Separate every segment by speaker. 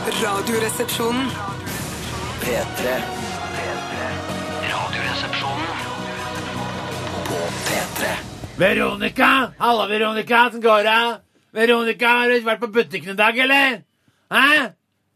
Speaker 1: Radioresepsjonen.
Speaker 2: P3. Radioresepsjonen på P3.
Speaker 3: Veronica! Halla, Veronica, åssen går det? Veronica, har du vært på butikken i dag, eller? Hæ?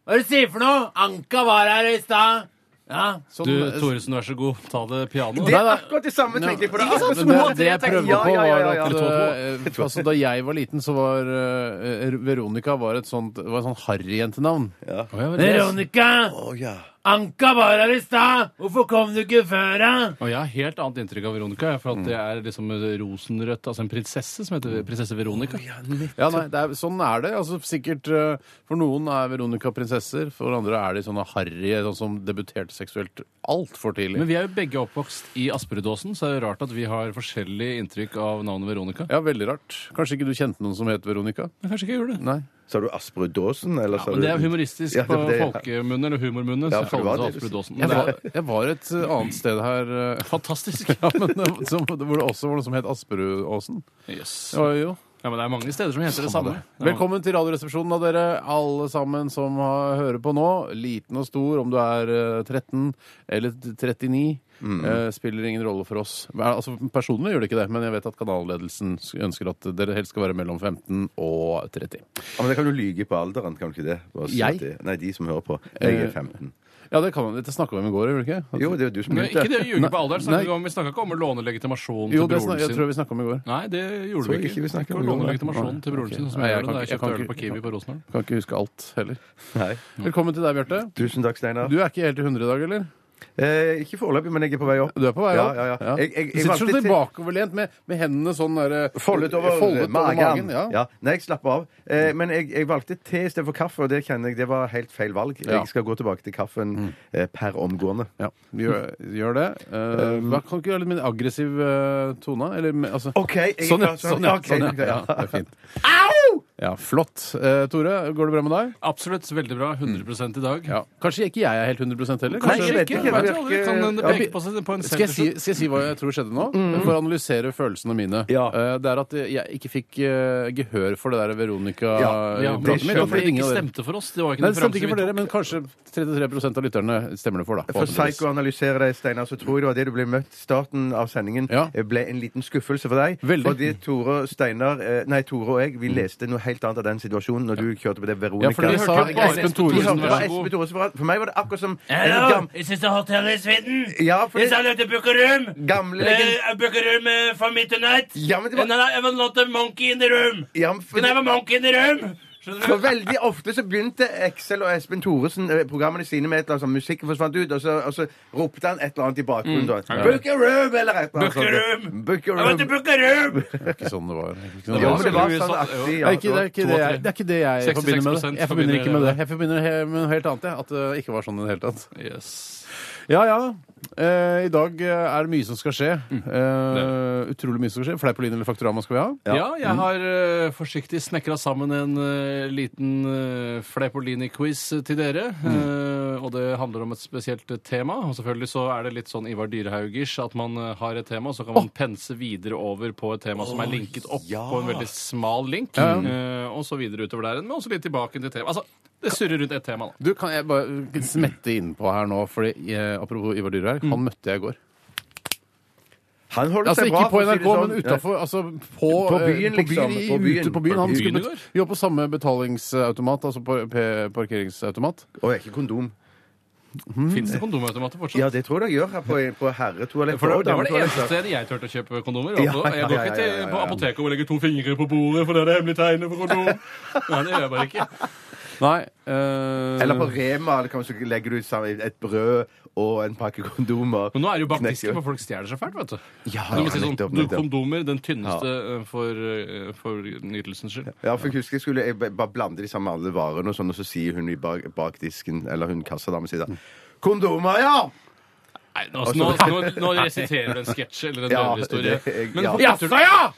Speaker 3: Hva er det du sier for noe? Anka var her i stad. Ja, sånn.
Speaker 4: eh,
Speaker 5: Du, Thoresen, vær så god. Ta det pianoet.
Speaker 6: eh, Det er akkurat det samme tenkte jeg på. Det er akkurat som
Speaker 4: det,
Speaker 6: måten
Speaker 4: det jeg
Speaker 6: jeg tenkte-
Speaker 4: prøver
Speaker 6: ja,
Speaker 4: på,
Speaker 6: ja, ja,
Speaker 4: var
Speaker 6: ja.
Speaker 4: at
Speaker 5: to og
Speaker 4: eh, altså, da jeg var liten, så var eh, Veronica var et sånt, var et sånt harryjentenavn.
Speaker 3: Veronica!
Speaker 6: Å, ja.
Speaker 3: Anka var her i stad! Hvorfor kom du ikke før, da?
Speaker 5: Og jeg har helt annet inntrykk av Veronica. jeg, For
Speaker 4: Mm.
Speaker 5: at det er liksom rosenrødt Altså en prinsesse som heter prinsesse Veronica.
Speaker 4: Ja, nei, det er, sånn er det. Altså, sikkert eh, For noen er Veronica prinsesser, for andre er de sånne harry sånn som debuterte seksuelt
Speaker 5: Men
Speaker 4: altfor tidlig.
Speaker 5: vi er jo begge oppvokst i Asperåsen, så er det rart at vi har forskjellig inntrykk av navnet Veronica.
Speaker 4: Ja, veldig rart. Kanskje ikke du kjente noen som het Veronica?
Speaker 5: Men kanskje ikke jeg gjorde det.
Speaker 4: Nei.
Speaker 6: Sa du Asperud Daasen, eller sa
Speaker 5: Men det er
Speaker 6: du
Speaker 5: humoristisk
Speaker 6: Ja, det-
Speaker 5: på
Speaker 6: det-
Speaker 5: folkemunne eller humormunne.
Speaker 6: Ja,
Speaker 5: så
Speaker 6: for det
Speaker 5: kaller
Speaker 6: var
Speaker 5: vi
Speaker 6: det
Speaker 5: det Asperåsen.
Speaker 4: Jeg
Speaker 5: Men
Speaker 4: var,
Speaker 5: det er
Speaker 4: jeg var et eh, annet sted her eh,
Speaker 5: fantastisk.
Speaker 4: ja, men, eh, som, hvor det også var noe som het Asperudåsen.
Speaker 5: Yes.
Speaker 4: Det var jo
Speaker 5: Ja, men det er mange steder som heter det samme.
Speaker 4: Velkommen til Radioresepsjonen av dere, alle sammen som har, hører på nå. Liten og stor, om du er eh, 13 eller 39,
Speaker 5: Mm.
Speaker 4: eh, spiller ingen rolle for oss. Hva- Altså, Personlig gjør det ikke det, men jeg vet at kanalledelsen s- ønsker at dere helst skal være mellom 15 og 30.
Speaker 6: Ja, men det kan du lyge på alderen, kan du ikke det? Bare si
Speaker 4: Jeg? Eh,
Speaker 6: at det- Nei, de som hører på. Jeg er 15.
Speaker 4: Ja, det kan man. Dette snakka vi om i går, gjorde vi ikke?
Speaker 6: Jo, det er jo du som
Speaker 5: Men ikke det
Speaker 6: begynte.
Speaker 5: å ljuge på alderen. snakket
Speaker 4: Nei.
Speaker 5: Vi om- vi snakka ikke om å låne legitimasjon
Speaker 4: Jo,
Speaker 5: til
Speaker 4: det snak,
Speaker 5: broren
Speaker 4: jeg
Speaker 5: sin.
Speaker 4: tror vi snakka om i går.
Speaker 5: Nei, det gjorde vi
Speaker 6: Tror jeg
Speaker 5: ikke.
Speaker 6: ikke vi snakket
Speaker 5: Ikke
Speaker 6: om
Speaker 5: låne
Speaker 6: det.
Speaker 5: legitimasjonen
Speaker 4: Nei.
Speaker 5: til broren
Speaker 4: Ok.
Speaker 5: sin, som jeg
Speaker 4: Nei, jeg
Speaker 5: gjorde
Speaker 4: kan
Speaker 5: da jeg
Speaker 4: ikke-
Speaker 5: kjøpte
Speaker 4: jeg
Speaker 5: øl
Speaker 4: kan
Speaker 5: på Kiwi på Rosenholm.
Speaker 4: Kan ikke huske alt heller.
Speaker 6: Nei.
Speaker 4: Velkommen til deg, Bjarte.
Speaker 6: Tusen takk, Steinar.
Speaker 4: Du er ikke helt i hundre i dag, eller?
Speaker 6: Eh, ikke foreløpig, men jeg er på vei opp.
Speaker 4: Du er på vei
Speaker 6: Ja,
Speaker 4: opp?
Speaker 6: ja, ja. Jeg- jeg- jeg
Speaker 4: du sitter
Speaker 6: valgte
Speaker 4: så
Speaker 6: til-
Speaker 4: tilbakeoverlent med, med hendene sånn der,
Speaker 6: Foldet over, eh,
Speaker 4: foldet
Speaker 6: magen.
Speaker 4: ja.
Speaker 6: ja. Nei, jeg slapper av. Eh, men jeg, jeg valgte te istedenfor kaffe, og det kjenner jeg det var helt feil valg.
Speaker 4: Ja. Mm.
Speaker 6: Jeg skal gå tilbake til kaffen eh, per omgående.
Speaker 4: Ja, gjør, gjør det. Eh,
Speaker 6: Um,
Speaker 4: hva, kan ikke du ha litt mer aggressiv eh, tone? Eller, med- altså,
Speaker 6: OK. Jeg, er
Speaker 4: sånn, ja,
Speaker 6: klar.
Speaker 4: sånn, ja,
Speaker 6: Ok,
Speaker 4: sånn, ja.
Speaker 6: ok,
Speaker 4: ja.
Speaker 6: ja.
Speaker 4: Det er fint. Ja, flott. Eh, Tore, går det bra med deg?
Speaker 5: Absolutt. Veldig bra. 100 i dag.
Speaker 4: Ja. Kanskje ikke jeg er helt 100 heller?
Speaker 6: Nei,
Speaker 5: Kanskje
Speaker 6: jeg vet
Speaker 5: ikke.
Speaker 6: ikke.
Speaker 5: Vet
Speaker 6: Det
Speaker 5: du aldri.
Speaker 6: virker-
Speaker 5: Kan det
Speaker 6: Ja,
Speaker 5: peke på seg på en
Speaker 4: Skal jeg, si,
Speaker 5: selfie?
Speaker 4: skal jeg si hva jeg tror skjedde nå? For å analysere følelsene mine.
Speaker 6: Mm. Ja.
Speaker 4: Eh, det er at jeg ikke fikk eh, gehør for det der Veronica
Speaker 6: Ja,
Speaker 5: Ja, men det
Speaker 4: praten min, og
Speaker 5: skjønner
Speaker 4: fordi
Speaker 5: jeg
Speaker 4: ingen
Speaker 5: ikke
Speaker 4: av dere-
Speaker 5: stemte for oss. Det var ikke
Speaker 4: Nei,
Speaker 5: en
Speaker 4: det stemte
Speaker 5: referanse
Speaker 4: ikke for
Speaker 5: vi
Speaker 4: dere, men kanskje 33 av lytterne stemmer det for, da.
Speaker 6: For
Speaker 4: forhåpentligvis.
Speaker 6: psykoanalysere deg, Steinar, så tror jeg det var det du ble møtt. Starten av sendingen
Speaker 4: Ja.
Speaker 6: eh, ble en liten skuffelse for deg.
Speaker 4: Veldig.
Speaker 6: Fordi Tore og Steinar eh, Nei, Tore og jeg, vi leste noe helt annet av den situasjonen når du kjørte på det Veronica.
Speaker 4: Ja, for det sa
Speaker 5: hørte jo bare
Speaker 4: Espen Thoresen.
Speaker 5: vær så
Speaker 6: Det var
Speaker 5: god.
Speaker 6: Espen Thoresen for- For meg var det akkurat som en
Speaker 3: Hallo!
Speaker 6: gam-
Speaker 3: Jeg syns det er hotell i suiten.
Speaker 6: Ja, for
Speaker 3: Jeg sa
Speaker 6: det,
Speaker 3: det til Bukkerum.
Speaker 6: gamle legend...
Speaker 3: Eh, Bukkerum eh, for me tonight.
Speaker 6: Ja, men det var-
Speaker 3: And I have a lot of monkey in the room.
Speaker 6: Ja, men for
Speaker 3: Can I have a monkey in the room?
Speaker 6: For
Speaker 3: Skjønner du?
Speaker 6: veldig ofte så begynte Excel og Espen Thoresen eh, programmene sine med et eller annet sånn musikken forsvant ut, og så, og så ropte han et eller annet i bakgrunnen. da. Book a room! Eller et eller annet.
Speaker 3: Bukkerum!
Speaker 6: sånt. Book a
Speaker 3: I went to
Speaker 6: room.
Speaker 3: Bukkerum!
Speaker 4: Ikke sånn det var. Ikke sånn
Speaker 6: Jo,
Speaker 5: var
Speaker 6: men det var
Speaker 5: sånn-
Speaker 6: sånn aktig.
Speaker 4: Det
Speaker 6: Ja,
Speaker 4: er ikke det, er ikke det, jeg, det, er ikke det jeg
Speaker 5: 66%
Speaker 4: forbinder med det. Jeg forbinder ikke med
Speaker 5: forbinder
Speaker 4: det. Jeg forbinder he- med noe helt annet. Jeg. At det ikke var sånn i det hele tatt.
Speaker 5: tok. Yes.
Speaker 4: Ja, ja. Eh, I dag eh, er det mye som skal skje. Eh, utrolig mye som skal skje. Fleipolin eller Faktorama skal vi ha.
Speaker 5: Ja, jeg har eh, forsiktig snekra sammen en eh, liten uh, Fleipolini-quiz til dere. eh, og det handler om et spesielt eh, tema. Og selvfølgelig så er det litt sånn Ivar Dyrehaugish at man eh, har et tema, så kan man pense videre over på et tema som er linket opp på en veldig smal link. eh, og så videre utover der igjen, men også litt tilbake til temaet. Altså, det surrer rundt ett tema, da.
Speaker 4: Du, Kan jeg bare smette innpå her nå? Fordi, eh, apropos Ivar Dyrhaug, han møtte jeg i går.
Speaker 6: Han holder
Speaker 4: Altså
Speaker 6: seg
Speaker 4: Ikke
Speaker 6: bra,
Speaker 4: på
Speaker 6: for å si det
Speaker 4: NRK,
Speaker 6: sånn.
Speaker 4: men utafor. Altså på,
Speaker 6: På
Speaker 4: eh,
Speaker 6: byen, liksom.
Speaker 4: i-
Speaker 6: På byen.
Speaker 4: Ute på byen.
Speaker 6: På
Speaker 4: Han
Speaker 6: byen
Speaker 4: skulle
Speaker 5: i går.
Speaker 4: bet- vi var på samme betalingsautomat, altså på p- parkeringsautomat.
Speaker 6: Og jeg er ikke kondom.
Speaker 5: Fins det kondomautomater fortsatt?
Speaker 6: Ja, det tror jeg jeg gjør her på, på herretoalett.
Speaker 5: For det,
Speaker 6: og
Speaker 5: det var det
Speaker 6: dametoalett.
Speaker 5: eneste stedet jeg turte å kjøpe kondomer.
Speaker 6: Ja,
Speaker 5: Altså.
Speaker 6: ja,
Speaker 5: Jeg går
Speaker 6: ja,
Speaker 5: ikke
Speaker 6: ja, ja,
Speaker 5: til
Speaker 6: ja.
Speaker 5: på apoteket og legger to fingre på bordet, for det er det hemmelige tegnet for kondom. Nei, det gjør jeg bare ikke.
Speaker 4: Nei. eh,
Speaker 6: Eller på Rema eller kanskje legger du ut sammen et brød og en pakke kondomer.
Speaker 5: Men nå er det jo bak
Speaker 6: Knekker.
Speaker 5: disken, for folk stjeler så fælt, vet du.
Speaker 6: Ja,
Speaker 5: Du må
Speaker 6: ja,
Speaker 5: si sånn,
Speaker 6: nettopp,
Speaker 5: du,
Speaker 6: nettopp.
Speaker 5: kondomer, den tynneste eh, for, eh, for nytelsens skyld.
Speaker 6: Ja, for jeg husker jeg skulle jeg bare blande de sammen med alle varene, og sånn, og så sier hun i bak, bak disken, eller hun kassadama sier da Kondomer, ja!
Speaker 5: Nei, nå, nå, nå, nå resiterer du en sketsj eller en
Speaker 6: Altså, Ja,
Speaker 5: drømmehistorie.
Speaker 6: det- jeg-
Speaker 5: Men
Speaker 6: ja.
Speaker 5: på Faktor-
Speaker 4: Jaså, ja!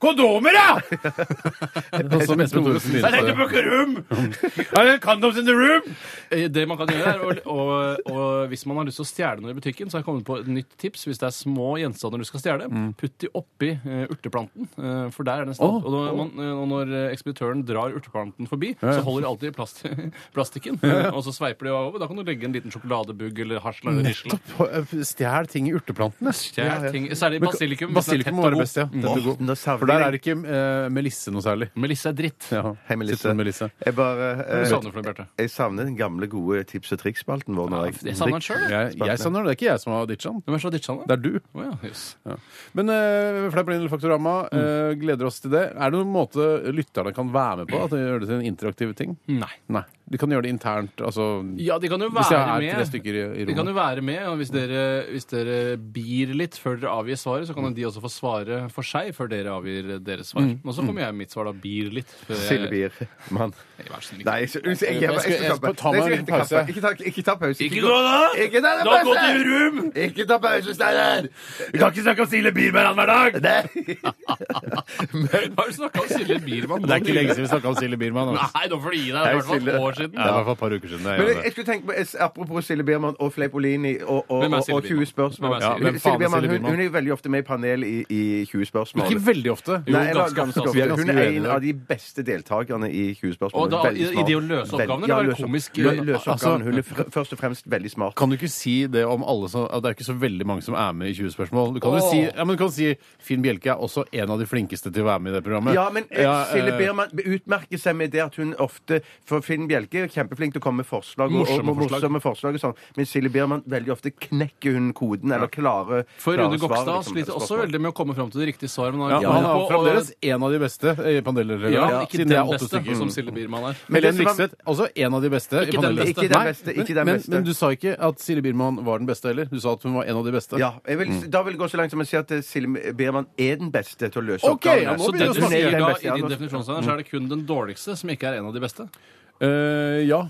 Speaker 3: Kondomer, ja!
Speaker 4: Sånn som Espen Thoresen
Speaker 3: Jeg tenkte
Speaker 4: begynte.
Speaker 3: på krum! Er det Condoms in the room!
Speaker 5: Eh, Det man kan gjøre er, å- og, og Hvis man har lyst til å stjele noe i butikken, så har jeg kommet på et nytt tips. Hvis det er små gjenstander du skal stjele, putt de oppi eh, urteplanten. eh, for der er den stand.
Speaker 4: Å,
Speaker 5: og, når man, eh, og når eh, ekspeditøren drar urteplanten forbi, så holder de alltid i plast, plastikken. og så sveiper de over. Da kan du legge en liten sjokoladebugg eller hasla eller risla.
Speaker 4: Nettopp. Stjel eh, ting i urteplantene.
Speaker 5: Ja, ja. Særlig basilikum. hvis den er tett
Speaker 4: Basilikum må
Speaker 5: og
Speaker 4: være
Speaker 5: god.
Speaker 4: best, ja. Den er god.
Speaker 6: Morten, da savner
Speaker 4: For der
Speaker 6: jeg
Speaker 4: er ikke eh, Melisse noe særlig.
Speaker 5: Melisse er dritt.
Speaker 4: Ja.
Speaker 6: Hei, Melisse.
Speaker 4: Sitter med Melisse.
Speaker 6: Jeg bare eh,
Speaker 5: Du savner for det, Bjarte.
Speaker 6: Jeg savner den gamle, gode tips- og triks-spalten vår. når
Speaker 5: Ja, jeg savner den selv, jeg.
Speaker 4: Jeg, jeg savner det. Det er ikke jeg som har ditcha den.
Speaker 5: Hvem er så ditcha, da?
Speaker 4: Det er du.
Speaker 5: Å ja, jøss.
Speaker 4: Ja. Men uh, Fleip Linn eller Faktorama, eh, gleder oss til det. Er det noen måte lytterne kan være med på? At de gjør det til en interaktiv ting?
Speaker 5: Nei.
Speaker 4: Nei. De kan gjøre det internt. Altså,
Speaker 5: Ja, de kan jo
Speaker 4: hvis jeg
Speaker 5: være
Speaker 4: er
Speaker 5: med.
Speaker 4: tre stykker i, i
Speaker 5: De kan jo
Speaker 4: rommet.
Speaker 5: være med, og hvis dere, hvis dere bier litt før dere avgir svaret, så kan jo de også få svare for seg før dere avgir deres svar.
Speaker 4: Mm.
Speaker 5: Og så kommer jeg med mitt svar, da. Bier litt. før jeg-
Speaker 6: Silje Bier. Mann.
Speaker 5: Nei, vær så snill, ikke-
Speaker 6: Nei, jeg, jeg, jeg, jeg, jeg,
Speaker 4: skal- jeg skal ta
Speaker 6: skal ta
Speaker 4: meg en
Speaker 6: pause.
Speaker 4: liten pause.
Speaker 6: Ikke ta, ikke ta pause.
Speaker 3: Ikke gå da!
Speaker 6: Ikke ta
Speaker 3: Da gå til
Speaker 6: pause!
Speaker 3: room!
Speaker 6: Ikke ta pause, Steinar!
Speaker 3: Vi kan ikke snakke om Silje Biermann hver dag!
Speaker 6: Nei.
Speaker 5: Har du snakka om Silje Biermann?
Speaker 4: Det er ikke lenge siden vi snakka om Silje Biermann. altså.
Speaker 5: Nei, nå får du gi deg. Det er i hvert fall
Speaker 6: Silje.
Speaker 5: et år siden.
Speaker 4: Det er i hvert fall et par uker siden. Det,
Speaker 6: Men
Speaker 4: er
Speaker 6: jeg,
Speaker 4: jeg,
Speaker 6: jeg skulle tenke på, jeg- Apropos Silje Biermann og Fleipolini og, og,
Speaker 5: Hvem er
Speaker 6: og,
Speaker 5: Silje
Speaker 6: og 20
Speaker 5: Biermann?
Speaker 6: spørsmål.
Speaker 5: Hvem er Silje
Speaker 6: Hun-
Speaker 4: Biermann?
Speaker 6: Silje Biermann
Speaker 4: Silje
Speaker 6: hun,
Speaker 4: Biermann?
Speaker 6: hun er veldig ofte med i panel i, i 20 spørsmål.
Speaker 4: ikke veldig ofte.
Speaker 6: Nei, eller
Speaker 5: ganske
Speaker 6: ganske
Speaker 5: ofte.
Speaker 6: ofte.
Speaker 4: Vi er ganske
Speaker 6: Hun er
Speaker 4: uenige
Speaker 6: en
Speaker 4: der.
Speaker 6: av de beste deltakerne i 20 spørsmål.
Speaker 5: Og da-
Speaker 6: Veldig
Speaker 5: i- i
Speaker 6: smart.
Speaker 5: det å løse
Speaker 6: Veldig-
Speaker 5: oppgavene,
Speaker 6: ja,
Speaker 5: være
Speaker 6: løse-
Speaker 5: komisk.
Speaker 6: lø- Løse
Speaker 5: Altså-
Speaker 6: oppgavene. Hun er fr- først og fremst veldig smart.
Speaker 4: Kan du ikke si det om alle som at Det er ikke så veldig mange som er med i 20 spørsmål. Du kan jo
Speaker 5: Åh.
Speaker 4: si, ja, men du kan si Finn Bjelke er også en av de flinkeste til å være med i det programmet.
Speaker 6: Ja, men eh,
Speaker 4: Ja, eh,
Speaker 6: Silje Biermann utmerker seg med det at hun ofte For Finn Bjelke er kjempeflink til å komme med forslag, og, og,
Speaker 5: Morsomme
Speaker 6: og
Speaker 5: forslag.
Speaker 6: morsomme forslag og sånn, men Silje Biermann veldig ofte knekker hun koden, eller klarer
Speaker 5: For
Speaker 6: klarer
Speaker 5: Rune
Speaker 6: svaret,
Speaker 5: Gokstad
Speaker 6: liksom,
Speaker 5: sliter også
Speaker 6: spørsmål.
Speaker 5: veldig med å komme fram til det riktige svaret. Men
Speaker 4: ja,
Speaker 5: han,
Speaker 4: Han
Speaker 5: ja,
Speaker 4: er
Speaker 5: på,
Speaker 4: fremdeles
Speaker 5: og,
Speaker 4: en av de beste i paneldelreløven.
Speaker 5: eh, ja,
Speaker 4: Ja,
Speaker 5: ikke
Speaker 4: siden det
Speaker 5: den
Speaker 4: er åtte
Speaker 5: beste
Speaker 4: stykker.
Speaker 5: som Silje Biermann er.
Speaker 6: Men
Speaker 4: Helen
Speaker 6: det som er-
Speaker 4: Vikstvedt, også en av de beste. i
Speaker 5: Ikke den
Speaker 4: paneldelreløven.
Speaker 5: beste.
Speaker 6: Ikke den
Speaker 4: Nei,
Speaker 6: beste,
Speaker 4: men-
Speaker 6: ikke den
Speaker 4: men,
Speaker 6: beste.
Speaker 4: Men du sa ikke at Silje Biermann var den beste heller. Du sa at hun var en av de beste.
Speaker 6: Ja, jeg vil,
Speaker 5: Mm.
Speaker 6: Da vil jeg gå så langt som å si at eh, Silje Biermann er den beste til å løse
Speaker 4: Ok, ja,
Speaker 6: oppgavene.
Speaker 4: nå
Speaker 5: Så
Speaker 4: begynner
Speaker 5: det
Speaker 4: å
Speaker 5: du
Speaker 6: Hun er
Speaker 5: sier
Speaker 6: den
Speaker 5: da,
Speaker 6: beste,
Speaker 5: i
Speaker 6: ja,
Speaker 5: din
Speaker 6: nå-
Speaker 5: definisjon, Steinar, så er det kun den dårligste som ikke er en av de beste.
Speaker 4: Eh, ja.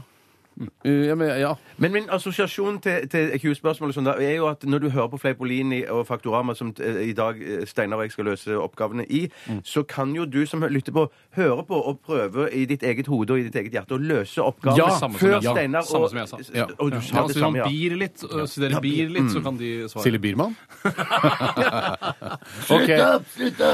Speaker 4: Eh, ja, men, ja.
Speaker 6: Men min assosiasjon til, til Q-spørsmålet sånn da, er jo at når du hører på Fleipolini og Faktorama, som eh, i dag eh, Steinar og jeg skal løse oppgavene i,
Speaker 5: Mm.
Speaker 6: så kan jo du som lytter på, høre på og prøve i ditt eget hode og i ditt eget hjerte å løse oppgavene
Speaker 5: Ja, samme som
Speaker 6: før
Speaker 5: jeg sa.
Speaker 6: Steinar og
Speaker 5: Samme som jeg sa.
Speaker 6: s-
Speaker 4: Ja.
Speaker 6: Og du sa
Speaker 5: Ja,
Speaker 6: det
Speaker 5: så
Speaker 6: samme,
Speaker 5: man
Speaker 6: ja. mm.
Speaker 5: bier litt, og hvis dere bier litt, så kan de svare.
Speaker 4: Silje Biermann? Ok,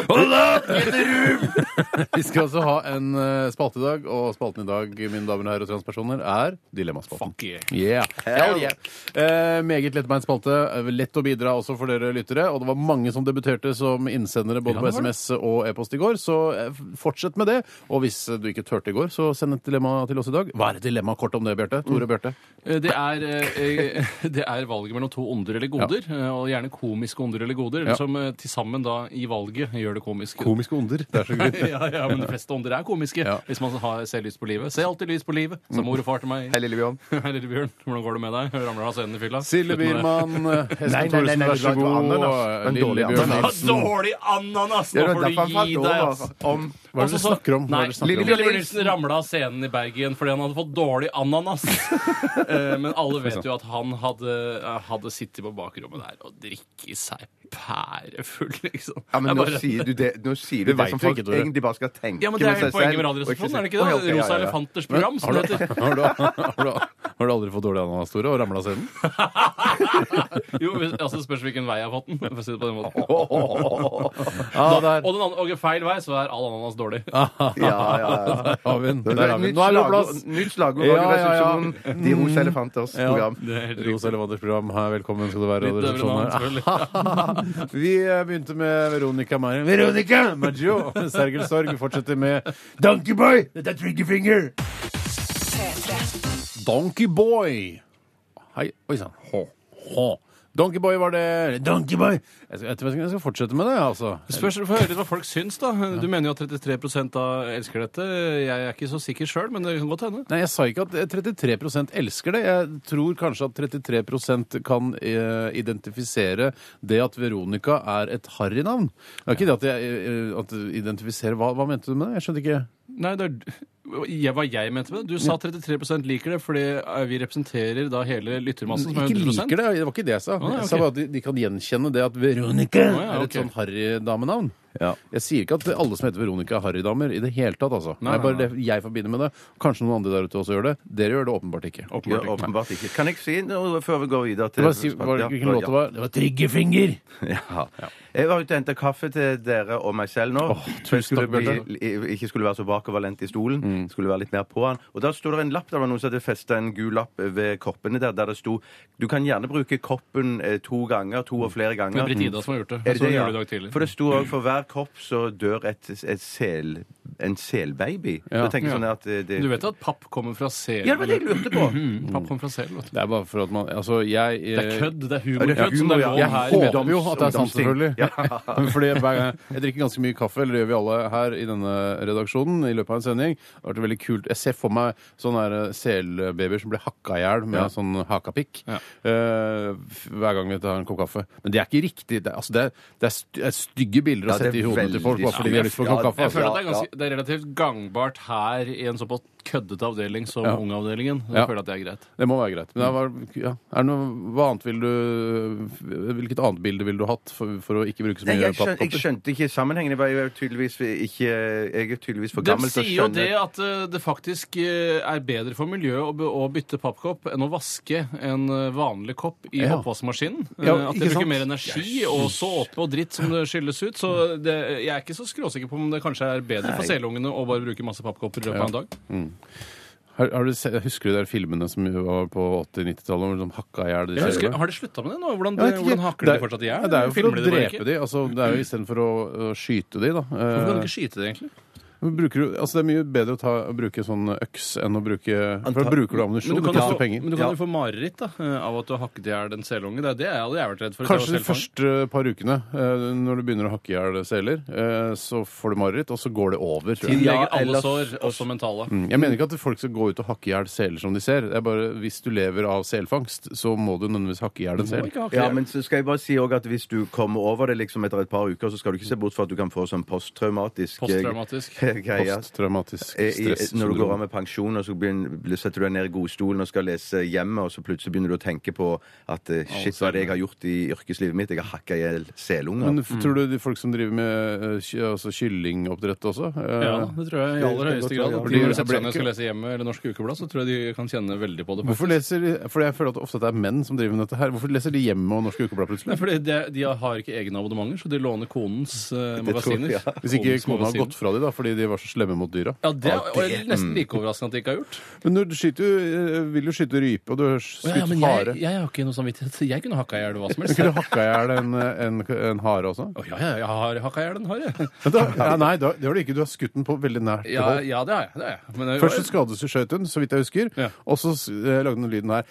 Speaker 3: Hold up! Get the room!
Speaker 4: Vi skal altså ha en eh, spalte i dag, og spalten i dag, mine damer og herrer og transpersoner, er Dilemmaspalten.
Speaker 5: Fuck yeah.
Speaker 4: Yeah. Hell yeah. Eh, meget lettbeint spalte. eh, Lett å bidra også for dere lyttere. Og det var mange som debuterte som innsendere både på
Speaker 5: det var det.
Speaker 4: SMS og e-post i går, så eh, f- fortsett med det. Og hvis eh, du ikke turte i går, så send et dilemma til oss i dag. Hva er et dilemma kort om det, Bjarte? Tore Bjarte.
Speaker 5: Eh, Det er, eh, det er valget mellom to onder eller goder, eh, og gjerne komiske onder eller goder, eller
Speaker 4: Ja.
Speaker 5: som eh, til sammen da i valget gjør det komisk.
Speaker 4: Komiske onder. Det er så gøy.
Speaker 5: ja, ja, men de fleste onder er komiske
Speaker 4: Ja.
Speaker 5: hvis man har, ser lyst på livet. Se alltid lys på livet,
Speaker 6: Mm.
Speaker 5: sa mor og far til meg.
Speaker 6: Hei, lille Bjørn.
Speaker 5: Hei, lille Bjørn. Hvordan går det med deg? Ramler du av scenen i fylla?
Speaker 4: Silje
Speaker 5: Slutt med det.
Speaker 4: Biermann, eh,
Speaker 6: Nei,
Speaker 4: Espen
Speaker 6: nei, nei,
Speaker 4: Thoresen,
Speaker 6: nei,
Speaker 4: vær så
Speaker 6: det var
Speaker 4: god.
Speaker 6: ananas.
Speaker 4: og
Speaker 6: En dårlig
Speaker 4: Lille Bjørn
Speaker 6: ananas.
Speaker 5: Ja,
Speaker 4: Nilsen.
Speaker 5: Dårlig ananas!
Speaker 6: Det
Speaker 5: Nå
Speaker 6: er
Speaker 5: får
Speaker 6: derfor han
Speaker 5: du gi
Speaker 6: falt
Speaker 5: deg,
Speaker 6: over
Speaker 5: ass.
Speaker 6: altså,
Speaker 4: Hva er
Speaker 6: om
Speaker 4: det du
Speaker 5: Altså, så-
Speaker 4: snakker om? Hva
Speaker 5: Nei,
Speaker 4: er det du snakker om?
Speaker 5: Lille Bjørn Nilsen ramla av scenen i Bergen fordi han hadde fått dårlig ananas. Eh, Men alle vet jo at han hadde, eh, hadde sittet på bakrommet der og drikke seg pærefull, liksom.
Speaker 6: ja, men
Speaker 5: Det er
Speaker 6: nå
Speaker 5: bare-
Speaker 6: sier du det, nå sier
Speaker 4: Det
Speaker 6: du det
Speaker 4: vet
Speaker 6: som
Speaker 4: vi
Speaker 6: folk
Speaker 4: ikke, Tore.
Speaker 6: egentlig bare skal tenke
Speaker 5: ja, men Det er
Speaker 6: med
Speaker 5: hele
Speaker 6: seg
Speaker 5: poenget med
Speaker 6: selv, og
Speaker 5: Radioresepsjonen, er det
Speaker 6: si- Å,
Speaker 5: ikke
Speaker 6: ja, ok,
Speaker 5: det?
Speaker 6: ja,
Speaker 5: Rosa
Speaker 6: ja, ja.
Speaker 5: elefanters program, som det heter.
Speaker 4: Har du, har, du, har du aldri fått dårlig ananas, Tore, og ramla av scenen?
Speaker 5: Jo, altså spørs hvilken vei jeg har fått den. for å si det på den måten.
Speaker 4: Ja,
Speaker 5: Og
Speaker 4: der.
Speaker 5: den andre, og feil vei, så er all ananas dårlig.
Speaker 6: Ja, ja, ja.
Speaker 4: Der har vi den.
Speaker 6: Det
Speaker 4: Der
Speaker 6: er
Speaker 4: har
Speaker 6: et
Speaker 4: vi den.
Speaker 6: nytt
Speaker 4: Nå er vi på
Speaker 6: slagord-
Speaker 4: plass.
Speaker 6: Nytt slagord
Speaker 4: Ja,
Speaker 6: ja,
Speaker 4: ja, ja.
Speaker 5: Mm.
Speaker 6: De rosa elefanters
Speaker 4: Ja,
Speaker 6: program.
Speaker 5: Det er helt
Speaker 4: Rosa Elevanders program. Hei, Velkommen skal du være.
Speaker 5: Litt døvere navn,
Speaker 4: Radioresepsjonen.
Speaker 5: selvfølgelig.
Speaker 4: Vi eh, begynte med Veronica Marin.
Speaker 3: Veronica!
Speaker 4: Maggio. Sergel Sorg fortsetter med
Speaker 3: Donkeyboy! Dette er Triggerfinger!
Speaker 4: Donkey Boy. Hei. Oi sann. Hå. Hå. Donkey Boy var det Donkey Boy! Jeg skal, jeg vet ikke om jeg skal fortsette med det, altså.
Speaker 5: Spørs, Få høre litt hva folk syns, da. Du mener jo at 33 av elsker dette. Jeg er ikke så sikker sjøl, men det kan godt hende.
Speaker 4: Nei, Jeg sa ikke at 33 elsker det. Jeg tror kanskje at 33 kan eh, identifisere det at Veronica er et harrynavn. Det er ikke det at jeg eh, at identifiserer hva, hva mente du med det? Jeg skjønte ikke.
Speaker 5: Nei, det er jeg, hva jeg mente med det. Du sa 33 liker det, fordi eh, vi representerer da hele lyttermassen som er
Speaker 4: Ikke
Speaker 5: 100
Speaker 4: liker det. Det var ikke det jeg sa.
Speaker 5: nei,
Speaker 4: Jeg sa
Speaker 5: ok.
Speaker 4: bare at de, de kan gjenkjenne det at Veronica
Speaker 5: ja,
Speaker 4: er
Speaker 5: ok.
Speaker 4: et sånn harrydamenavn.
Speaker 6: Ja.
Speaker 4: Jeg sier ikke at alle som heter Veronica, er harrydamer i det hele tatt, altså.
Speaker 5: Nei,
Speaker 4: det er bare
Speaker 5: nei,
Speaker 4: det jeg forbinder med det. Kanskje noen andre der ute også gjør det. Dere gjør det åpenbart ikke.
Speaker 6: Ja, åpenbart ikke. Kan jeg si noe før vi går videre
Speaker 4: Det
Speaker 6: til
Speaker 4: var, si, var,
Speaker 6: Ja,
Speaker 4: hvilken låt det var? Det var
Speaker 3: Triggerfinger!
Speaker 6: Ja. Jeg var ute og henta kaffe til dere og meg selv nå. For jeg skulle
Speaker 4: takk, Mm. Bjarte.
Speaker 6: bli- i- ikke skulle være så bakoverlent i stolen. Skulle være litt mer på han. Og da sto det en lapp der var noen som hadde festa en gul lapp ved koppene der, der det sto Du kan gjerne bruke koppen eh, to ganger, to og flere ganger.
Speaker 5: Det
Speaker 6: Mm.
Speaker 5: er Britt Ida som har gjort det.
Speaker 6: Er
Speaker 5: Jeg så hun
Speaker 6: ja?
Speaker 5: gjorde det sånn i dag tidlig.
Speaker 6: For det sto òg for hver kopp så dør et, et sel, en selbaby.
Speaker 4: Ja.
Speaker 6: Da tenker jeg sånn at eh, det
Speaker 5: Du vet at papp kommer fra selen?
Speaker 6: Ja, det var det jeg
Speaker 5: eller?
Speaker 6: lurte på!
Speaker 5: Mm, Papp kommer fra selen. vet du.
Speaker 4: Det er bare for at man Altså, jeg
Speaker 5: Det er kødd. Det er humorkødd.
Speaker 6: Ja, det er
Speaker 5: som det
Speaker 6: humor,
Speaker 5: er
Speaker 6: ja.
Speaker 5: lov
Speaker 4: Jeg
Speaker 5: her i
Speaker 4: håper
Speaker 5: meddoms-
Speaker 4: jo at det er sant,
Speaker 6: ungdomsting.
Speaker 4: selvfølgelig.
Speaker 6: Ja.
Speaker 4: Men Fordi hver gang Jeg drikker ganske mye kaffe, eller det gjør vi alle her i denne redaksjonen i løpet av en sending. Det har vært veldig kult. Jeg ser for meg sånne her eh, selbabyer som blir hakka i hjel med sånn hakapikk
Speaker 5: Ja.
Speaker 4: eh, f- hver gang vi tar en kopp kaffe. Men det er ikke riktig. Det er, altså, det er, det er st- det er stygge bilder
Speaker 6: Ja,
Speaker 4: å
Speaker 6: det er
Speaker 4: sette i hodene til folk
Speaker 6: veldig
Speaker 4: bare fordi de har lyst på en
Speaker 6: stygge.
Speaker 4: kopp kaffe.
Speaker 5: Jeg føler
Speaker 4: Altså.
Speaker 5: at det er, ganske, det er relativt gangbart her i en såpass køddete avdeling som
Speaker 4: Ja.
Speaker 5: Ungavdelingen. Jeg
Speaker 4: Ja.
Speaker 5: føler at det er greit.
Speaker 4: Det må være greit. Men det var, ja. er det noe, hva annet vil du Hvilket annet bilde ville du hatt for, for å ikke bruke så
Speaker 6: Nei,
Speaker 4: mye
Speaker 6: jeg, skjønte, jeg
Speaker 4: pappkopper?
Speaker 6: skjønte ikke sammenhengen. Jeg var- Jeg er tydeligvis, ikke, jeg er tydeligvis for
Speaker 5: De
Speaker 6: gammel til å
Speaker 5: sier jo det
Speaker 6: skjønne
Speaker 5: at eh, det faktisk eh, er bedre for miljøet å, be- å bytte pappkopp enn å vaske en eh, vanlig kopp i
Speaker 4: Ja.
Speaker 5: oppvaskmaskinen. Eh,
Speaker 4: Ja,
Speaker 5: at
Speaker 4: ikke
Speaker 5: det
Speaker 4: sant?
Speaker 5: bruker mer energi og såpe og dritt som det skylles ut. Så det, jeg er ikke så skråsikker på om det kanskje er bedre for selungene å bare bruke masse pappkopper i løpet av en dag.
Speaker 4: Har, har du se, husker du de der filmene som var på 80-90-tallet, hvor de hakka i hjel de
Speaker 5: Jeg
Speaker 4: selene?
Speaker 5: husker, har de slutta med det nå? Hvordan, eh,
Speaker 4: Jeg vet ikke.
Speaker 5: hvordan hakker de
Speaker 4: Det er-
Speaker 5: fortsatt i hjel?
Speaker 4: Ja, det er jo for
Speaker 5: Filmer
Speaker 4: å
Speaker 5: de det bare
Speaker 4: drepe
Speaker 5: ikke?
Speaker 4: de. Altså, det er jo istedenfor å, å skyte de, da.
Speaker 5: Hvorfor kan de
Speaker 4: Eh,
Speaker 5: ikke skyte det, egentlig?
Speaker 4: bruker du, altså, det er mye bedre å, ta, å bruke sånn øks enn å bruke For da
Speaker 6: Anta-
Speaker 4: bruker du
Speaker 5: Men
Speaker 4: ammunisjon,
Speaker 5: du
Speaker 4: det
Speaker 5: kan, jo
Speaker 4: koster
Speaker 5: få, men
Speaker 4: penger.
Speaker 5: du kan
Speaker 6: Ja.
Speaker 5: jo få mareritt da, eh, av at du har hakket i hjel en selunge. Det er det jeg hadde jeg vært redd for.
Speaker 4: Kanskje
Speaker 5: hvis jeg
Speaker 4: de
Speaker 5: var selfang.
Speaker 4: første par ukene, eh, når du begynner å hakke i hjel seler, eh, så får du mareritt, og så går det over. Tror jeg. Mm,
Speaker 5: Tiden
Speaker 6: Ja,
Speaker 5: legger alle
Speaker 6: ellers-
Speaker 5: sår, også mentale.
Speaker 4: jeg mener ikke at folk skal gå ut og hakke i hjel seler som de ser. Det er bare Hvis du lever av selfangst, så må du nødvendigvis hakke i hjel en sel.
Speaker 6: ja, men så skal jeg bare si også at Hvis du kommer over det liksom etter et par uker, så skal du ikke se bort for at du kan få sånn posttraumatisk eh,
Speaker 5: Posttraumatisk.
Speaker 6: greie.
Speaker 4: Posttraumatisk
Speaker 6: Eh, i-
Speaker 4: stress.
Speaker 6: Når du går av med pensjon, og så begynner, blir- setter du deg ned i godstolen og skal lese hjemme, og så plutselig begynner du å tenke på at eh, shit, hva er det jeg har gjort i yrkeslivet mitt? Jeg har hakka i hjel selunger.
Speaker 4: Men f-
Speaker 5: Mm.
Speaker 4: tror du de folk som driver med eh, ky- altså kyllingoppdrett også? eh,
Speaker 5: Ja, det tror jeg i aller høyeste grad. At
Speaker 4: Det
Speaker 5: de
Speaker 4: gjør
Speaker 5: når
Speaker 4: det.
Speaker 5: de setter seg ned og skal lese E hjemme eller Norske Ukeblad, så tror jeg de kan kjenne veldig på det. faktisk.
Speaker 4: Hvorfor leser de, for jeg føler at ofte at det er menn som driver med dette her. Hvorfor leser de hjemme og Norske Ukeblad
Speaker 5: Nei,
Speaker 4: plutselig?
Speaker 5: fordi de, de har ikke egne abonnementer, så de låner konens eh,
Speaker 6: Det tror jeg,
Speaker 5: magasiner.
Speaker 6: ja.
Speaker 4: Hvis ikke
Speaker 5: Konens
Speaker 4: kona har
Speaker 5: magasiner.
Speaker 4: gått fra dem da, fordi de var så slemme mot dyra.
Speaker 5: Ja, det er og jeg er
Speaker 4: mm.
Speaker 5: nesten like overraskende at de ikke har gjort.
Speaker 4: Men du skyter, jo, eh, vil jo skyte rype, og du har skutt
Speaker 5: Ja, men jeg,
Speaker 4: hare.
Speaker 5: jeg har ikke noe samvittighet. Jeg kunne hakka i hjel hva som helst.
Speaker 4: Kunne du hakka i hjel en, en, en hare også?
Speaker 5: Å, ja, ja, jeg har hakka i hjel en hare.
Speaker 4: Men da, ja, nei, da, det har du ikke. Du har skutt den på veldig nært
Speaker 5: Ja,
Speaker 4: hold.
Speaker 5: ja, det har jeg. Det har jeg. Men eh, jeg-
Speaker 4: Først så skadet du skjøt hun, så vidt jeg husker,
Speaker 5: Ja.
Speaker 4: og så eh, lagde den lyden her.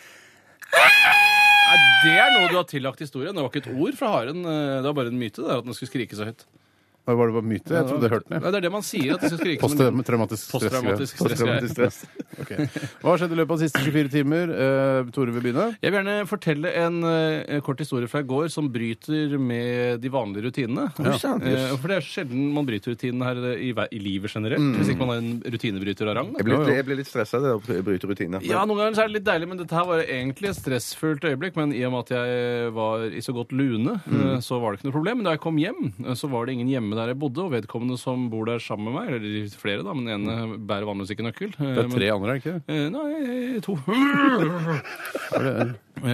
Speaker 5: Nei, det er noe du har tillagt historien. Det var ikke et ord fra haren. eh, Det var bare en myte det er at den skulle skrike så høyt.
Speaker 4: Var det bare myte? Jeg trodde jeg hørte den.
Speaker 5: Nei, det er det man sier, at den skal skrike som en
Speaker 4: Posttraumatisk stress.
Speaker 5: Posttraumatisk stressgreie.
Speaker 4: stress. Ok. Hva har skjedd i løpet av de siste 24 timer? Eh, Tore vil begynne.
Speaker 5: jeg vil gjerne fortelle en eh, kort historie fra i går som bryter med de vanlige rutinene. Eh, for det er sjelden man bryter rutinene her eh, i, ver- i livet generelt. Hvis ikke man er en rutinebryter av rang. da.
Speaker 6: Jeg blir, jeg blir litt stressa av å bryte rutiner.
Speaker 5: Ja, noen ganger så er det litt deilig, men dette her var egentlig et stressfullt øyeblikk. Men i og med at jeg eh, var i så godt lune, eh, så var det ikke noe problem. Men da jeg kom hjem, eh, så var det ingen hjemme der jeg bodde, og vedkommende som bor der sammen med meg, eller flere, da, men den ene bærer vanligvis ikke nøkkel. Eh,
Speaker 4: Det er tre andre, er det ikke det?
Speaker 5: Nei, to.
Speaker 6: Det
Speaker 5: Eh,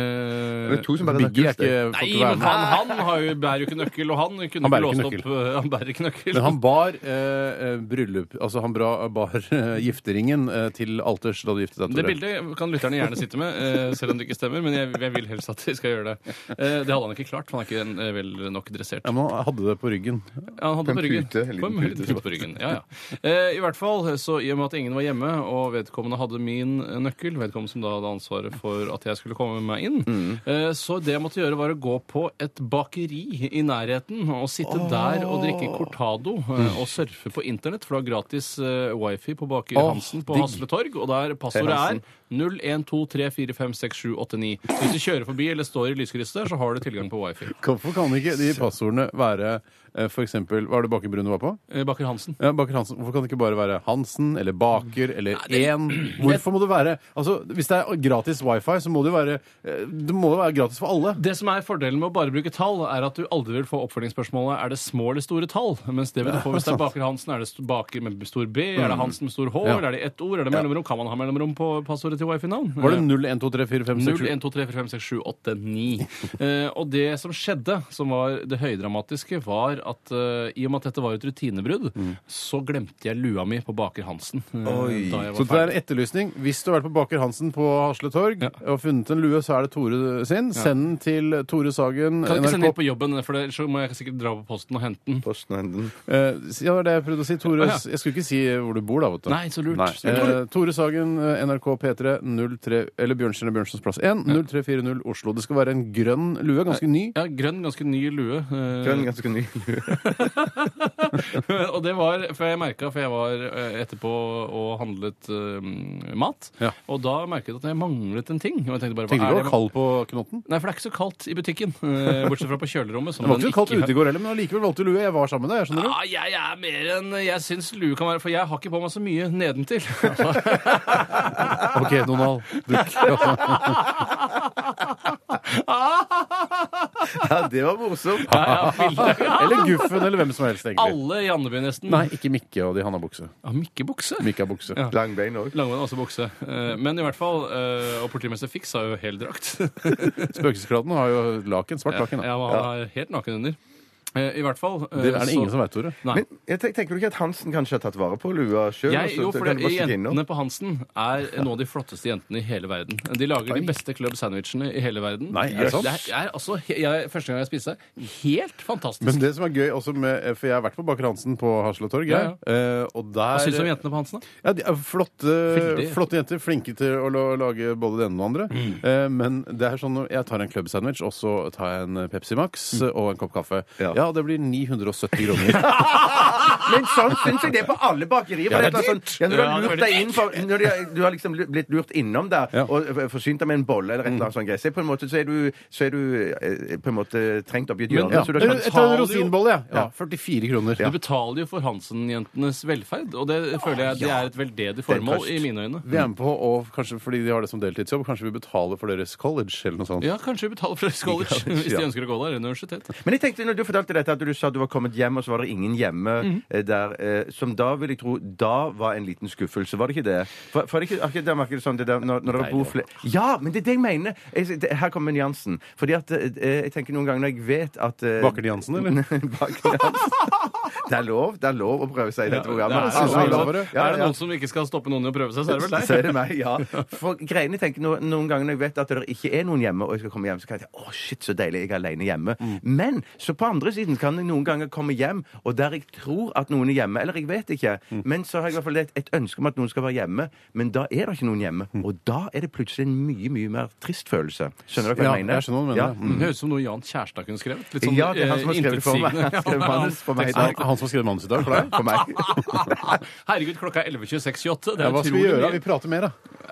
Speaker 6: er to som bare
Speaker 4: Biggie er
Speaker 6: nøkkelsted.
Speaker 4: ikke, får
Speaker 5: Nei,
Speaker 4: ikke være
Speaker 5: men
Speaker 4: med.
Speaker 5: faen, han har jo, bærer jo ikke nøkkel, og han kunne
Speaker 4: Han
Speaker 5: ikke
Speaker 4: bærer ikke
Speaker 5: låst opp eh, Han bærer ikke nøkkel.
Speaker 4: Men han bar eh, eh, bryllup Altså han bra, bar eh, gifteringen eh, til alters da du giftet deg,
Speaker 5: Det
Speaker 4: Tore.
Speaker 5: bildet kan lytterne gjerne sitte med, eh, selv om det ikke stemmer. Men jeg, jeg vil helst at de skal gjøre det. Eh, det hadde han ikke klart, for han er ikke eh, vel nok dressert.
Speaker 4: Ja, men han hadde det på ryggen.
Speaker 5: Ja, han hadde
Speaker 6: På en
Speaker 5: på ryggen.
Speaker 6: pute, en liten
Speaker 5: På en
Speaker 6: pute,
Speaker 5: pute på ryggen. Ja, ja. Eh, I hvert fall, så i og med at ingen var hjemme, og vedkommende hadde min eh, nøkkel, vedkommende som da hadde ansvaret for at jeg skulle komme meg inn,
Speaker 6: Mm.
Speaker 5: eh, så det jeg måtte gjøre var å gå på et bakeri i nærheten og sitte der og drikke cortado eh, og surfe på internett, for det var gratis eh, wifi på Baker
Speaker 4: Åh,
Speaker 5: Hansen på
Speaker 4: digg.
Speaker 5: Hasle Torg, og der
Speaker 6: Hei,
Speaker 5: passordet
Speaker 6: Hansen.
Speaker 5: er 0123456789. Hvis du kjører forbi eller står i lyskrysset, så har du tilgang på wifi.
Speaker 4: Hvorfor kan ikke de passordene være eh, for eksempel, Hva var det Baker Brune var på?
Speaker 5: Eh, Baker Hansen.
Speaker 4: Ja, Baker Hansen. Hvorfor kan det ikke bare være Hansen eller Baker eller Én? Hvorfor må det være altså, Hvis det er gratis wifi, så må det jo være eh, Det må jo være gratis for alle.
Speaker 5: Det som er Fordelen med å bare bruke tall, er at du aldri vil få oppfølgingsspørsmålet er det små eller store tall. Mens det vil du få hvis det er Baker Hansen. Er det st- Baker med stor B? Er det Hansen med stor H? Eller er det ett ord? Er det mellomrom? Kan man ha mellomrom på passordet til wifi-navn? Eh,
Speaker 4: Var det 01234567?
Speaker 5: 0123456789. Eh, og det som skjedde, som var det høydramatiske, var at eh, i og med at dette var et rutinebrudd, så glemte jeg lua mi på Baker Hansen. eh,
Speaker 6: Oi.
Speaker 5: Da jeg
Speaker 4: Så
Speaker 5: var
Speaker 4: det er
Speaker 5: ferdig.
Speaker 4: en etterlysning. Hvis du har vært på Baker Hansen på Hasle Torg
Speaker 5: Ja.
Speaker 4: og funnet en lue, så er det Tore sin. Send den til Tore Sagen.
Speaker 5: Kan ikke sende den
Speaker 4: NRK.
Speaker 5: på jobben, for det- så må jeg sikkert dra på posten og hente den.
Speaker 6: Posten og henden.
Speaker 4: Eh, si- ja, det var det jeg prøvde å si. Tore,
Speaker 5: Å, ja.
Speaker 4: Jeg skulle ikke si hvor du bor, da. vet du.
Speaker 5: Nei, så lurt. Så lurt.
Speaker 4: Eh, Tore Sagen, eh, NRK P3, 03, eller Bjørnstjerne Bjørnsons plass 1, 0340 Oslo. Det skal være en grønn lue, ganske ny.
Speaker 5: Ja, grønn, ganske ny lue. eh,
Speaker 6: Grønn, ganske ny.
Speaker 5: og det var for jeg merka, for jeg var eh, etterpå og handlet eh, mat.
Speaker 4: Ja.
Speaker 5: Og da merket jeg at jeg manglet en ting. Og jeg tenkte bare, hva
Speaker 4: Tenkte
Speaker 5: er
Speaker 4: du
Speaker 5: det
Speaker 4: ikke å
Speaker 5: jeg-
Speaker 4: kald på knotten?
Speaker 5: Nei, for det er ikke så kaldt i butikken. eh, Bortsett fra på kjølerommet. som
Speaker 4: Det var ikke
Speaker 5: den
Speaker 4: så kaldt
Speaker 5: ikke-
Speaker 4: ute i går heller, men allikevel valgte du lue. Jeg var sammen med deg, jeg skjønner du.
Speaker 5: Ja, jeg er mer enn jeg syns lue kan være, for jeg har ikke på meg så mye nedentil.
Speaker 4: Ah, OK, Donald. Du, ja.
Speaker 6: Ja, det var morsomt.
Speaker 4: Eller Guffen, eller hvem som helst, egentlig.
Speaker 5: Alle i Andeby nesten.
Speaker 4: Nei, ikke Mikke og de han har bukse.
Speaker 5: Ja, Mikkebukse.
Speaker 4: Mikke har bukse.
Speaker 5: Ja.
Speaker 6: Lang bein òg.
Speaker 5: Langbein, altså bukse. Eh, Men i hvert fall, eh, og politimester Fix har jo hel drakt.
Speaker 4: Spøkelseskladden har jo laken, svart
Speaker 5: Ja,
Speaker 4: laken. Da.
Speaker 5: han er helt naken under. Eh, I hvert fall. eh,
Speaker 4: Det er det
Speaker 5: så-
Speaker 4: ingen som veit, Tore.
Speaker 5: Nei.
Speaker 6: Men jeg tenk- tenker du ikke at Hansen kanskje har tatt vare på lua sjøl?
Speaker 5: Jeg, jo, for det, Jentene på Hansen er noen av de flotteste jentene i hele verden. De lager de beste club sandwichene i hele verden.
Speaker 4: Nei, er det sant?
Speaker 5: Det er, er altså, he- jeg, første gang jeg spiste det, helt fantastisk.
Speaker 4: Men det som er gøy også med For jeg har vært på Baker Hansen på Hasle Torg. jeg.
Speaker 5: Ja,
Speaker 4: Eh, Og der
Speaker 5: Hva syns du om jentene på Hansen? da?
Speaker 4: Ja, de er flotte,
Speaker 5: Veldig.
Speaker 4: flotte jenter. Flinke til å la- lage både det ene og det andre.
Speaker 6: Mm.
Speaker 4: Eh, men det er sånn jeg tar en club sandwich, og så tar jeg en Pepsi Max og en kopp kaffe. Ja,
Speaker 6: Mm. Ja.
Speaker 4: det blir 970 kroner.
Speaker 6: Men sånn syns jeg det er på alle bakerier. for
Speaker 4: Ja,
Speaker 6: det er sånn, ja, når du har lurt deg inn for, når du, har- du har liksom blitt lurt innom der
Speaker 4: Ja.
Speaker 6: og f- forsynt deg med en bolle eller et eller annet sånt gress, så på en måte, så er du, så er du eh, på en måte trengt opp i et hjørne.
Speaker 4: ja.
Speaker 6: så du har-
Speaker 4: Jeg tar en rosinbolle, jeg. sånn Ja. 44 kroner.
Speaker 5: Du betaler jo for Hansen-jentenes velferd, og det føler jeg det er et veldedig formål i mine øyne.
Speaker 4: Vi er med på, og kanskje fordi de har det som deltidsjobb, kanskje vi betaler for deres college eller noe sånt.
Speaker 5: Ja, kanskje vi betaler for deres college hvis de
Speaker 6: ja.
Speaker 5: ønsker å gå der. eller Universitet.
Speaker 6: Men jeg tenkte når du fortalte dette at du sa at du var kommet hjem, og så var det ingen hjemme eh, der, eh, som da vil jeg tro da var en liten skuffelse. Var det ikke det? For, for det ikke, akkurat der merker du sånn det der, når, når det bor flere Ja, men det er det jeg mener! Jeg, det, her kommer nyansen. Fordi at eh, jeg tenker noen ganger når jeg vet at eh,
Speaker 4: Baker de Hansen, eller?
Speaker 6: Baker de Hansen. Det er lov det er lov å prøve seg i dette
Speaker 5: Det er, sånn
Speaker 6: programmet.
Speaker 4: synes jeg
Speaker 6: Alle har
Speaker 4: lov
Speaker 6: lov.
Speaker 4: for det.
Speaker 6: Ja,
Speaker 5: er det
Speaker 6: ja.
Speaker 5: noen som ikke skal stoppe noen i å prøve seg, så er det vel deg.
Speaker 6: Så er det meg, ja. For greiene jeg tenker no, Noen ganger når jeg vet at det ikke er noen hjemme, og jeg skal komme hjem, så kan jeg tenke å shit, så deilig, jeg er alene hjemme.
Speaker 4: Mm.
Speaker 6: Men så på andre siden kan jeg noen ganger komme hjem, og der jeg tror at noen er hjemme, eller jeg vet ikke,
Speaker 4: Mm.
Speaker 6: men så har jeg i hvert fall et, et ønske om at noen skal være hjemme, men da er det ikke noen hjemme.
Speaker 4: Mm.
Speaker 6: Og da er det plutselig en mye, mye mer trist følelse. Skjønner dere hva
Speaker 4: Ja,
Speaker 6: jeg mener?
Speaker 4: jeg skjønner hva du mener, ja.
Speaker 5: Det høres ut som noe Jan Kjærstad kunne skrevet. Litt sånn
Speaker 6: Ja, det er han som har
Speaker 5: eh,
Speaker 6: skrevet det for meg.
Speaker 5: intetsigende.
Speaker 6: Han skrev manus for meg i
Speaker 4: Ja,
Speaker 6: dag.
Speaker 4: Han som har skrevet manus i dag for deg?
Speaker 6: For meg.
Speaker 5: Herregud, klokka er 11.26.28. Det
Speaker 4: Ja,
Speaker 5: er
Speaker 4: hva skal vi
Speaker 5: utrolig
Speaker 4: gjøre?
Speaker 5: mye.
Speaker 4: Vi prater mer, da.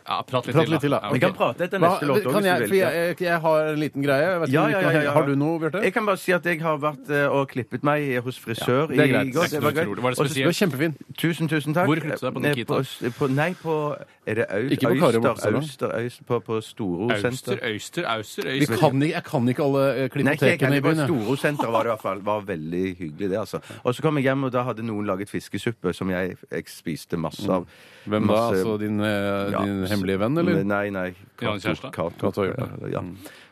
Speaker 5: Ja, prat litt,
Speaker 4: Prat
Speaker 5: til,
Speaker 4: litt til, da.
Speaker 5: Ja,
Speaker 6: Vi kan
Speaker 5: ok.
Speaker 6: prate etter
Speaker 4: Hva,
Speaker 6: neste låt også,
Speaker 4: kan jeg,
Speaker 6: hvis
Speaker 4: for
Speaker 6: du vil.
Speaker 4: jeg, jeg, jeg har en liten greie. Jeg vet ikke
Speaker 6: Ja,
Speaker 4: om
Speaker 6: ja,
Speaker 4: du
Speaker 6: ja,
Speaker 4: kan-
Speaker 6: ja, ja.
Speaker 4: Har du noe, Bjarte?
Speaker 6: Jeg kan bare si at jeg har vært eh, og klippet meg hos frisør
Speaker 4: det er
Speaker 6: i
Speaker 4: greit.
Speaker 6: går.
Speaker 5: Det er ikke noe utrolig. Var det
Speaker 6: Og så-
Speaker 4: Du er kjempefin.
Speaker 6: Tusen, tusen takk.
Speaker 5: Hvor klippet du deg? På
Speaker 6: Eh,
Speaker 5: Nikita?
Speaker 6: På, på, nei, på Er det Au-
Speaker 4: Ikke på Kari
Speaker 6: Øyster?
Speaker 4: Bokstad, da?
Speaker 6: Øyster, Øyster, på, på Storo
Speaker 5: Auster,
Speaker 6: senter?
Speaker 5: Øyster, Auster,
Speaker 4: Vi
Speaker 5: Øyster.
Speaker 4: kan ikke, jeg kan ikke alle eh,
Speaker 6: Nei, ikke jeg,
Speaker 4: klippotekene
Speaker 6: heller,
Speaker 4: i
Speaker 6: på
Speaker 4: byen. jeg.
Speaker 6: Storo senter var det i hvert fall. Var veldig hyggelig, det, altså. Og så kom jeg hjem, og da hadde noen laget fiskesuppe som jeg, jeg spiste masse av.
Speaker 4: Hvem da?
Speaker 6: Masse-
Speaker 4: Altså din, eh,
Speaker 6: Ja,
Speaker 4: din
Speaker 6: s-
Speaker 4: hemmelige venn, eller?
Speaker 6: Nei, nei.
Speaker 5: Ja, en kjæreste.
Speaker 6: Cato.
Speaker 4: Cato har gjort
Speaker 6: Ja.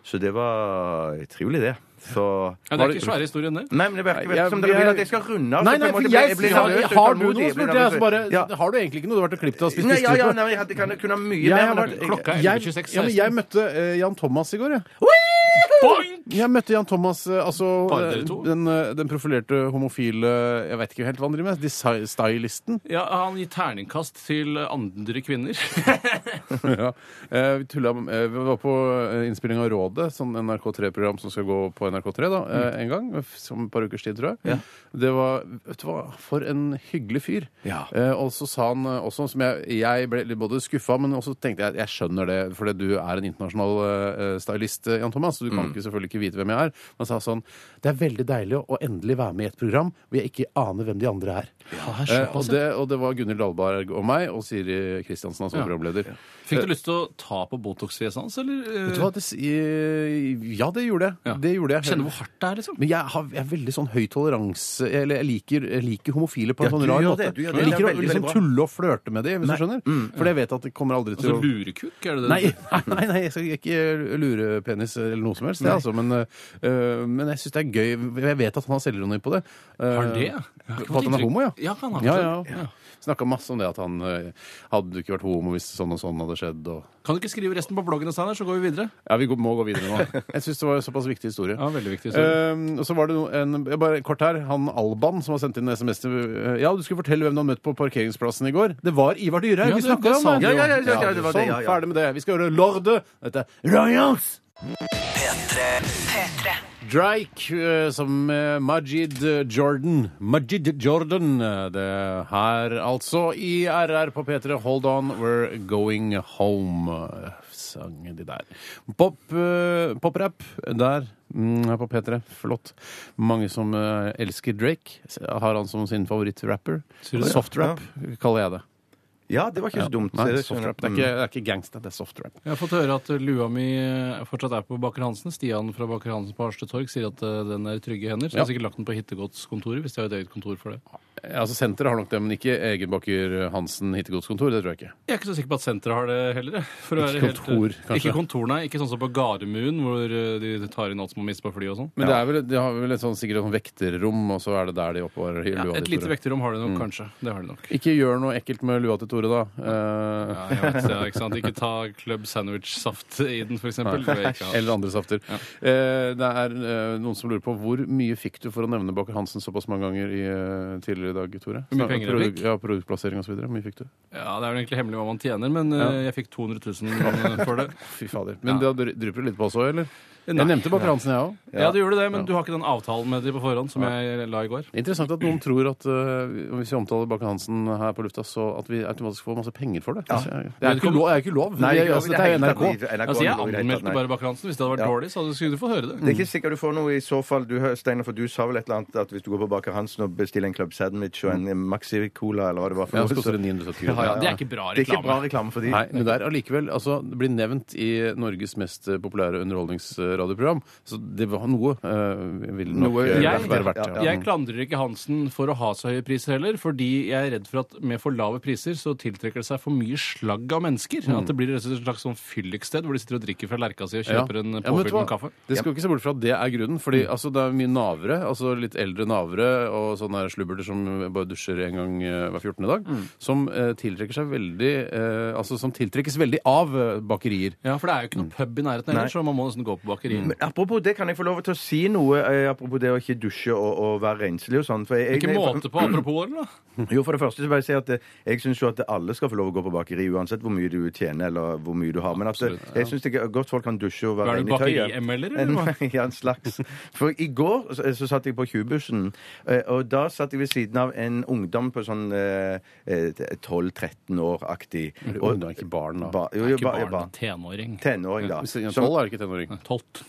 Speaker 6: Så det var trivelig, det. Så
Speaker 5: Ja, det er ikke svære historien, det.
Speaker 6: Nei, men det virker
Speaker 4: Nei, jeg-
Speaker 6: vel som dere vil at jeg skal runde av. så på en måte blir- jeg blir
Speaker 4: har,
Speaker 6: nervøs og
Speaker 4: har du
Speaker 6: utålmodig,
Speaker 4: noe?
Speaker 6: jeg blir
Speaker 4: spurte jeg.
Speaker 6: nervøs.
Speaker 4: Så bare,
Speaker 6: Ja.
Speaker 4: har du egentlig ikke noe? Du har vært og klippet og spist
Speaker 6: Nei, ja, ja,
Speaker 4: fiskesuppe.
Speaker 6: nei, jeg hadde- kan kunne ha mye
Speaker 4: Jeg
Speaker 6: mer.
Speaker 4: har
Speaker 6: men
Speaker 4: vært-
Speaker 6: at-
Speaker 5: Klokka er
Speaker 4: Jeg,
Speaker 5: 11.26.
Speaker 4: ja, men jeg møtte eh, Jan Thomas i går, jeg.
Speaker 5: Boink!
Speaker 4: Jeg møtte Jan Thomas, eh, altså
Speaker 5: Bare dere
Speaker 4: eh,
Speaker 5: to?
Speaker 4: den, eh, den profilerte homofile Jeg vet ikke helt hva han driver med. desi- Stylisten.
Speaker 5: Ja, han gir terningkast til andre kvinner.
Speaker 4: ja. Eh, Vi, tulla, eh, vi var på eh, innspilling av Rådet, sånn NRK3-program som skal gå på NRK3 da, eh, en gang. f- Om et par ukers tid, tror jeg. Det var Vet du hva, for en hyggelig fyr.
Speaker 6: Ja.
Speaker 4: Eh, Og så sa han eh, også, som jeg, jeg ble litt både skuffa, men også tenkte jeg jeg skjønner det, fordi du er en internasjonal eh, stylist, eh, Jan Thomas, så du kan ikke, selvfølgelig ikke vite hvem jeg er. Men han sa sånn Det er veldig deilig å endelig være med i et program hvor jeg ikke aner hvem de andre er. Eh, og, det, og det var Gunhild Dahlberg og meg og Siri Kristiansen, altså programleder.
Speaker 5: Fikk du lyst til å ta på Botox-fjeset hans, eller?
Speaker 4: Vet du hva, det, s- eh, ja, det gjorde jeg.
Speaker 5: Ja.
Speaker 4: Det gjorde jeg.
Speaker 5: Kjenne hvor hardt det er, liksom?
Speaker 4: Men jeg, har, jeg er veldig sånn høy toleranse Eller jeg liker, jeg liker homofile på en
Speaker 6: Ja,
Speaker 4: sånn
Speaker 6: du
Speaker 4: rar
Speaker 6: gjør
Speaker 4: måte.
Speaker 6: det, du gjør det.
Speaker 4: Jeg
Speaker 6: Det er
Speaker 4: liker å
Speaker 6: veldig,
Speaker 4: liksom
Speaker 6: veldig bra.
Speaker 4: tulle og flørte med det, hvis du skjønner. For jeg vet at det kommer aldri til
Speaker 5: Mm. Altså
Speaker 4: å
Speaker 5: lurekuk, er det det?
Speaker 4: Nei, nei, nei, jeg skal ikke lure penis eller noe som helst, det, altså, men, øh, men jeg syns det er gøy. Jeg vet at han har selvironi på det. Eh,
Speaker 5: Har han det? Jeg har ikke fått
Speaker 4: På at han er
Speaker 5: inntrykk.
Speaker 4: homo, ja.
Speaker 5: Ja, han har
Speaker 4: ja,
Speaker 5: det.
Speaker 4: ja, ja. Snakka masse om det at han øh, hadde ikke vært homo hvis sånn og sånn hadde skjedd. Og...
Speaker 5: Kan du ikke skrive resten på bloggen, Steinar, så går vi videre?
Speaker 4: Ja, vi går- må gå videre nå. Jeg syns det var en såpass viktig historie.
Speaker 5: Ja, veldig viktig historie.
Speaker 4: Ehm, og så var det no- en, jeg bare kort her, han Alban som har sendt inn SMS til eh, Ja, du skulle fortelle hvem du har møtt på parkeringsplassen i går. Det var Ivar Dyrhaug!
Speaker 5: Ja,
Speaker 4: vi
Speaker 5: det-
Speaker 4: snakka
Speaker 5: det
Speaker 4: om
Speaker 5: sa
Speaker 4: han.
Speaker 5: du jo.
Speaker 6: Ja, ja, ja, ja, det var det,
Speaker 4: sånn,
Speaker 6: ja, ja.
Speaker 4: ferdig med det. Vi skal høre Lorde. Dette er Royals!
Speaker 2: P3.
Speaker 1: P3.
Speaker 4: Drake eh, som eh, Majid eh, Jordan. Majid Jordan. eh, Det her altså i RR på P3. Hold on, we're going home. eh, Sang de der. Pop, eh, Poprap der. Mm, her på P3. Flott. Mange som eh, elsker Drake. Har han som sin favorittrapper.
Speaker 5: Sier du det?
Speaker 4: Softrap kaller jeg det.
Speaker 6: Ja, det var ikke så dumt.
Speaker 4: Nei,
Speaker 6: det sånn skjønner jeg.
Speaker 4: softrap. Det er ikke, det er ikke gangsta, det er softrap.
Speaker 5: Jeg har fått høre at lua mi eh, fortsatt er på Baker Hansen. Stian fra Baker Hansen på Harstad Torg sier at eh, den er i trygge hender. Så jeg har
Speaker 4: Ja.
Speaker 5: sikkert lagt den på hittegodskontoret, hvis de har et eget kontor for det.
Speaker 4: Ja, Altså Senteret har nok det, men ikke Egen Bakker Hansen hittegodskontor. Det tror jeg ikke.
Speaker 5: Jeg er ikke så sikker på at senteret har det heller. jeg. For å
Speaker 4: Ikke
Speaker 5: være helt- eh,
Speaker 4: kontor, kanskje?
Speaker 5: Ikke kontor, nei. Ikke sånn som på Gardermoen, hvor eh, de tar inn alt som må miste på fly og sånn.
Speaker 4: Men det er vel, de har vel et sånn, sikkert et sånn vekterrom, og så er Mm. det der de oppbevarer
Speaker 5: Ja,
Speaker 4: lua
Speaker 5: et
Speaker 4: til
Speaker 5: lite
Speaker 4: Tore.
Speaker 5: vekterrom har de nok, kanskje. Det har de nok.
Speaker 4: Ikke gjør noe ekkelt med lua til Tore, da. Eh,
Speaker 5: Ja, jeg vet det, ikke sant? Ikke ta Club Sandwich-saft i den, for eksempel. Det vil jeg ikke ha.
Speaker 4: Eller andre safter. Eh, det er eh, noen som lurer på hvor mye fikk du for å nevne Baker Hansen såpass mange ganger i, eh, tidligere i dag, Tore?
Speaker 5: Hvor mye penger jeg
Speaker 4: Produk-
Speaker 5: fikk?
Speaker 4: Ja, produktplassering og så videre. Hvor mye fikk du?
Speaker 5: Ja, det er vel egentlig hemmelig hva man tjener, men eh, jeg fikk 200 000 for det.
Speaker 4: Fy fader. Men
Speaker 5: Ja.
Speaker 4: da dry- drypper det litt på oss òg, eller?
Speaker 5: Nei.
Speaker 4: Jeg nevnte Baker Hansen, jeg òg.
Speaker 5: Ja, du gjorde det, men du har ikke den avtalen med de på forhånd som jeg la i går.
Speaker 4: Interessant at noen tror at eh, hvis vi omtaler Baker Hansen her på lufta, så at vi automatisk får masse penger for det. Det er ikke lov. Det er ikke lov.
Speaker 6: Nei,
Speaker 4: Vi
Speaker 6: det
Speaker 4: er-
Speaker 6: er
Speaker 4: altså, dette er jo
Speaker 6: helt
Speaker 4: NRK.
Speaker 6: at de- NRK
Speaker 5: Altså, jeg
Speaker 6: er noe greit,
Speaker 5: anmeldte
Speaker 6: nei.
Speaker 5: bare Bakker Hansen. Hvis det hadde vært
Speaker 6: Ja.
Speaker 5: dårlig, så hadde- skulle du få høre det.
Speaker 6: Det er ikke sikkert du får noe i så fall. Du, hø- Steinar, for du sa vel et eller annet at hvis du går på Baker Hansen og bestiller en Club Sandwich og en Maxi-cola eller hva det var for
Speaker 4: Ja,
Speaker 6: noe,
Speaker 4: så koster
Speaker 6: så
Speaker 4: det 970 kroner.
Speaker 5: ja. Det er ikke bra
Speaker 6: Det er ikke
Speaker 5: reklame.
Speaker 6: bra reklame for de.
Speaker 4: Nei, men det er allikevel altså, Det blir nevnt i Norges mest eh, populære underholdningsradioprogram, så det var noe uh, vil nok
Speaker 6: Noe-
Speaker 4: eh,
Speaker 5: Jeg-
Speaker 4: være verdt. Ja.
Speaker 5: Jeg klandrer ikke Hansen for å ha så høye priser heller, fordi jeg er redd for at med for lave priser så tiltrekker det seg for mye slagg av mennesker.
Speaker 6: Mm.
Speaker 5: At det blir et slags sånn fylliksted hvor de sitter og drikker fra lerka si og
Speaker 4: Ja.
Speaker 5: kjøper en
Speaker 4: Ja, men vet
Speaker 5: påfyll
Speaker 4: du hva?
Speaker 5: med kaffe. Mm.
Speaker 4: Det skal vi ikke se bort fra at det er grunnen. Fordi altså, det er mye navere, altså litt eldre navere og sånne her slubberter som bare dusjer en gang eh, hver 14. dag, som eh, tiltrekker seg veldig eh, Altså som tiltrekkes veldig av eh, bakerier.
Speaker 5: Ja, for det er jo ikke
Speaker 6: Mm.
Speaker 5: noe pub i nærheten heller, så man må nesten gå på bakeriet.
Speaker 6: Men apropos det, kan jeg få lov til å si noe eh, apropos det å ikke dusje og, og være renslig og sånn? For jeg,
Speaker 5: Ikke måte på apropos, eller?
Speaker 6: Jo, for det første så vil jeg si at eh, jeg syns jo at alle skal få lov å gå på bakeri, uansett hvor mye du tjener eller hvor mye du har. Men at eh, jeg syns det er godt folk kan dusje og
Speaker 5: Hva
Speaker 6: være
Speaker 5: er du,
Speaker 6: ren i tøyet.
Speaker 5: bakeri-ML-er, eller hva?
Speaker 6: Nei, ja, en slags. For i går så, så satt jeg på Tjuvbussen, eh, og da satt jeg ved siden av en ungdom på sånn eh, eh, 12-13 år-aktig. Og-
Speaker 4: Ungdom, ikke barn, da.
Speaker 6: Ba, jo, jo,
Speaker 5: Ikke
Speaker 6: ba, jo,
Speaker 5: barn,
Speaker 6: barn.
Speaker 5: men tenåring.
Speaker 6: Tenåring, da.
Speaker 4: Hvis det er
Speaker 6: Som-
Speaker 4: 12 er det ikke tenåring.
Speaker 5: Tolvt.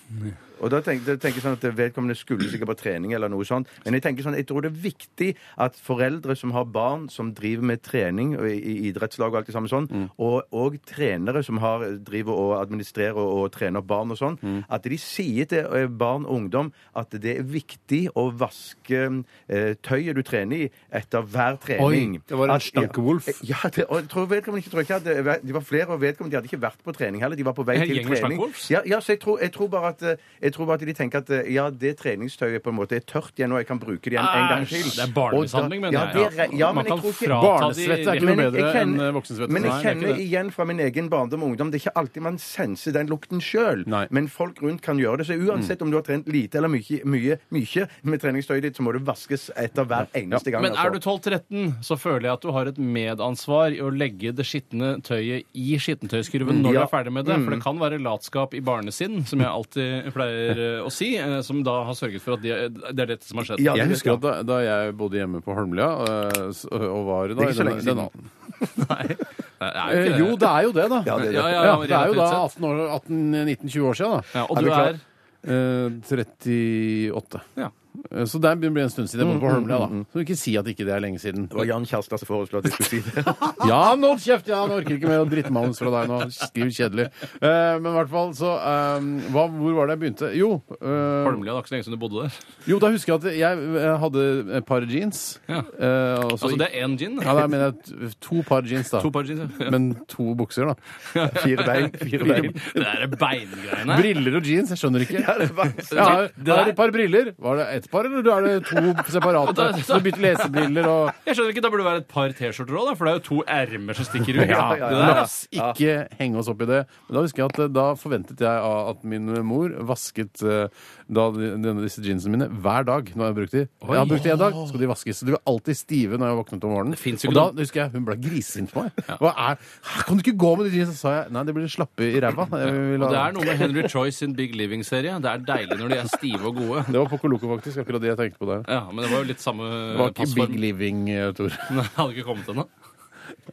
Speaker 6: og da tenker, da tenker jeg sånn at vedkommende skulle sikkert på trening eller noe sånt. Men jeg tenker sånn, jeg tror det er viktig at foreldre som har barn som driver med trening og i, i idrettslag og alt det samme sånn,
Speaker 4: Mm.
Speaker 6: og, og trenere som har, driver og administrerer og, og trener opp barn og sånn,
Speaker 4: Mm.
Speaker 6: at de sier til eh, barn og ungdom at det er viktig å vaske eh, tøyet du trener i etter hver trening.
Speaker 4: Oi, det var en
Speaker 6: At-
Speaker 4: stankewolf.
Speaker 6: Ja, det, og jeg tror vedkommende ikke, tror ikke at det, de var flere, og vedkommende de hadde ikke vært på trening heller. De var på vei
Speaker 5: En
Speaker 6: til
Speaker 5: gjeng med
Speaker 6: trening.
Speaker 5: stankewolves?
Speaker 6: Ja, ja, så jeg tror, jeg tror bare at eh, Jeg tror bare at de tenker at eh, ja, det treningstøyet på en måte er tørt igjen, og jeg kan bruke det igjen en gang til.
Speaker 5: Æsj, det er barnemishandling,
Speaker 6: Og
Speaker 5: mener
Speaker 6: da-
Speaker 5: jeg.
Speaker 6: Ja, det er, ja,
Speaker 5: Man
Speaker 6: men jeg
Speaker 5: kan
Speaker 6: tror ikke
Speaker 5: frata de
Speaker 4: Barnesvette er ikke
Speaker 6: Men
Speaker 4: noe
Speaker 6: jeg-
Speaker 4: bedre
Speaker 6: jeg
Speaker 4: enn
Speaker 6: kjenner-
Speaker 4: eh, voksensvette.
Speaker 6: Men
Speaker 4: Nei, det
Speaker 6: jeg
Speaker 4: er ikke
Speaker 6: kjenner
Speaker 4: det.
Speaker 6: igjen fra min egen barndom og ungdom. Det er ikke alltid man senser den lukten sjøl,
Speaker 4: Nei. Mm.
Speaker 6: men folk rundt kan gjøre det. Så uansett om du har trent lite eller mye, mye, mye med treningstøyet ditt, så må det vaskes etter hver eneste gang.
Speaker 5: Men
Speaker 6: altså.
Speaker 5: er du 12-13, så føler jeg at du har et medansvar i å legge det skitne tøyet i skittentøyskurven når du
Speaker 6: Ja.
Speaker 5: er ferdig med det. For det kan være latskap i barnesinn, som jeg alltid pleier eh, å si, eh, som da har sørget for at de, det er dette som har skjedd.
Speaker 6: Ja,
Speaker 4: Jeg
Speaker 6: det-
Speaker 4: husker at da, da jeg bodde hjemme på Holmlia øh, s- og var da
Speaker 6: ikke så
Speaker 4: i
Speaker 6: lenge
Speaker 4: den-
Speaker 6: siden.
Speaker 4: den-
Speaker 5: Nei, det er
Speaker 4: Eh,
Speaker 5: ikke det.
Speaker 4: Jo, det er jo det, da.
Speaker 6: Ja, det er det.
Speaker 5: Ja, ja,
Speaker 4: Ja,
Speaker 5: ja,
Speaker 4: det er jo da
Speaker 5: relativt sett.
Speaker 4: 18 år, 18-19-20 år siden, da.
Speaker 5: Ja, og
Speaker 4: Er
Speaker 5: du
Speaker 4: vi klar?
Speaker 5: er?
Speaker 4: Eh, 38.
Speaker 5: Ja.
Speaker 4: Eh, Så det blir en stund siden jeg bodde
Speaker 6: Mm,
Speaker 4: på Holmlia, da. Så du ikke si at ikke det er lenge siden.
Speaker 6: Det var Jan Kjærstad som foreslo at jeg skulle si det.
Speaker 4: Ja, men hold kjeft! Ja, nå orker jeg ikke mer drittmanus fra deg nå. Skriv kjedelig. Eh, men i hvert fall, så eh, hva, Hvor var det jeg begynte? Jo, eh,
Speaker 5: Holmlia, det er ikke så lenge som du bodde der.
Speaker 4: jo, da husker jeg at jeg eh, hadde et par jeans.
Speaker 5: Ja.
Speaker 4: Eh, og så
Speaker 5: Altså,
Speaker 4: gikk-
Speaker 5: det er én gin.
Speaker 4: Ja, da mener jeg t- to par jeans, da.
Speaker 5: To par gin, ja.
Speaker 4: Men to bukser, da.
Speaker 6: Fire bein. Fire bein.
Speaker 5: Det der beingreiene.
Speaker 4: Briller og jeans, jeg skjønner ikke.
Speaker 6: Ja, det var vanskelig.
Speaker 4: Jeg har,
Speaker 5: Det
Speaker 4: jeg har
Speaker 5: der-
Speaker 4: et par briller. Var det ett par, eller er det to separate?
Speaker 5: Da- da-
Speaker 4: Så du bytter lesebriller og
Speaker 5: Jeg skjønner ikke, Da burde det være et par T-skjorter òg, for det er jo to ermer som stikker ut.
Speaker 6: Ja, ja, ja.
Speaker 5: Det der,
Speaker 4: La oss ikke henge oss opp i det. Men da husker jeg at eh, da forventet jeg av at min mor vasket eh, da de- denne, disse jeansene mine hver dag. Når jeg brukte de. Jeg har brukt de en dag, så skal de vaskes. Så de var alltid stive når jeg våknet om morgenen.
Speaker 5: finnes jo
Speaker 4: Og
Speaker 5: ikke
Speaker 4: da husker jeg hun ble grisesint på meg. Hva er, «Hæ, kan du ikke gå med de jeansene? Så sa jeg nei, det blir slappe i ræva. Jeg vil
Speaker 5: Og det
Speaker 4: ha-
Speaker 5: er noe med Henry Choice sin Big Living-serie. Det er deilig når de er stive og gode.
Speaker 4: Det var Poco Loco, faktisk. Akkurat det jeg tenkte på der.
Speaker 5: Ja, men det var jo litt samme
Speaker 4: Det var ikke Big
Speaker 5: passform.
Speaker 4: Living, eh, Tor.
Speaker 5: Nei, det hadde ikke kommet ennå.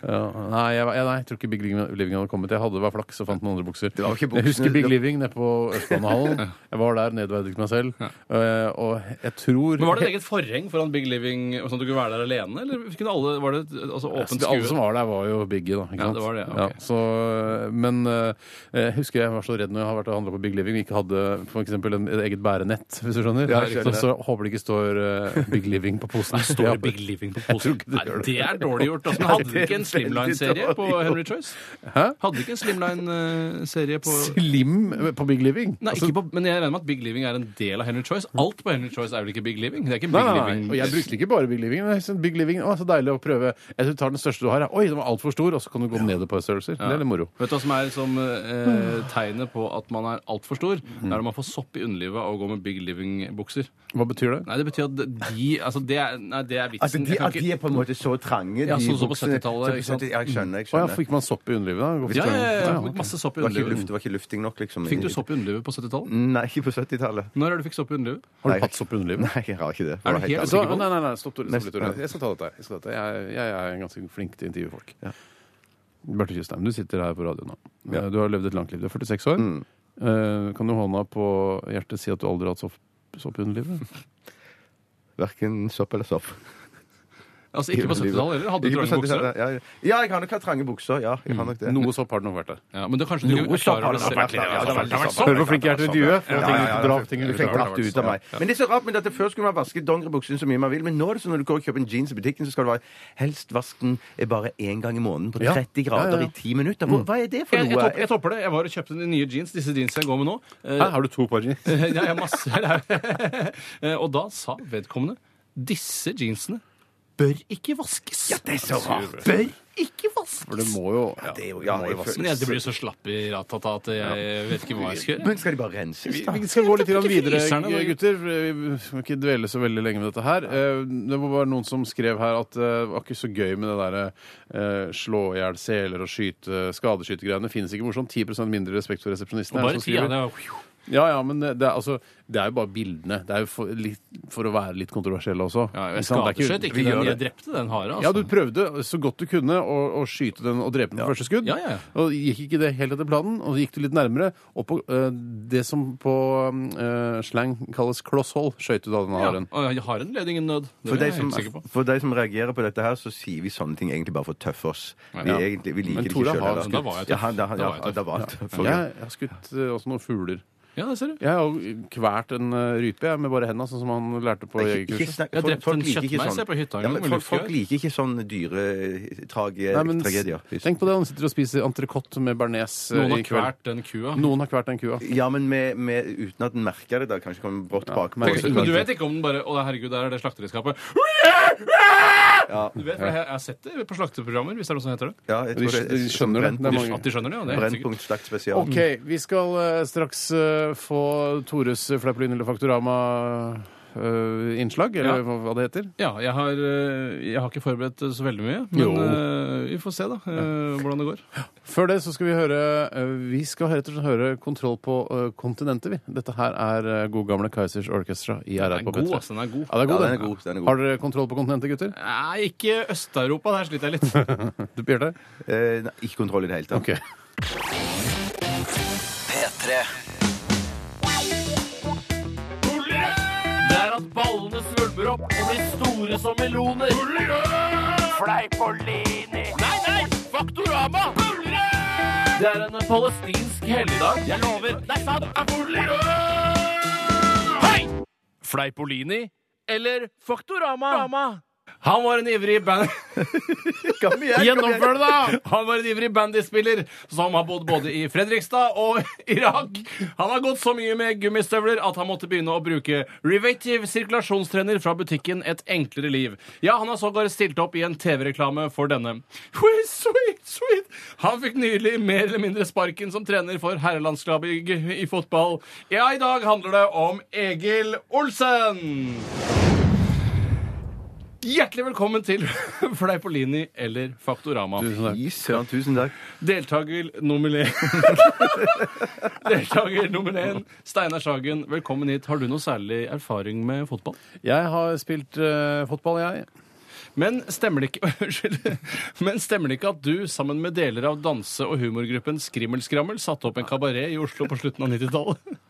Speaker 4: Ja, nei, jeg, jeg, nei, jeg tror ikke Big Living Living hadde kommet. Jeg hadde bare flaks og fant noen andre bukser.
Speaker 6: var ikke buksene,
Speaker 4: jeg husker Big
Speaker 6: det-
Speaker 4: Living nede på Østbanehallen. Jeg var der, nedverdiget meg selv. Eh, og jeg tror
Speaker 5: Men Var det et eget forheng foran Big Living, sånn at du kunne være der alene? Eller kunne alle, var det et, altså, åpent skue?
Speaker 4: Alle som var der, var jo Biggie, da. Ikke
Speaker 5: Ja, det var det, ok.
Speaker 4: så, men eh, jeg husker jeg var så redd når jeg har vært og handla på Big Living og ikke hadde f.eks. et eget bærenett, hvis du skjønner.
Speaker 6: Ja, jeg
Speaker 4: så,
Speaker 6: skjønner
Speaker 4: så jeg håper det ikke står eh, Big Living på posen.
Speaker 5: Står det Big Living på posen?
Speaker 4: ikke det
Speaker 5: Nei,
Speaker 4: gjør det.
Speaker 5: det er dårlig gjort. Altså, hadde de ikke en
Speaker 6: Det er veldig
Speaker 5: Slimline-serie på
Speaker 6: dårlig
Speaker 5: Henry Choice?
Speaker 4: Hæ?
Speaker 5: Hadde de ikke en Slimline-serie på
Speaker 4: Slim på Big Living?
Speaker 5: Nei,
Speaker 4: Altså,
Speaker 5: ikke på, men jeg regner med at Big Living er en del av Henry Choice. Alt på Henry Choice er vel ikke Big Living? Det er ikke Big
Speaker 4: Nei, nei, nei.
Speaker 5: Living
Speaker 4: Og jeg brukte ikke bare Big Living. men jeg synes Big Living, å, så deilig å prøve. Jeg tror du tar den største du har. ja. Oi, den var altfor stor, og så kan du gå ned et par størrelser. Det er litt moro.
Speaker 5: Vet du hva som er som eh, tegnet på at man er altfor stor?
Speaker 6: Mm.
Speaker 5: Det er når man får sopp i underlivet av å gå med Big Living-bukser.
Speaker 4: Hva betyr det?
Speaker 5: Nei, det betyr at de Altså, det er, nei, det er vitsen.
Speaker 6: Altså, de,
Speaker 5: Jeg kan
Speaker 6: at de er på en måte så trange,
Speaker 5: Ja,
Speaker 6: de
Speaker 5: sånn som på
Speaker 6: buksene.
Speaker 5: 70-tallet, ikke sant?
Speaker 6: Ja, jeg skjønner.
Speaker 4: Å
Speaker 6: jeg
Speaker 4: ja,
Speaker 6: skjønner.
Speaker 4: fikk man sopp i underlivet da? Godt
Speaker 5: ja, ja, ja, ja.
Speaker 4: ok.
Speaker 5: Masse sopp i
Speaker 6: Det var ikke, luft, Mm.
Speaker 5: underlivet.
Speaker 6: det var ikke lufting nok, liksom.
Speaker 5: Fikk du
Speaker 6: i-
Speaker 5: sopp i underlivet på 70-tallet?
Speaker 6: Nei, ikke på 70-tallet.
Speaker 5: Når er det du fikk sopp i underlivet?
Speaker 4: Har du hatt sopp i underlivet?
Speaker 6: Nei, jeg har ikke det.
Speaker 5: Er du helt
Speaker 6: ærlig.
Speaker 4: Så,
Speaker 5: sikker på det?
Speaker 4: nei, nei, nei, stopp, Tore. Stopp, litt, Tore.
Speaker 6: Neste-
Speaker 4: Jeg skal ta dette. her. Jeg, skal ta dette. Jeg, jeg er ganske flink til å intervjue folk.
Speaker 6: Ja.
Speaker 4: Bjarte Tjøstheim, du sitter her på radio nå. Eh,
Speaker 6: Ja.
Speaker 4: Du har levd et langt liv. Du er 46 år. Eh, Kan du hånda på hjertet si at du aldri har hatt sopp, sopp i underlivet?
Speaker 6: Hverken sopp eller sopp.
Speaker 5: Altså, ikke på 70-tallet heller. Hadde du
Speaker 6: Ikke på
Speaker 5: trange bukser?
Speaker 6: 70-tallet, Ja, ja. ja, jeg har nok hatt trange bukser. Ja, jeg har nok det.
Speaker 4: Noe sopp har det nok vært der.
Speaker 5: Ja, men det kanskje du ikke
Speaker 6: Noe
Speaker 5: er
Speaker 6: sopp
Speaker 5: klar over
Speaker 6: har det
Speaker 5: det selv.
Speaker 6: vært, ja, ja, det
Speaker 5: Det
Speaker 6: har vært
Speaker 5: har vært sånn.
Speaker 6: sopp.
Speaker 5: sopp.
Speaker 4: Hører hvor flink jeg er til å intervjue. Få ting ut, dra ting
Speaker 6: Du
Speaker 4: ut.
Speaker 6: fikk dratt det ut av meg. Men det er så rart med dette Før skulle man vaske dongeribuksen så mye man vil, men nå er det sånn når du går og kjøper en jeans i butikken, så skal du være helst vask den eh, bare én gang i måneden på
Speaker 4: Ja. Ja,
Speaker 6: 30
Speaker 4: ja,
Speaker 6: grader
Speaker 4: ja.
Speaker 6: i 10 minutter. Hvor- Hva er det for
Speaker 5: Jeg, jeg,
Speaker 6: noe?
Speaker 5: topper, jeg topper det. Jeg var og kjøpte de nye jeans. Disse jeansene jeg går med nå. Eh,
Speaker 4: Hæ, har du to par jeans?
Speaker 5: ja, jeg har masse her. Eh, Og da sa vedkommende disse jeansene bør ikke vaskes.
Speaker 6: Ja, det er så rart! Bør
Speaker 5: ikke vaskes!
Speaker 4: For det må jo
Speaker 6: det er jo, ja, jeg
Speaker 5: Men jeg, det blir
Speaker 6: føler-
Speaker 5: jo så slapp i ratata at jeg vet ikke hva jeg skal gjøre.
Speaker 6: Men skal de bare renses, da?
Speaker 4: Vi skal gå litt grann videre, eh,
Speaker 5: fryserne, da.
Speaker 4: gutter. Vi skal ikke dvele så veldig lenge med dette her. Eh, Det var bare noen som skrev her at eh, det var ikke så gøy med det derre eh, slå i hjel seler og skyte skadeskytegreiene. Finnes ikke morsomt. 10 mindre respekt for resepsjonistene. er det
Speaker 5: Bare
Speaker 4: som
Speaker 5: ti, ja.
Speaker 4: skriver.
Speaker 5: Det er,
Speaker 4: Ja, ja, men det er, altså, det er jo bare bildene. Det er jo for, litt, for å være litt kontroversielle også.
Speaker 5: ja, jeg
Speaker 4: Ikke sant? Det er
Speaker 5: skadeskjøt ikke
Speaker 4: vi gjør
Speaker 5: den. Jeg
Speaker 4: det.
Speaker 5: drepte den hare,
Speaker 4: Ja,
Speaker 5: altså.
Speaker 4: du prøvde så godt du kunne å, å skyte den og drepe den på første skudd.
Speaker 5: Ja, ja, ja.
Speaker 4: Og gikk ikke det helt etter planen, og gikk du litt nærmere. Og på eh, det som på eh, slang kalles klosshold, skøyt du da den
Speaker 5: Ja,
Speaker 4: haren.
Speaker 5: og jeg har en led ingen nød. Det
Speaker 6: For
Speaker 5: er
Speaker 6: de,
Speaker 5: jeg
Speaker 6: som,
Speaker 5: helt sikker på.
Speaker 6: for de som reagerer på dette her, så sier vi sånne ting egentlig bare for å tøffe oss. Vi,
Speaker 5: Ja.
Speaker 6: egentlig, vi liker
Speaker 4: Men
Speaker 6: det
Speaker 4: Tore
Speaker 6: ikke sjøl.
Speaker 4: har
Speaker 6: heller.
Speaker 5: skutt. Da var jeg tøff.
Speaker 6: Ja, han- da,
Speaker 5: Da
Speaker 6: ja,
Speaker 5: var jeg tøff.
Speaker 6: da var han tøff.
Speaker 4: Jeg, jeg har skutt eh, også noen fugler.
Speaker 5: Ja, det ser du.
Speaker 4: Jeg har jo kvært en eh, rype jeg, med bare henda, sånn som han lærte på
Speaker 6: Ikke
Speaker 4: jegerkurset.
Speaker 6: snakk-
Speaker 5: Jeg
Speaker 6: folk-
Speaker 5: drepte
Speaker 6: folk
Speaker 5: en
Speaker 6: liker ikke
Speaker 5: kjøttmeis,
Speaker 6: sånn-
Speaker 5: jeg, på hytta en
Speaker 6: Ja,
Speaker 5: gang
Speaker 6: men
Speaker 5: med
Speaker 6: folk, folk
Speaker 5: luftgevær.
Speaker 6: liker ikke sånn dyretragedier.
Speaker 4: Nei, men s- Tenk på det, han sitter og spiser entrecôte med bearnés. eh,
Speaker 5: Noen
Speaker 4: i
Speaker 5: har
Speaker 4: kveld.
Speaker 5: kvært den kua.
Speaker 4: Noen har kvært den kua.
Speaker 6: Ja, men med, med, uten at den merker det. da Kanskje kommer den brått bakpå.
Speaker 4: men-
Speaker 6: så-
Speaker 5: Men du vet ikke om den bare Å, herregud, der er det slakteriskapet.
Speaker 6: Ja,
Speaker 5: Du vet, for jeg jeg har sett det på slakteprogrammer, hvis det er noe som heter det.
Speaker 6: ja, jeg
Speaker 4: De,
Speaker 6: tror det,
Speaker 4: de skjønner det. det er mange.
Speaker 5: At de skjønner det, ja. Det er helt sikkert.
Speaker 6: Brennpunkt slakt spesial.
Speaker 4: OK, vi skal eh, straks eh, få Tores Fleipolin eller Faktorama-innslag, eller
Speaker 5: Ja.
Speaker 4: hva, hva det heter.
Speaker 5: Ja, jeg har, eh, jeg har ikke forberedt så veldig mye,
Speaker 4: Jo.
Speaker 5: men eh, vi får se da eh, hvordan det går.
Speaker 4: Før det så skal vi høre eh, Vi skal rett og slett høre kontroll på eh, kontinentet, vi. Dette her er eh, god gamle Kaizers Orchestra i
Speaker 5: Den
Speaker 4: RR
Speaker 5: er
Speaker 4: på
Speaker 5: god,
Speaker 4: P3.
Speaker 5: altså. Den er god.
Speaker 4: Ja, det er god,
Speaker 6: Ja, den er god, den er god.
Speaker 4: Har dere kontroll på kontinentet, gutter?
Speaker 5: Nei, ikke Øst-Europa. Der sliter jeg litt.
Speaker 4: Du, Bjarte?
Speaker 6: Eh, nei, ikke kontroll i det hele tatt.
Speaker 4: OK.
Speaker 2: P3
Speaker 3: Det er at ballene svulmer opp og blir store som meloner. Fleipolini. Nei, nei! Faktorama! Det er en palestinsk helligdag. Jeg lover. Det er sant. Hei! Fleipolini eller Faktorama?
Speaker 5: Han var en ivrig band...
Speaker 6: Kom igjen, kom igjen.
Speaker 5: Gjennomfør det, da! Han var en ivrig bandyspiller som har bodd både i Fredrikstad og Irak. Han har gått så mye med gummistøvler at han måtte begynne å bruke Revative sirkulasjonstrener fra butikken Et enklere liv. Ja, han har sågar stilt opp i en TV-reklame for denne. Sweet, sweet, sweet. Han fikk nylig mer eller mindre sparken som trener for herrelandslaget i- i fotball. Ja, i dag handler det om Egil Olsen! Hjertelig velkommen til Fleipolini eller Faktorama.
Speaker 6: Fy søren, tusen takk.
Speaker 5: Deltaker nummer én Deltaker nummer én, Steinar Sagen, velkommen hit. Har du noe særlig erfaring med fotball?
Speaker 4: Jeg har spilt eh, fotball, jeg.
Speaker 5: Men stemmer det ikke Unnskyld. Men stemmer det ikke at du, sammen med deler av danse- og humorgruppen Skrimmelskrammel, satte opp en kabaret i Oslo på slutten av 90-tallet?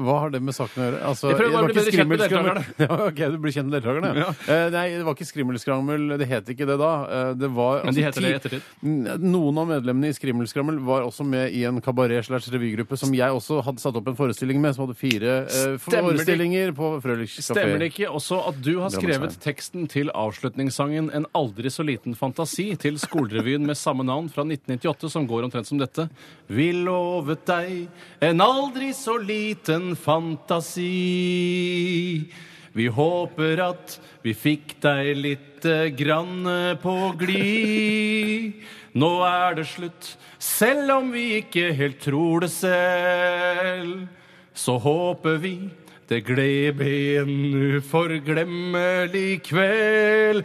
Speaker 4: Hva har det med saken å gjøre? Altså,
Speaker 5: Jeg prøver bare å
Speaker 4: det
Speaker 5: bli
Speaker 4: var ikke
Speaker 5: bedre kjent med
Speaker 4: skrimmelskrammel. Ja, ok, du blir kjent med deltakerne. Ja. Eh, nei, det var ikke skrimmelskrammel. Det het ikke det da. Eh, det var,
Speaker 5: Men de heter det i ettertid.
Speaker 4: ettertid? Noen av medlemmene i Skrimmelskrammel var også med i en kabaret-slash-revygruppe som jeg også hadde satt opp en forestilling med, som hadde fire eh,
Speaker 5: Stemmer det-
Speaker 4: forestillinger på Frølich kafé.
Speaker 5: Stemmer det ikke også at du har skrevet
Speaker 4: Drammensveien.
Speaker 5: teksten til avslutningssangen 'En aldri så liten fantasi' til skolerevyen med samme navn fra 1998, som går omtrent som dette? Vi lovet deg en aldri så liten fantasi. Vi håper at vi fikk deg lite grann på glid. Nå er det slutt, selv om vi ikke helt tror det selv. Så håper vi det gled blir en uforglemmelig kveld.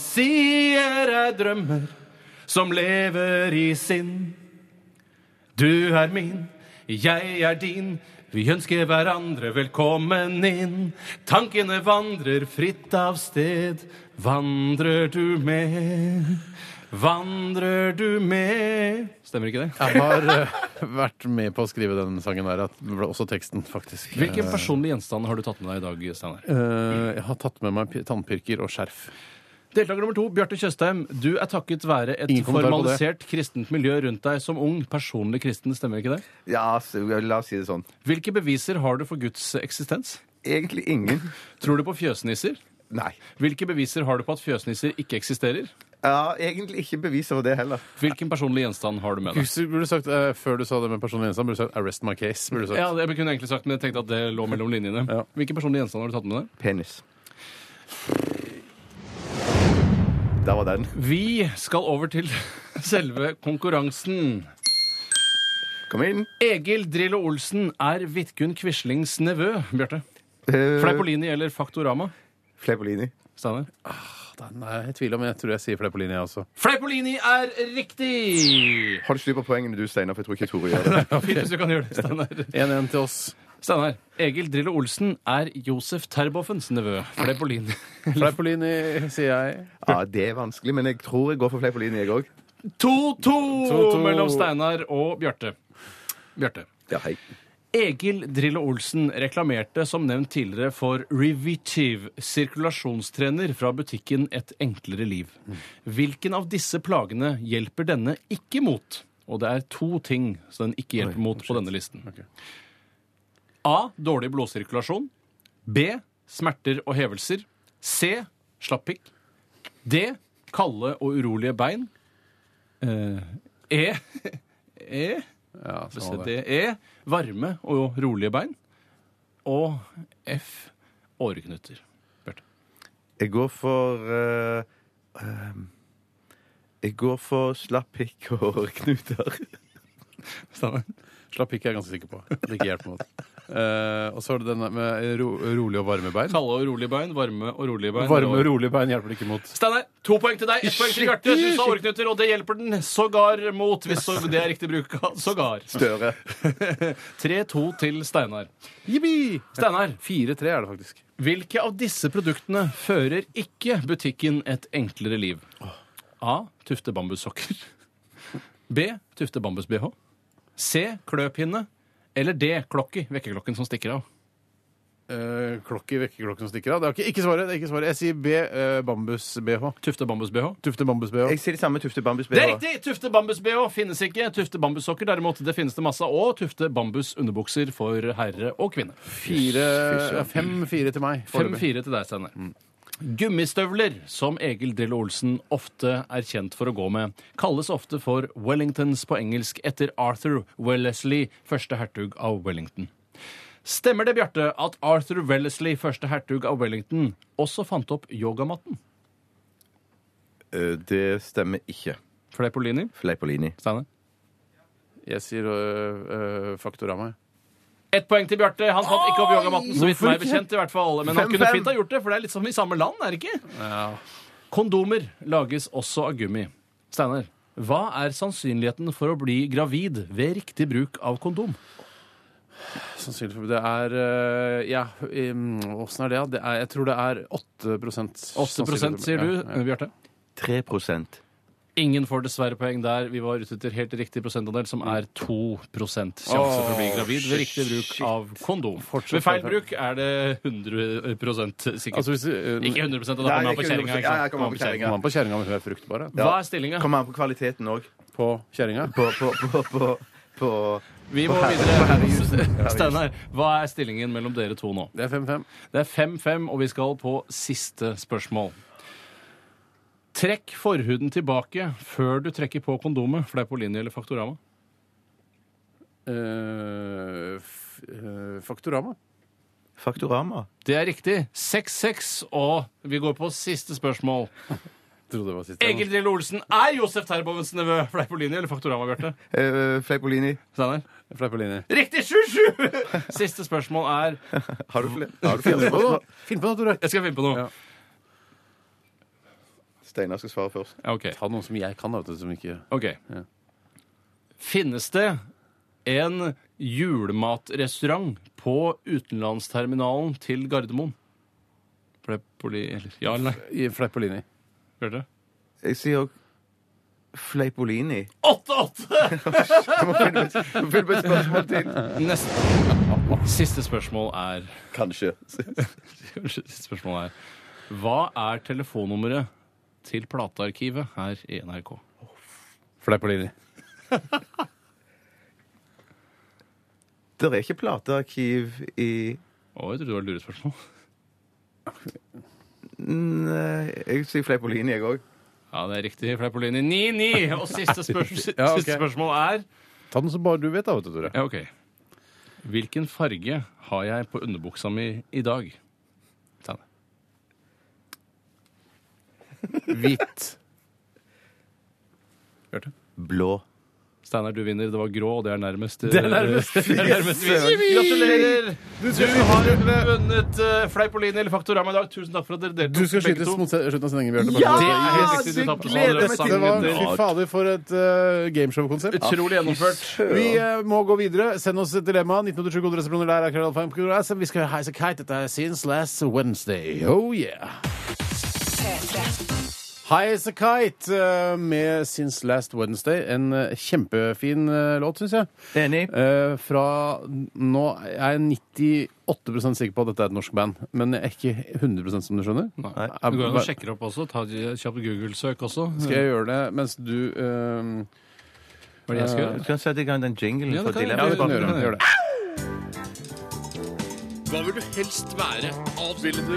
Speaker 5: Fantasier er drømmer som lever i sinn. Du er min, jeg er din. Vi ønsker hverandre velkommen inn. Tankene vandrer fritt av sted. Vandrer du med? Vandrer du med? Stemmer ikke det?
Speaker 4: Jeg har eh, vært med på å skrive den sangen der, at det ble også teksten, faktisk.
Speaker 5: Hvilke personlige gjenstander har du tatt med deg i dag, Steinar?
Speaker 4: Eh, eh, jeg har tatt med meg pi- tannpirker og skjerf.
Speaker 5: Deltaker nummer to, Bjarte Tjøstheim. Du er takket være et
Speaker 4: Ingen kommentar på det.
Speaker 5: formalisert kristent miljø rundt deg som ung. Personlig kristen, stemmer ikke det?
Speaker 6: Ja, så, la oss si det sånn.
Speaker 5: Hvilke beviser har du for Guds eksistens?
Speaker 6: Egentlig ingen.
Speaker 5: Tror du på fjøsnisser?
Speaker 6: Nei.
Speaker 5: Hvilke beviser har du på at fjøsnisser ikke eksisterer?
Speaker 6: Ja, egentlig ikke bevis over det heller.
Speaker 5: Hvilken personlig gjenstand har du med deg?
Speaker 4: Husker du burde sagt, eh, Før du sa det med personlig gjenstand, burde du sagt 'arrest my case'. Burde du sagt.
Speaker 5: Ja, det kunne jeg egentlig sagt, men jeg tenkte at det lå mellom linjene.
Speaker 4: Ja.
Speaker 5: Hvilke personlige gjenstand har du tatt med deg?
Speaker 6: Penis. Der var den.
Speaker 5: Vi skal over til selve konkurransen.
Speaker 6: Kom inn.
Speaker 5: Egil Drillo Olsen er Vidkun Quislings nevø, Bjarte.
Speaker 6: Eh,
Speaker 5: Fleipolini eller Faktorama?
Speaker 6: Fleipolini.
Speaker 5: Steinar?
Speaker 4: Nei, jeg tviler, men jeg tror jeg sier Fleipolini, jeg også.
Speaker 5: Fleipolini er riktig!
Speaker 6: Har du styr på poengene du, Steinar? For jeg tror ikke Tore gjør det.
Speaker 5: Fint hvis du kan gjøre det, Steinar.
Speaker 4: 1-1 til oss.
Speaker 5: Steinar, Egil Drillo Olsen er Josef Terboffens nevø. Fleipolini.
Speaker 4: Fleipolini, sier jeg.
Speaker 6: Ja, Det er vanskelig, men jeg tror jeg går for Fleipolini, jeg òg.
Speaker 5: 2-2
Speaker 4: 2-2.
Speaker 5: mellom Steinar og Bjarte. Bjarte.
Speaker 6: Ja, hei.
Speaker 5: Egil Drillo Olsen reklamerte som nevnt tidligere for Revitive, sirkulasjonstrener fra butikken Et enklere liv. Hvilken av disse plagene hjelper denne ikke mot? Og det er to ting som den ikke hjelper mot på denne listen. A. Dårlig blodsirkulasjon. B. Smerter og hevelser. C. Slapp pikk. D. Kalde og urolige bein. Eh, E. E.
Speaker 4: Ja,
Speaker 5: Skal vi
Speaker 4: sånn
Speaker 5: se,
Speaker 4: var
Speaker 5: D.
Speaker 4: det.
Speaker 5: E. Varme og rolige bein. Og F. Åreknuter.
Speaker 6: Jeg går for eh, eh, Jeg går for slapp pikk og hårknuter.
Speaker 5: Steinar?
Speaker 4: Slapp ikke, jeg er ganske sikker på. Det ikke hjelper noe. Eh, og så er det denne med ro, rolig og varme bein.
Speaker 5: Kalde og rolige bein, varme og rolige bein.
Speaker 4: Varme og
Speaker 5: og-
Speaker 4: rolig bein hjelper det ikke mot.
Speaker 5: Steinar, to poeng til deg, ett poeng til Bjarte. Du sa åreknuter, og det hjelper den sågar mot, hvis så det er riktig bruk av sågar.
Speaker 6: Støre.
Speaker 5: 3-2 til Steinar.
Speaker 4: Jippi!
Speaker 5: Steinar,
Speaker 4: 4-3 er det faktisk.
Speaker 5: Hvilke av disse produktene fører ikke butikken et enklere liv? A. Tufte bambussokker. B. Tufte bambus-BH. C. Kløpinne. Eller D. Klokki. Vekkerklokken som stikker av.
Speaker 4: Uh, klokke i vekkerklokken som stikker av. Det er ikke, ikke svaret. det er ikke svaret. Jeg sier B, eh, bambus-BH.
Speaker 5: Tufte bambus-Bh.
Speaker 4: Tufte bambus-BH.
Speaker 6: Jeg sier det samme tufte bambus.
Speaker 5: Det er riktig! Tufte bambus-BH finnes ikke. Tufte bambussokker derimot, det finnes det masse av. Og tufte bambus-underbukser for herre og kvinne.
Speaker 4: Fire- Fem fire til meg. foreløpig.
Speaker 5: 5-4 til deg, Steinar. Gummistøvler, som Egil Drillo Olsen ofte er kjent for å gå med, kalles ofte for Wellingtons på engelsk etter Arthur Wellesley, første hertug av Wellington. Stemmer det, Bjarte, at Arthur Wellesley, første hertug av Wellington, også fant opp yogamatten?
Speaker 6: Eh, Det stemmer ikke.
Speaker 5: Fleipolini?
Speaker 6: Fleipolini.
Speaker 5: Steinar?
Speaker 4: Jeg sier uh, uh, Faktorama.
Speaker 5: Ett poeng til Bjarte. Han fant ikke opp yogamatten, så vidt
Speaker 6: Hvorfor
Speaker 5: meg
Speaker 6: ikke?
Speaker 5: bekjent. i hvert fall. Men han
Speaker 6: Fem,
Speaker 5: kunne
Speaker 6: fem.
Speaker 5: fint ha gjort det, for det er litt som i samme land, er det ikke? Kondomer lages også av gummi. Steinar, hva er sannsynligheten for å bli gravid ved riktig bruk av kondom?
Speaker 4: Sannsynlig for det er eh, Ja, um, åssen er det, da? Det er- Jeg tror det er 8
Speaker 5: 8
Speaker 4: sannsynlighet.
Speaker 5: sier du,
Speaker 4: Ja, ja.
Speaker 5: Bjarte.
Speaker 6: 3
Speaker 5: Ingen får dessverre poeng der. Vi var ute etter helt riktig prosentandel, som er 2 sjanse for å bli gravid ved riktig bruk av kondom. Ved feil bruk er det 100 sikkert.
Speaker 4: Altså, hvis, eh,
Speaker 5: ikke 100 da kommer
Speaker 6: Nei,
Speaker 5: han på
Speaker 6: ikke 100%.
Speaker 5: kjerringa. ikke
Speaker 6: Ja, ja,
Speaker 5: sant?
Speaker 6: kommer han på kjerringa.
Speaker 4: Kommer an på kjerringa om hun er fruktbar. da.
Speaker 5: Hva er stillinga?
Speaker 6: Kommer an på kvaliteten òg.
Speaker 4: På kjerringa?
Speaker 6: På, på, på, på, på
Speaker 5: Vi må videre. Steinar, hva er stillingen mellom dere to nå?
Speaker 4: Det er 5-5.
Speaker 5: Det er 5-5, og vi skal på siste spørsmål. Trekk forhuden tilbake før du trekker på kondomet. Fleipolini eller Faktorama?
Speaker 4: Eh, f- eh, Faktorama.
Speaker 6: Faktorama.
Speaker 5: Det er riktig. 6-6, og vi går på siste spørsmål.
Speaker 4: Trodde det var siste.
Speaker 5: Egil Drillo Olsen er Josef Terbovens nevø. Fleipolini eller Faktorama, Bjarte?
Speaker 6: Eh, Fleipolini.
Speaker 5: Steinar?
Speaker 4: Fleipolini.
Speaker 5: Riktig! 7-7! Siste spørsmål er
Speaker 6: Har du flere? Har du
Speaker 4: Finn på
Speaker 6: flere?
Speaker 4: noe, Finn på noe, Tore.
Speaker 5: Jeg skal finne på noe.
Speaker 4: Ja.
Speaker 6: Steinar skal svare først.
Speaker 5: Ja, ok.
Speaker 4: Ta noen som jeg kan, da, vet du, som ikke
Speaker 5: Ok.
Speaker 4: Ja.
Speaker 5: Finnes det en julematrestaurant på utenlandsterminalen til Gardermoen? Ble poli... Eller, ja eller nei?
Speaker 4: I Fleipolini.
Speaker 5: Hørte dere?
Speaker 6: Jeg sier òg Fleipolini.
Speaker 5: 8-8!
Speaker 6: Fyll på et spørsmål til.
Speaker 5: Neste. Siste spørsmål er
Speaker 6: Kanskje.
Speaker 5: Kanskje siste spørsmål er Hva er telefonnummeret til platearkivet her i NRK?
Speaker 4: Fleipolini.
Speaker 6: Det er ikke platearkiv i
Speaker 5: Å, jeg trodde det var et lurespørsmål.
Speaker 6: Nei, jeg sier Fleipolini, jeg òg.
Speaker 5: Ja, det er riktig. Fleipolini 9-9! Og siste, spørs
Speaker 4: Ja, ok.
Speaker 5: siste spørsmål er
Speaker 4: Ta den som bare du vet, da, vet du, Tore.
Speaker 5: Ja, ok. Hvilken farge har jeg på underbuksa mi i dag? Steinar.
Speaker 4: Hvit.
Speaker 5: Bjarte?
Speaker 6: Blå.
Speaker 5: Steinar, du vinner. Det var grå, og det er nærmest.
Speaker 4: Det er nærmest.
Speaker 5: Det er nærmest. Gratulerer! Du har vunnet eh, Fleipolini eller Faktorama i dag. Tusen takk for at dere deltok.
Speaker 4: Du skal
Speaker 5: begge
Speaker 4: skytes
Speaker 5: to.
Speaker 4: mot se- slutten av sendingen, Bjarte.
Speaker 5: Det
Speaker 4: bare.
Speaker 5: er helt riktig, du tapte.
Speaker 6: gleder
Speaker 5: Alle
Speaker 6: jeg meg til.
Speaker 4: Det var
Speaker 5: sangene.
Speaker 4: Fy fader, for et eh, gameshow-konsept.
Speaker 5: Utrolig gjennomført.
Speaker 4: Vi eh, må gå videre. Send oss et dilemma. 1987 koder resepsjoner der er krøllalfa.no. Så Vi skal heise kite. Dette er Since Last Wednesday. Oh yeah! Heis a kite eh, med Since Last Wednesday. En eh, kjempefin eh, låt, syns jeg.
Speaker 6: Enig.
Speaker 4: Eh, Fra nå er jeg 98 sikker på at dette er et norsk band, men jeg er ikke 100 som du skjønner.
Speaker 5: Nei.
Speaker 4: Er-
Speaker 5: Du går an og sjekker opp også. Ta et kjapt Google-søk også.
Speaker 4: Skal jeg gjøre det mens du eh,
Speaker 5: Hva er det jeg skal
Speaker 6: Du
Speaker 5: gjøre?
Speaker 6: kan sette i gang den jinglen
Speaker 5: Ja, det
Speaker 6: for
Speaker 5: kan jeg.
Speaker 6: dilemma.
Speaker 5: Ja,
Speaker 4: Ja,
Speaker 5: det
Speaker 4: gjør det.
Speaker 5: kan jeg.
Speaker 4: Gjør det.
Speaker 1: Hva vil du helst være? Ville du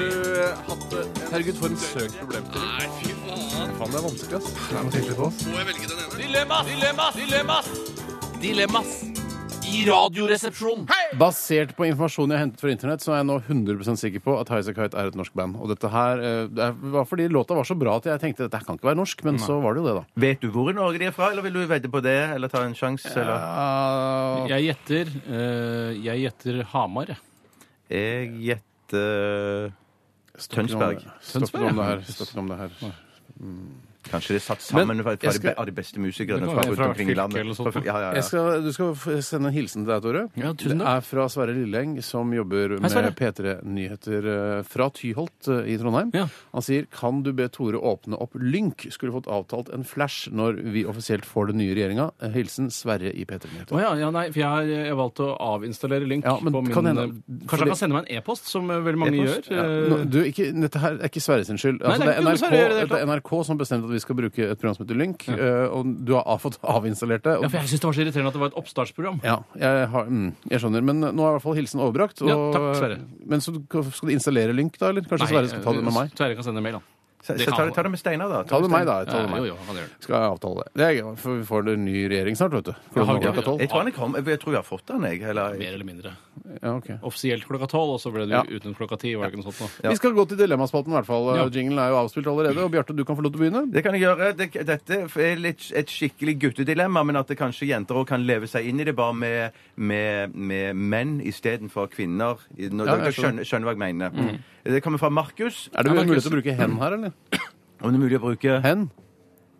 Speaker 1: hatt det?
Speaker 4: Herregud, for en søk problem.
Speaker 1: Nei, fy faen.
Speaker 4: Faen, det er vanskelig, ass.
Speaker 1: Må jeg velge den ene?
Speaker 7: Dilemmas! Dilemmas! Dilemmas! Dilemmas i Radioresepsjonen.
Speaker 4: Basert på informasjon jeg har hentet fra internett, så er jeg nå 100 sikker på at Highasakite er et norsk band. Og dette her eh, det er- var fordi låta var så bra at jeg tenkte dette kan ikke være norsk, men så var det jo det, da.
Speaker 6: Vet du hvor i Norge de er fra, eller vil du vedde på det? Eller ta en sjanse? Eller?
Speaker 4: Ja,
Speaker 5: Jeg gjetter eh, Jeg gjetter Hamar. jeg.
Speaker 6: Jeg gjetter Tønsberg.
Speaker 4: Stopp om det her. Stopp om det her.
Speaker 6: Kanskje det er satt sammen
Speaker 4: Men
Speaker 6: fra,
Speaker 4: jeg
Speaker 6: fra de
Speaker 4: skal-
Speaker 6: be- av de beste musikerne
Speaker 5: Det kan
Speaker 6: fra
Speaker 5: være
Speaker 6: rundt
Speaker 5: fra
Speaker 6: omkring i
Speaker 5: fylke
Speaker 6: landet.
Speaker 5: eller sånt.
Speaker 6: Fra- Ja, ja, ja.
Speaker 4: Jeg skal, du skal f- sende en hilsen til deg, Tore.
Speaker 5: Ja, tusen
Speaker 4: det
Speaker 5: takk.
Speaker 4: er fra Sverre Lilleng, som jobber
Speaker 5: Sverre.
Speaker 4: med P3 Nyheter eh, fra Tyholt eh, i Trondheim.
Speaker 5: Ja.
Speaker 4: Han sier kan du be Tore åpne opp Lynk? Skulle fått avtalt en flash når vi offisielt får den nye regjeringa. Eh, Hilsen Sverre i P3 Nyheter.
Speaker 5: Å ja, ja, nei, for jeg har jeg har valgt å avinstallere Lynk.
Speaker 4: Ja, men
Speaker 5: på min,
Speaker 4: kan hende-
Speaker 5: eh, Kanskje han kan sende meg en e-post, som eh, veldig mange
Speaker 6: E-post?
Speaker 5: gjør. eh,
Speaker 4: Nå, du, ikke, dette her er ikke Sverre sin skyld.
Speaker 5: Nei, det
Speaker 4: Altså,
Speaker 5: er
Speaker 4: det,
Speaker 5: ikke
Speaker 4: er
Speaker 5: noe
Speaker 4: NRK,
Speaker 5: Sverre å gjøre, det er
Speaker 4: det er NRK som bestemte at vi skal bruke et program som heter Lynk, eh, og du har fått avinstallert det. og-
Speaker 5: Ja, for jeg syns det var så irriterende at det var et oppstartsprogram.
Speaker 4: Ja, jeg, har, mm, jeg skjønner. Men nå er i hvert fall hilsen overbrakt. Og,
Speaker 5: Ja, takk, Sverre.
Speaker 4: Men så du- skal du installere Lynk, da? Eller kanskje Sverre skal ta det med meg?
Speaker 5: eh, Sverre kan sende en mail, han.
Speaker 6: Så,
Speaker 5: det kan
Speaker 6: så ta,
Speaker 5: han.
Speaker 6: ta det med Steinar, da.
Speaker 4: Ta det med meg, da. Ta det
Speaker 5: Eh,
Speaker 4: med
Speaker 5: Jo,
Speaker 4: meg.
Speaker 5: jo, han gjør det.
Speaker 4: Skal jeg avtale det. det er, gøy, for vi får en ny regjering snart, vet du.
Speaker 5: har
Speaker 4: Klokka
Speaker 5: vi ikke-
Speaker 4: klokka tolv.
Speaker 6: Jeg tror, han er kom, jeg tror jeg har fått den, jeg. Eller,
Speaker 5: Mer eller mindre.
Speaker 4: Ja, ok.
Speaker 5: Offisielt klokka tolv, og så ble det
Speaker 4: Ja.
Speaker 5: uten klokka ti. Var det ikke noe sånt nå?
Speaker 4: Vi skal gå til dilemmaspalten, i hvert fall. eh,
Speaker 5: Ja.
Speaker 4: Jinglen er jo avspilt allerede. Og Bjarte, du kan få lov til å begynne.
Speaker 6: Det kan jeg gjøre. Det, dette er litt, et skikkelig guttedilemma, men at det kanskje jenter òg kan leve seg inn i det, bare med, med, med menn istedenfor kvinner. I- Når
Speaker 4: Ja,
Speaker 6: dere
Speaker 4: jeg skjønner.
Speaker 6: skjønner, skjønner hva jeg mener. Det kommer fra Markus.
Speaker 4: Er det mulig til å bruke hen her, eller?
Speaker 6: Om det er mulig å bruke
Speaker 4: Hen?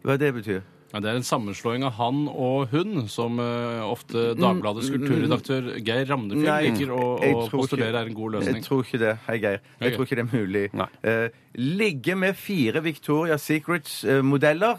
Speaker 6: Hva det betyr
Speaker 5: Ja, det er en sammenslåing av han og hun, som eh, ofte Dagbladets kulturredaktør Geir Ramnefjell
Speaker 6: Mm, Nei,
Speaker 5: liker å,
Speaker 6: jeg
Speaker 5: å
Speaker 6: tror ikke-
Speaker 5: postulere er en god
Speaker 6: Jeg
Speaker 5: løsning.
Speaker 6: tror ikke det. Hei, Geir.
Speaker 5: Hei,
Speaker 6: Jeg tror ikke det er mulig.
Speaker 4: Nei.
Speaker 6: Eh, ligge med fire Victoria Secrets-modeller.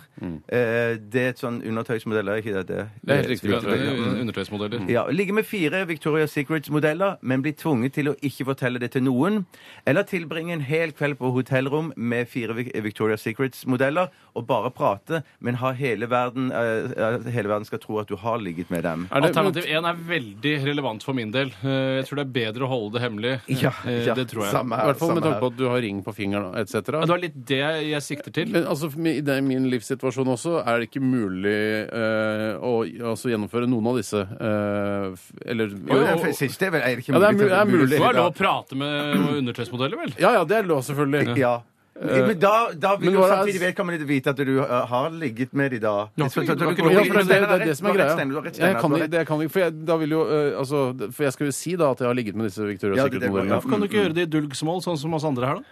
Speaker 6: det er et sånn undertøysmodell, er ikke det? Det,
Speaker 4: Det er helt riktig,
Speaker 5: Ja, det er
Speaker 6: Ja.
Speaker 5: un- Undertøysmodeller.
Speaker 6: Ja, Ligge med fire Victoria Secrets-modeller, men bli tvunget til å ikke fortelle det til noen. Eller tilbringe en hel kveld på hotellrom med fire Vic- Victoria Secrets-modeller og bare prate, men ha hele verden, eh, eh, hele verden skal tro at du har ligget med dem.
Speaker 4: Er det,
Speaker 5: Alternativ 1 er veldig relevant for min del. Eh, Jeg tror det er bedre å holde det hemmelig. Eh, Det tror jeg.
Speaker 6: Samme
Speaker 4: I
Speaker 6: her.
Speaker 4: hvert fall med
Speaker 6: samme
Speaker 4: tanke
Speaker 6: her.
Speaker 4: på at du har ring på fingeren etc.
Speaker 5: Ja, Det var litt det jeg sikter til.
Speaker 4: Men altså, for meg- i det- min livssituasjon også er det ikke mulig eh, å altså, gjennomføre noen av disse. eh, f- eller
Speaker 6: Jo, det er- siste er vel er det ikke
Speaker 4: Ja, det er
Speaker 6: mulig.
Speaker 4: mu- det er mulig.
Speaker 5: Det
Speaker 4: Hva
Speaker 5: er lov å prate med undertøysmodeller, vel?
Speaker 4: Ja, ja, det er lov, selvfølgelig.
Speaker 6: Ja. Men da, da vil
Speaker 4: Eh, men
Speaker 6: jo
Speaker 4: hva er-
Speaker 6: samtidig vedkommende vite at du eh, har ligget med de da.
Speaker 5: Ja,
Speaker 6: Så- så-
Speaker 5: for-
Speaker 6: så-
Speaker 5: du kan ikke
Speaker 6: du-
Speaker 4: Ja,
Speaker 5: gå
Speaker 6: du-
Speaker 4: for det, det, det er det som er
Speaker 6: Du har
Speaker 4: greia.
Speaker 6: rett, Steinar, du har
Speaker 4: Jeg
Speaker 6: rett, Steinar,
Speaker 4: kan,
Speaker 6: du
Speaker 4: ikke-
Speaker 6: har rett.
Speaker 4: det kan ikke, for jeg, da vil jo, eh, altså, det- for jeg skal jo si da at jeg har ligget med disse Victoria
Speaker 6: Ja, det- det var-
Speaker 4: Secret-modellene.
Speaker 6: ja.
Speaker 5: Hvorfor kan du ikke gjøre det i dulgsmål, sånn som oss andre her, da?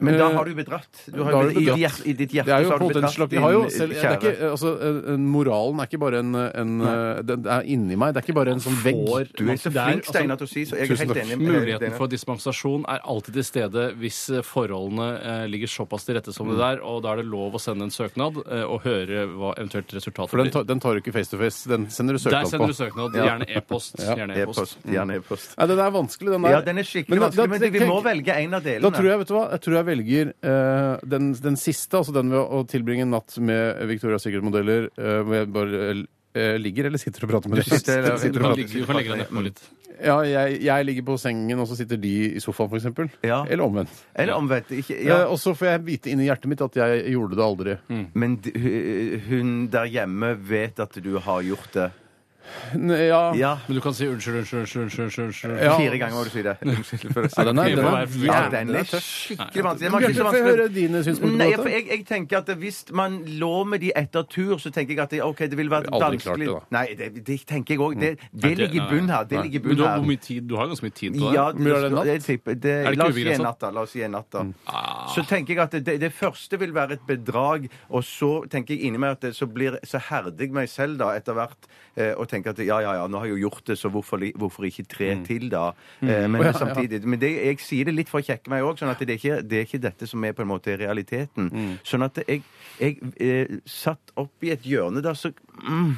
Speaker 6: Men da har du bedratt. Du har,
Speaker 4: Da har du
Speaker 6: i, ditt
Speaker 4: bedratt.
Speaker 6: hjerte- I ditt hjerte
Speaker 4: Det er jo på
Speaker 6: så har
Speaker 4: en
Speaker 6: du
Speaker 4: måte en
Speaker 6: bedratt
Speaker 4: slags
Speaker 6: din
Speaker 4: Jeg har jo selv, det er
Speaker 6: kjære.
Speaker 4: ikke, altså, eh, Moralen er ikke bare en, en eh, Den er inni meg. Det er ikke bare en sånn vegg.
Speaker 6: Du er så
Speaker 5: Det er-
Speaker 6: flink,
Speaker 5: altså,
Speaker 6: Steinar, til å si, så jeg er
Speaker 4: tusen
Speaker 6: helt
Speaker 4: takk.
Speaker 6: enig. med-
Speaker 5: Muligheten
Speaker 6: Steinar.
Speaker 5: for dispensasjon er alltid til stede hvis eh, forholdene eh, ligger såpass til rette som
Speaker 6: Mm.
Speaker 5: det der, og da er det lov å sende en søknad eh, og høre hva eventuelt resultatet
Speaker 4: For den
Speaker 5: blir.
Speaker 4: tar, den tar du ikke face to face. Den sender du
Speaker 5: Der
Speaker 4: søknad på.
Speaker 5: sender du søknad. Gjerne e-post. Gjerne
Speaker 6: E-post.
Speaker 5: e-post.
Speaker 6: Gjerne e-post.
Speaker 4: Nei, den er vanskelig, den der.
Speaker 6: Ja, den er skikkelig
Speaker 4: Men da-
Speaker 6: vanskelig,
Speaker 4: da-
Speaker 6: men det- vi må
Speaker 4: tenk-
Speaker 6: velge en av
Speaker 4: Da tror
Speaker 6: delene.
Speaker 4: jeg vet du hva, jeg tror jeg velger eh, den, den siste, altså den ved å å tilbringe en natt med Victoria Secret-modeller eh, hvor jeg bare eh, ligger eller sitter og prater med
Speaker 6: Du
Speaker 4: dem.
Speaker 6: sitter-
Speaker 4: Jeg
Speaker 5: Du
Speaker 4: og
Speaker 5: kan
Speaker 4: prater.
Speaker 5: ligge, du kan legge deg nedpå litt.
Speaker 4: Ja, jeg, jeg ligger på sengen, og så sitter de i sofaen, for eksempel.
Speaker 6: Ja.
Speaker 4: Eller omvendt.
Speaker 6: Eller omvendt. Ikke,
Speaker 4: Eh,
Speaker 6: ja. Mm.
Speaker 4: og så får jeg vite inni hjertet mitt at jeg gjorde det aldri.
Speaker 6: Men d- hu- hun der hjemme vet at du har gjort det.
Speaker 4: N- Ja. ja.
Speaker 6: Ja.
Speaker 5: Men du kan si unnskyld, unnskyld, unnskyld, unnskyld. unnskyld, unnskyld.
Speaker 4: Ja.
Speaker 6: Fire ganger må du si det. Unnskyld for å si
Speaker 4: Ja, den er-
Speaker 6: det.
Speaker 4: den er
Speaker 6: Ja,
Speaker 4: jævlig
Speaker 6: den er
Speaker 4: tøff.
Speaker 6: skikkelig vanskelig. Den var ikke
Speaker 4: Bjarte,
Speaker 6: så
Speaker 4: Få høre
Speaker 6: vanskelig.
Speaker 4: dine
Speaker 6: Nei,
Speaker 4: synspunkter
Speaker 6: for
Speaker 4: på dette.
Speaker 6: jeg, jeg tenker at Hvis man lå med de etter tur, så tenker jeg at det, ok, det vil være
Speaker 4: Jeg har aldri klart
Speaker 6: vanskelig
Speaker 4: det, da.
Speaker 6: Nei, det, det tenker jeg òg. Det, det
Speaker 5: det-
Speaker 6: ligger i
Speaker 5: nei,
Speaker 6: bunnen her. Det
Speaker 4: nei.
Speaker 6: ligger
Speaker 5: Men
Speaker 6: i bunnen
Speaker 5: du har,
Speaker 6: her.
Speaker 5: hvor mye tid, du har ganske mye tid på deg.
Speaker 6: Ja,
Speaker 4: Hvor mye er det en natt?
Speaker 6: jeg tipper- det,
Speaker 5: Er det ikke Mm.
Speaker 6: la oss gi en
Speaker 5: ubegrenset?
Speaker 6: natt, da. La oss gi en natt, da. Så tenker jeg at det, det første vil være et bedrag, og så tenker jeg inni meg at det, så, blir, så herder jeg meg selv da etter hvert eh, og tenker at ja, ja, ja, nå har jeg jo gjort det, så hvorfor, li- hvorfor ikke tre
Speaker 5: Mm.
Speaker 6: til, da? Eh, men samtidig Men det, jeg sier det litt for å kjekke meg òg, sånn at det er, ikke, det er ikke dette som er på en måte realiteten. Sånn at jeg, jeg eh, satt opp i et hjørne der, så mm,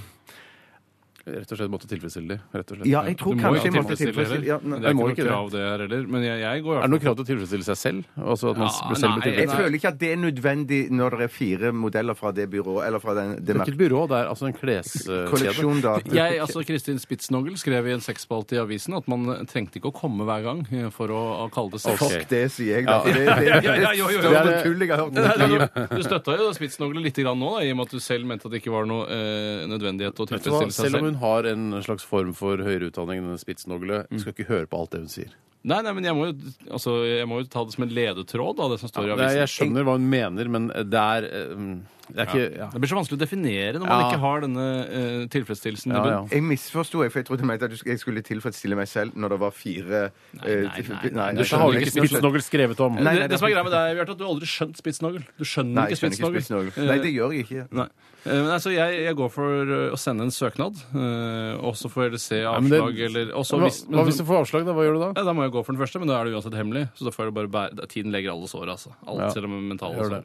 Speaker 4: Rett og slett måtte tilfredsstille de. Rett og slett.
Speaker 6: Ja, jeg tror
Speaker 5: Du må jo
Speaker 6: kanskje jeg måtte
Speaker 5: tilfredsstille
Speaker 6: tilfredsstille ja,
Speaker 5: dere.
Speaker 6: nei.
Speaker 5: Det er
Speaker 4: Jeg må
Speaker 5: ikke noe
Speaker 4: ikke det.
Speaker 5: krav, det her heller. Men jeg, jeg går i hvert
Speaker 4: Er det noe krav til å tilfredsstille seg selv? Altså at man
Speaker 5: Ja,
Speaker 4: blir selv
Speaker 5: nei,
Speaker 4: blir
Speaker 6: Jeg
Speaker 4: tilfredsstilt?
Speaker 6: føler ikke at det er nødvendig når det er fire modeller fra det byrået, eller fra den, det
Speaker 4: Det er ikke
Speaker 6: merket.
Speaker 4: et byrå, det er altså en kleskjede.
Speaker 6: Kolleksjon, da.
Speaker 5: jeg, altså Kristin Spitsnogel skrev i en sexspalte i avisen at man trengte ikke å komme hver gang eh, for å å kalle det sex.
Speaker 4: Ok.
Speaker 6: Fuck det, sier jeg da. for Det, det,
Speaker 5: Ja,
Speaker 6: det,
Speaker 5: ja, ja, jo, jo, jo.
Speaker 6: er det største tullet jeg har hørt.
Speaker 5: Nei, nei, nei, Du støtta jo Spitsnogel litt grann nå, da, i og med at du selv mente at det ikke var noe eh, nødvendighet å
Speaker 4: Vet du hva?
Speaker 5: tilfredsstille seg
Speaker 4: Selv om
Speaker 5: selv.
Speaker 4: hun har en slags form for høyere utdanning, denne spitsnogle,
Speaker 5: Mm.
Speaker 4: skal ikke høre på alt det hun sier.
Speaker 5: Nei, nei, men jeg må, jo, altså, jeg må jo ta det som en ledetråd, da, det som står i
Speaker 4: Det er,
Speaker 5: avisen.
Speaker 4: jeg skjønner hva hun mener, men det er eh, Det er ikke ja.
Speaker 5: Det blir så vanskelig å definere når man
Speaker 4: Ja.
Speaker 5: ikke har denne eh, tilfredsstillelsen. i
Speaker 4: Ja, ja.
Speaker 5: bunnen.
Speaker 6: Jeg misforsto, jeg, for jeg trodde du mente at du sk- jeg skulle tilfredsstille meg selv når det var fire eh,
Speaker 5: nei, nei, nei.
Speaker 6: nei,
Speaker 5: Du
Speaker 6: nei,
Speaker 4: Det har jo
Speaker 5: skjønner
Speaker 4: ikke
Speaker 5: ikke spitsnogle.
Speaker 4: spitsnogel skrevet om.
Speaker 6: Nei, nei,
Speaker 5: det,
Speaker 6: det
Speaker 5: det
Speaker 6: er
Speaker 5: som er greia med deg, Bjarte, at du har aldri skjønt spitsnogel. Du skjønner
Speaker 6: Nei, jeg
Speaker 5: ikke Eh,
Speaker 6: skjønner ikke
Speaker 5: spitsnogel.
Speaker 6: spitsnogel. Nei, det gjør jeg ikke.
Speaker 5: Nei. Eh, Men altså, jeg, jeg går for eh, å sende en søknad, eh, og så får dere se
Speaker 4: men det-
Speaker 5: avslag eller og så
Speaker 4: Hva,
Speaker 5: hvis- men
Speaker 4: hva hvis
Speaker 5: så-
Speaker 4: du får avslag, da? Hva gjør du da?
Speaker 5: ja, Da må jeg gå for den første, men da er det uansett hemmelig. Så da får jeg bare bære, da- Tiden legger alle sår, altså. Alt,
Speaker 4: Ja.
Speaker 5: Selv om mentale
Speaker 4: Gjør
Speaker 5: sår.
Speaker 4: det.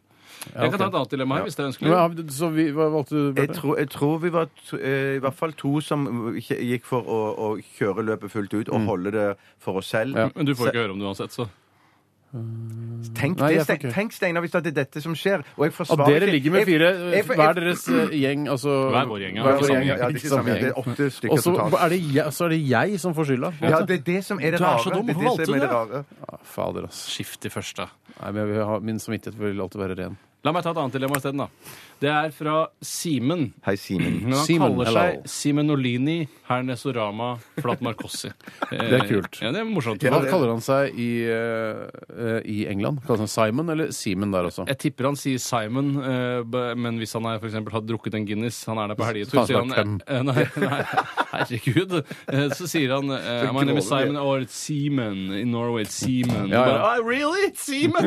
Speaker 4: Ja,
Speaker 5: Jeg kan ta
Speaker 4: ok.
Speaker 5: et annet dilemma her, hvis det er ønskelig.
Speaker 4: Men, har- så vi, hva valgte du?
Speaker 6: Jeg
Speaker 4: Bjarte?
Speaker 6: tror, jeg tror vi var t eh, i hvert fall to som ikke- gikk for å, å kjøre løpet fullt ut og holde det for oss selv.
Speaker 5: Mm. Men du får ikke høre om det uansett, så.
Speaker 6: Tenk,
Speaker 4: Nei, jeg får
Speaker 6: det, Ste-
Speaker 4: ikke.
Speaker 6: tenk Steinar, hvis det er dette som skjer. Og jeg
Speaker 4: At
Speaker 6: forsvarer
Speaker 4: dere
Speaker 6: ikke-
Speaker 4: ligger med
Speaker 6: jeg-
Speaker 4: fire,
Speaker 6: jeg- jeg-
Speaker 4: hver deres eh, gjeng, altså
Speaker 5: Hver vår gjeng, ja.
Speaker 4: hver
Speaker 6: Ja,
Speaker 4: vår
Speaker 6: samme
Speaker 4: gjeng,
Speaker 6: gjeng. Ja, det er ikke samme gjeng. Det er åtte stykker
Speaker 4: Og så
Speaker 6: totalt.
Speaker 4: er, det jeg- så er det jeg som får skylda. på en
Speaker 6: Ja,
Speaker 4: måte.
Speaker 6: det er det som er det
Speaker 5: Du er
Speaker 6: rare.
Speaker 5: så dum.
Speaker 6: det er
Speaker 5: Hvorfor
Speaker 6: det som er
Speaker 5: valgte
Speaker 6: det rare.
Speaker 4: Ja, Fader, altså.
Speaker 5: Skift til første.
Speaker 4: Nei, men jeg vil ha, min samvittighet vil alltid være ren.
Speaker 5: La meg ta et annet dilemma isteden, da. Det er fra Simen.
Speaker 6: Hei, Simen.
Speaker 5: Men han
Speaker 4: Simen,
Speaker 5: kaller
Speaker 4: hello.
Speaker 5: seg Simenolini Hernesorama Flatmarkossi. Eh,
Speaker 4: Det er kult.
Speaker 5: Ja, det er morsomt.
Speaker 4: Hva kaller han seg i, eh, eh, i England? Kaller han seg Simon eller Seaman der også?
Speaker 5: Jeg tipper han sier Simon, eh, b- men hvis han er, for eksempel, har drukket en Guinness Han er der på helgetur,
Speaker 4: Så
Speaker 5: sier
Speaker 4: kan
Speaker 5: han
Speaker 4: han
Speaker 5: eh, Nei, nei herregud. Eh, Så sier han eh, My name is Simon, or it's Seaman in Norway. It's Seaman.
Speaker 4: Ja, ja.
Speaker 5: Bare, oh, really? It's Seaman?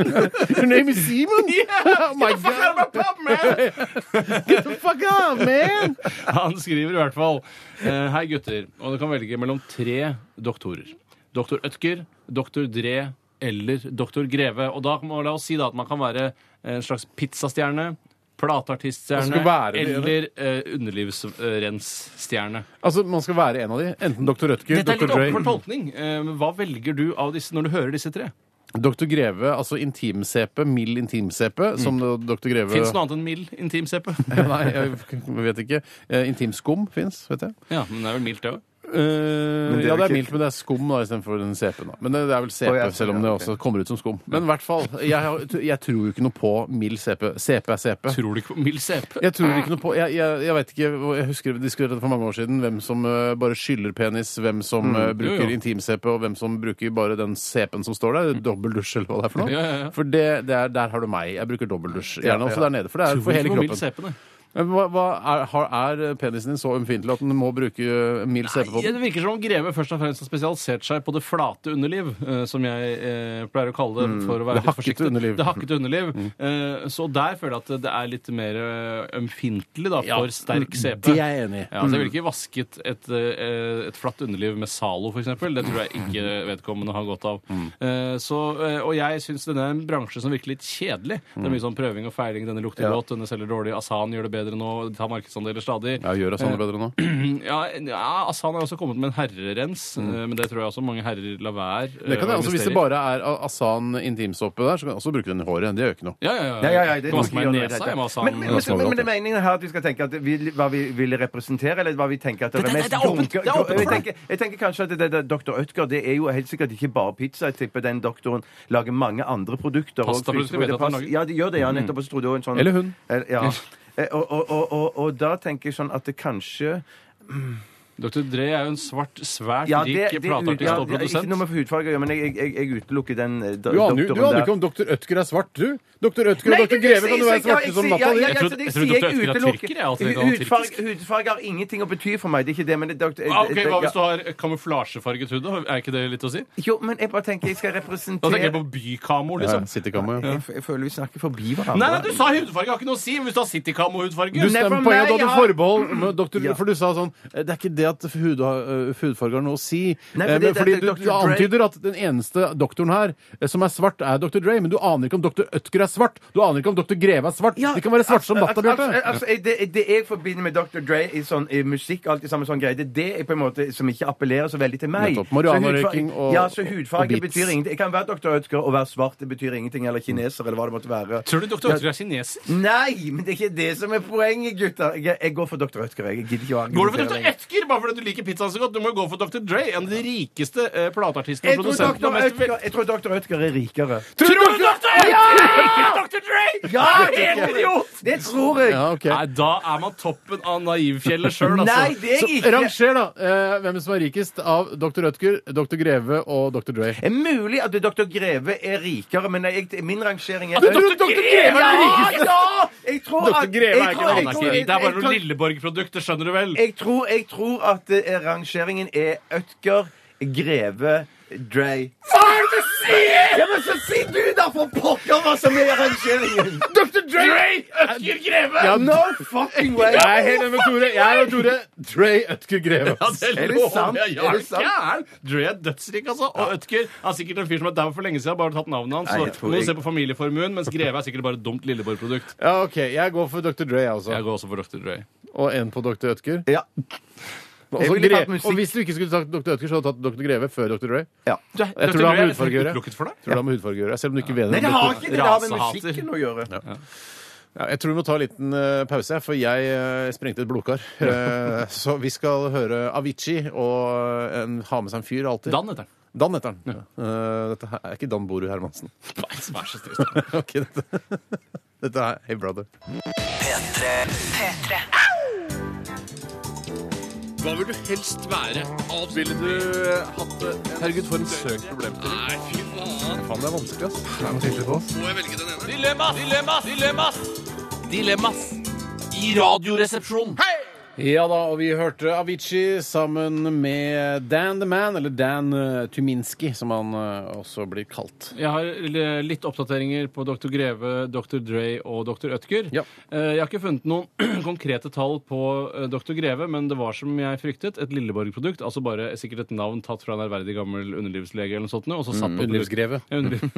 Speaker 4: Your name is Seaman? Yeah! Oh my God! Get the fuck out, man!
Speaker 5: Han skriver i hvert fall eh, Hei, gutter. Og du kan velge mellom tre doktorer. Doktor Ødker, doktor Dre eller doktor Greve. Og da må la oss si da at man kan være en slags pizzastjerne.
Speaker 4: Man
Speaker 5: Plateartiststjerne
Speaker 4: skal være
Speaker 5: eller
Speaker 4: det,
Speaker 5: eh, underlivsrensstjerne.
Speaker 4: Altså, Man skal være en av de. Enten Dr. Rødtger,
Speaker 5: Dette er
Speaker 4: Dr.
Speaker 5: litt
Speaker 4: Dre
Speaker 5: opp for tolkning. Eh, men hva velger du av disse når du hører disse tre?
Speaker 4: Dr. Greve, altså intim-CP, mild intim-CP, som Dr. Greve
Speaker 5: Fins noe annet enn mild intim-CP?
Speaker 4: Nei, jeg vet ikke. Eh, Intimskum fins, vet jeg.
Speaker 5: Ja, men det er vel mildt, det òg.
Speaker 4: Eh,
Speaker 6: det
Speaker 4: ja,
Speaker 6: er jo
Speaker 4: det er
Speaker 6: ikke-
Speaker 4: mildt, men det er skum da, istedenfor den CP-en. da. Men eh, det, det er vel CP,
Speaker 6: Å, ja,
Speaker 4: selv om
Speaker 6: ja,
Speaker 4: det
Speaker 6: ok.
Speaker 4: også kommer ut som skum. Men i hvert fall, jeg, har- jeg tror jo ikke noe på mild CP. CP er CP.
Speaker 5: Tror du ikke på mild CP?
Speaker 4: Jeg tror ikke noe på Jeg, jeg, jeg vet ikke, og jeg husker vi diskuterte det for mange år siden, hvem som eh, bare skyller penis, hvem som
Speaker 5: Mm.
Speaker 4: eh,
Speaker 5: Jo,
Speaker 4: bruker
Speaker 5: jo.
Speaker 4: intim-CP, og hvem som bruker bare den CP-en som står der. Dobbeldusj, eller hva det er for noe.
Speaker 5: Ja, ja, ja.
Speaker 4: For det, det er, der har du meg. Jeg bruker dobbeldusj. Gjerne også der nede, for det er
Speaker 5: Tror
Speaker 4: for
Speaker 5: ikke
Speaker 4: hele
Speaker 5: på mild
Speaker 4: kroppen.
Speaker 5: CP, nei.
Speaker 4: Men Hva, hva er, har- er penisen din så ømfintlig at den må bruke eh, mild CP på
Speaker 5: Ja,
Speaker 4: den?
Speaker 5: det virker som om Greve først og fremst har spesialisert seg på det flate underliv, eh, som jeg eh, pleier å kalle det. for å være
Speaker 4: Mm, Det
Speaker 5: litt
Speaker 4: hakkete
Speaker 5: forsiktig.
Speaker 4: underliv. Mm.
Speaker 5: Det hakkete underliv. Eh, så der føler jeg at det er litt mer eh, ømfintlig da,
Speaker 4: Ja, mm,
Speaker 5: for sterk CP.
Speaker 4: det er jeg enig i. Mm.
Speaker 5: Ja, altså, jeg ville ikke vasket et, eh, et flatt underliv med Zalo, f.eks. Det tror jeg ikke
Speaker 4: Mm.
Speaker 5: vedkommende har godt av. Eh, så, eh, og jeg syns denne er en bransje som virker litt kjedelig.
Speaker 4: Mm.
Speaker 5: Det er mye sånn prøving og feiling. Denne lukter godt, denne selger dårlig. Asan gjør det bedre nå. De tar markedsandeler stadig.
Speaker 4: Ja, gjør Asane bedre nå?
Speaker 5: Ja, ja Asan har også kommet med en herrerens,
Speaker 6: Mm.
Speaker 5: eh, men det tror jeg også mange herrer lar være. eh,
Speaker 4: Det kan jeg, altså, hvis det bare er Asan intimsåpe der, så kan jeg også bruke den i håret. Det gjør ikke noe.
Speaker 5: Ja, ja, ja.
Speaker 6: Ja, ja, ja, det
Speaker 5: Kan vaske meg i
Speaker 6: det-
Speaker 5: nesa, jeg, med Asan.
Speaker 6: men, men, men, men, men det er meningen her at vi skal tenke at vi, hva vi vil representere, eller hva vi tenker at det
Speaker 5: Det-
Speaker 6: er
Speaker 5: det-
Speaker 6: mest
Speaker 5: det er åpent.
Speaker 6: dunke-
Speaker 5: Det er åpent.
Speaker 6: Jeg tenker, jeg tenker kanskje at det, det, det- Dr. Ødger det er jo helt sikkert ikke bare pizza. Jeg tipper den doktoren lager mange andre produkter. og-
Speaker 5: Pastaprodukter vet jeg at han lager.
Speaker 6: Ja, de gjør det, ja, nettopp. Og så trodde jeg også en sånn...
Speaker 4: Eller hun.
Speaker 6: Eh, Ja. Eh, Og, og, og, og, og da tenker jeg sånn at det kanskje
Speaker 5: Dr. Dre er jo en svart, svært
Speaker 6: Ja, det,
Speaker 5: rik
Speaker 6: det,
Speaker 5: plateartist
Speaker 6: ja,
Speaker 5: og
Speaker 6: det er ikke
Speaker 5: produsent.
Speaker 6: noe med hudfarge å gjøre, men jeg, jeg, jeg utelukker den eh, do-
Speaker 4: Du aner jo-
Speaker 6: doktoren
Speaker 4: du aner
Speaker 6: der.
Speaker 4: jo ikke om Dr. Ødker er svart, du! Dr. Ødker
Speaker 6: Nei,
Speaker 4: og Dr.
Speaker 6: det-
Speaker 4: Greve
Speaker 6: det-
Speaker 4: kan jo være
Speaker 6: jeg- jeg-
Speaker 4: svarte som natta
Speaker 6: jeg-
Speaker 4: di!
Speaker 5: Jeg trodde-
Speaker 6: jeg- det
Speaker 5: jeg trodde
Speaker 6: sier
Speaker 5: doktor
Speaker 6: jeg
Speaker 5: Ødker er
Speaker 6: utelukker.
Speaker 5: tyrker, jeg, at det kan være
Speaker 6: Hudfarge,
Speaker 5: tyrkisk.
Speaker 6: hudfarge har ingenting å bety for meg. Det er ikke det, men det er doktor...
Speaker 5: Ah, ok, Hva hvis du har kamuflasjefarget hud? da? Er ikke det litt å si?
Speaker 6: Jo, men jeg bare tenker jeg skal
Speaker 5: Da
Speaker 6: representere
Speaker 5: tenker jeg på bykamo,
Speaker 4: Ja,
Speaker 5: liksom.
Speaker 4: Citykammer, ja.
Speaker 6: jeg, f- jeg føler vi snakker forbi hverandre.
Speaker 5: Nei, nei, du sa hudfarge har ikke noe å si! men Hvis du har Citycamo-hudfarge
Speaker 4: Du
Speaker 6: Nei,
Speaker 4: stemmer
Speaker 6: for
Speaker 4: poenget
Speaker 6: meg,
Speaker 4: at du hadde
Speaker 6: jeg-
Speaker 4: forbehold, med doktor,
Speaker 6: Ja.
Speaker 4: for du sa sånn Det er ikke det det at hud, har- øh, hudfarge har noe å si.
Speaker 6: Nei,
Speaker 4: Eh, men
Speaker 6: fordi det-
Speaker 4: fordi
Speaker 6: det-
Speaker 4: du,
Speaker 6: Dr.
Speaker 4: du
Speaker 6: Dre-
Speaker 4: antyder at den eneste doktoren her eh, som er svart, er Dr. Dre, men du aner ikke om Dr. Ødger er svart. Du aner ikke om Dr. Greve er svart. De kan være svarte som natta,
Speaker 6: altså, altså,
Speaker 4: Bjarte.
Speaker 6: altså, det, det jeg forbinder med Dr. Dre i, sånn, i musikk, alt i samme sånn greie, det er det jeg på en måte som ikke appellerer så veldig til meg.
Speaker 4: Nettopp. Marihuana-røyking
Speaker 6: Så hudfarge-
Speaker 4: og-
Speaker 6: Ja, så
Speaker 4: og- og
Speaker 6: hudfarge
Speaker 4: beats.
Speaker 6: betyr ingenting. Jeg kan være Dr. Ødger og være svart, det betyr ingenting. Eller kineser, eller hva det måtte være.
Speaker 5: Tror du doktor Ødger er kineser?
Speaker 6: Nei, men det er ikke det som er poenget, gutter. Jeg, jeg går for Dr. Ødger. Jeg gidder ikke å
Speaker 5: Går du for
Speaker 6: argumentere
Speaker 5: Dr.
Speaker 6: lenger.
Speaker 5: Ødger bare fordi du liker pizzaen så godt? Du må jo gå for Dr. Dre, en av de rikeste eh, plateartistene
Speaker 6: Jeg
Speaker 5: og
Speaker 6: tror
Speaker 5: produsentene.
Speaker 6: Dr.
Speaker 5: og mest vel-
Speaker 6: Ødger- Jeg tror Dr. Ødger er rikere.
Speaker 5: Tror du Dr. Ødger liker Dr. Dre?!
Speaker 6: Ja,
Speaker 5: helt idiot!
Speaker 6: Det tror jeg.
Speaker 4: Ja, ok.
Speaker 5: Nei, da er man toppen av naivfjellet sjøl, altså.
Speaker 6: Nei, det er
Speaker 4: Så
Speaker 6: jeg ikke.
Speaker 4: ranger, da, eh, hvem som er rikest av Dr. Ødger, Dr. Greve og Dr. Dre.
Speaker 6: Det er mulig at Dr. Greve er rikere, men jeg, min rangering er
Speaker 4: Greve er den rikeste!
Speaker 6: Ja! Jeg tror
Speaker 4: Dr.
Speaker 6: at
Speaker 4: Greve er
Speaker 6: jeg
Speaker 4: ikke det.
Speaker 6: tror- jeg
Speaker 5: Han er
Speaker 6: tror-
Speaker 5: ikke rik. Det er bare
Speaker 6: jeg
Speaker 5: noen
Speaker 6: tror-
Speaker 5: Lilleborg-produkter, skjønner du vel?
Speaker 6: Jeg tror, jeg tror at eh, rangeringen er Ødger, Greve, Dre. Hva er det du sier?! Ja, men så Si du, da, for pokker, hva som er rangeringen!
Speaker 4: Dr. Dre!
Speaker 5: Ødger Greve!
Speaker 4: Ja,
Speaker 6: No fucking way!
Speaker 4: Jeg er helt enig med Tore. Jeg er Tore. Dre Ødger Greve.
Speaker 5: Ja, det
Speaker 6: Er det
Speaker 5: lover
Speaker 6: sant?
Speaker 5: jeg. Ja,
Speaker 6: Er
Speaker 5: er
Speaker 6: det sant?
Speaker 5: gæren? Dre er dødsrik, altså. Og Ødker er sikkert en fyr som er dau for lenge siden, bare tatt navnet hans.
Speaker 6: Nei, jeg
Speaker 5: Så
Speaker 6: tror
Speaker 5: må du
Speaker 6: jeg-
Speaker 5: se på familieformuen, mens Greve er sikkert bare et dumt Lilleborg-produkt.
Speaker 4: Ja, ok. Jeg går for Dr. Dre, jeg også.
Speaker 5: Jeg går også for Dr. Dre.
Speaker 4: Og en på Dr. Ødger.
Speaker 6: Ja.
Speaker 4: Og,
Speaker 6: Jeg ville
Speaker 4: Gre-
Speaker 6: tatt musikk.
Speaker 4: og hvis du ikke skulle tatt Dr. Ødger, så hadde du tatt Dr. Greve før Dr. Dre.
Speaker 6: ja.
Speaker 4: Jeg tror det har med hudfarge å gjøre.
Speaker 5: Utelukket for deg?
Speaker 4: Tror det har med hudfarge å gjøre, selv om du ikke vet
Speaker 6: Nei, det
Speaker 4: om
Speaker 6: har
Speaker 4: Dr.
Speaker 6: ikke det, det har med
Speaker 5: Rasehater.
Speaker 6: musikken å gjøre.
Speaker 4: Ja, jeg tror vi må ta en liten eh, pause, for jeg eh, sprengte et blodkar. Eh, så vi skal høre Avicii og eh, en, ha med seg en fyr alltid.
Speaker 5: Dan heter han.
Speaker 4: Dan heter han. Eh, dette her er ikke Dan Borud Hermansen.
Speaker 5: Nei, vær så snill.
Speaker 4: ok, dette. dette er Hey Brother.
Speaker 2: P3
Speaker 1: Hva vil du helst være? Ville du eh, hatt det? Herregud, for en søk problemstilling. Nei, fy faen.
Speaker 4: Faen, det er vanskelig, ass.
Speaker 1: Må jeg velge den ene?
Speaker 7: Dilemmas! Dilemmas! Dilemmas! Dilemmas i Radioresepsjonen.
Speaker 4: Ja da, og vi hørte Avicii sammen med Dan the Man, eller Dan eh, Tyminski, som han eh, også blir kalt.
Speaker 5: Jeg har l- litt oppdateringer på Dr. Greve, Dr. Dre og Dr. Ødker.
Speaker 4: Ja.
Speaker 5: Eh, Jeg har ikke funnet noen konkrete tall på eh, Dr. Greve, men det var som jeg fryktet, et Lilleborg-produkt. Altså bare sikkert et navn tatt fra en ærverdig gammel underlivslege eller noe sånt. nå, Og så satt på et produkt.
Speaker 4: Underlivsgreve.
Speaker 5: Ja, underliv-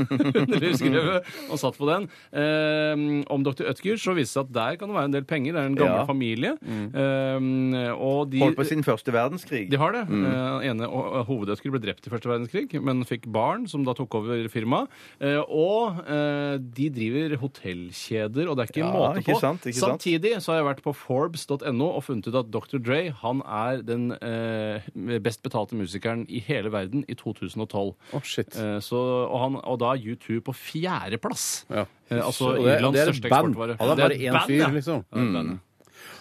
Speaker 5: Underlivsgreve og satt på den. Eh, om Dr. Ødker så viste det seg at der kan det være en del penger. Det er en gammel
Speaker 6: Ja.
Speaker 5: familie. Eh, og de
Speaker 6: Holdt på siden første verdenskrig.
Speaker 5: de har det. Mm. ene ho- hovedødsker ble drept i første verdenskrig, men fikk barn, som da tok over firmaet. Eh, og eh, de driver hotellkjeder, og det er ikke
Speaker 6: Ja,
Speaker 5: måte på.
Speaker 6: ikke sant, ikke sant.
Speaker 5: Samtidig så har jeg vært på Forbes.no og funnet ut at Dr. Dre han er den eh, best betalte musikeren i hele verden i 2012.
Speaker 4: Å, shit.
Speaker 5: Eh, så, og, han, og da er U2 på fjerdeplass.
Speaker 4: Ja.
Speaker 5: Eh, altså
Speaker 4: Og det er- og
Speaker 5: Irlands
Speaker 4: det er et
Speaker 5: største
Speaker 4: band.
Speaker 5: eksportvare.
Speaker 4: Ja, det er bare
Speaker 5: et
Speaker 4: én
Speaker 5: band,
Speaker 4: fyr,
Speaker 5: ja.
Speaker 4: liksom.
Speaker 5: Ja, det er et band, ja. Mm.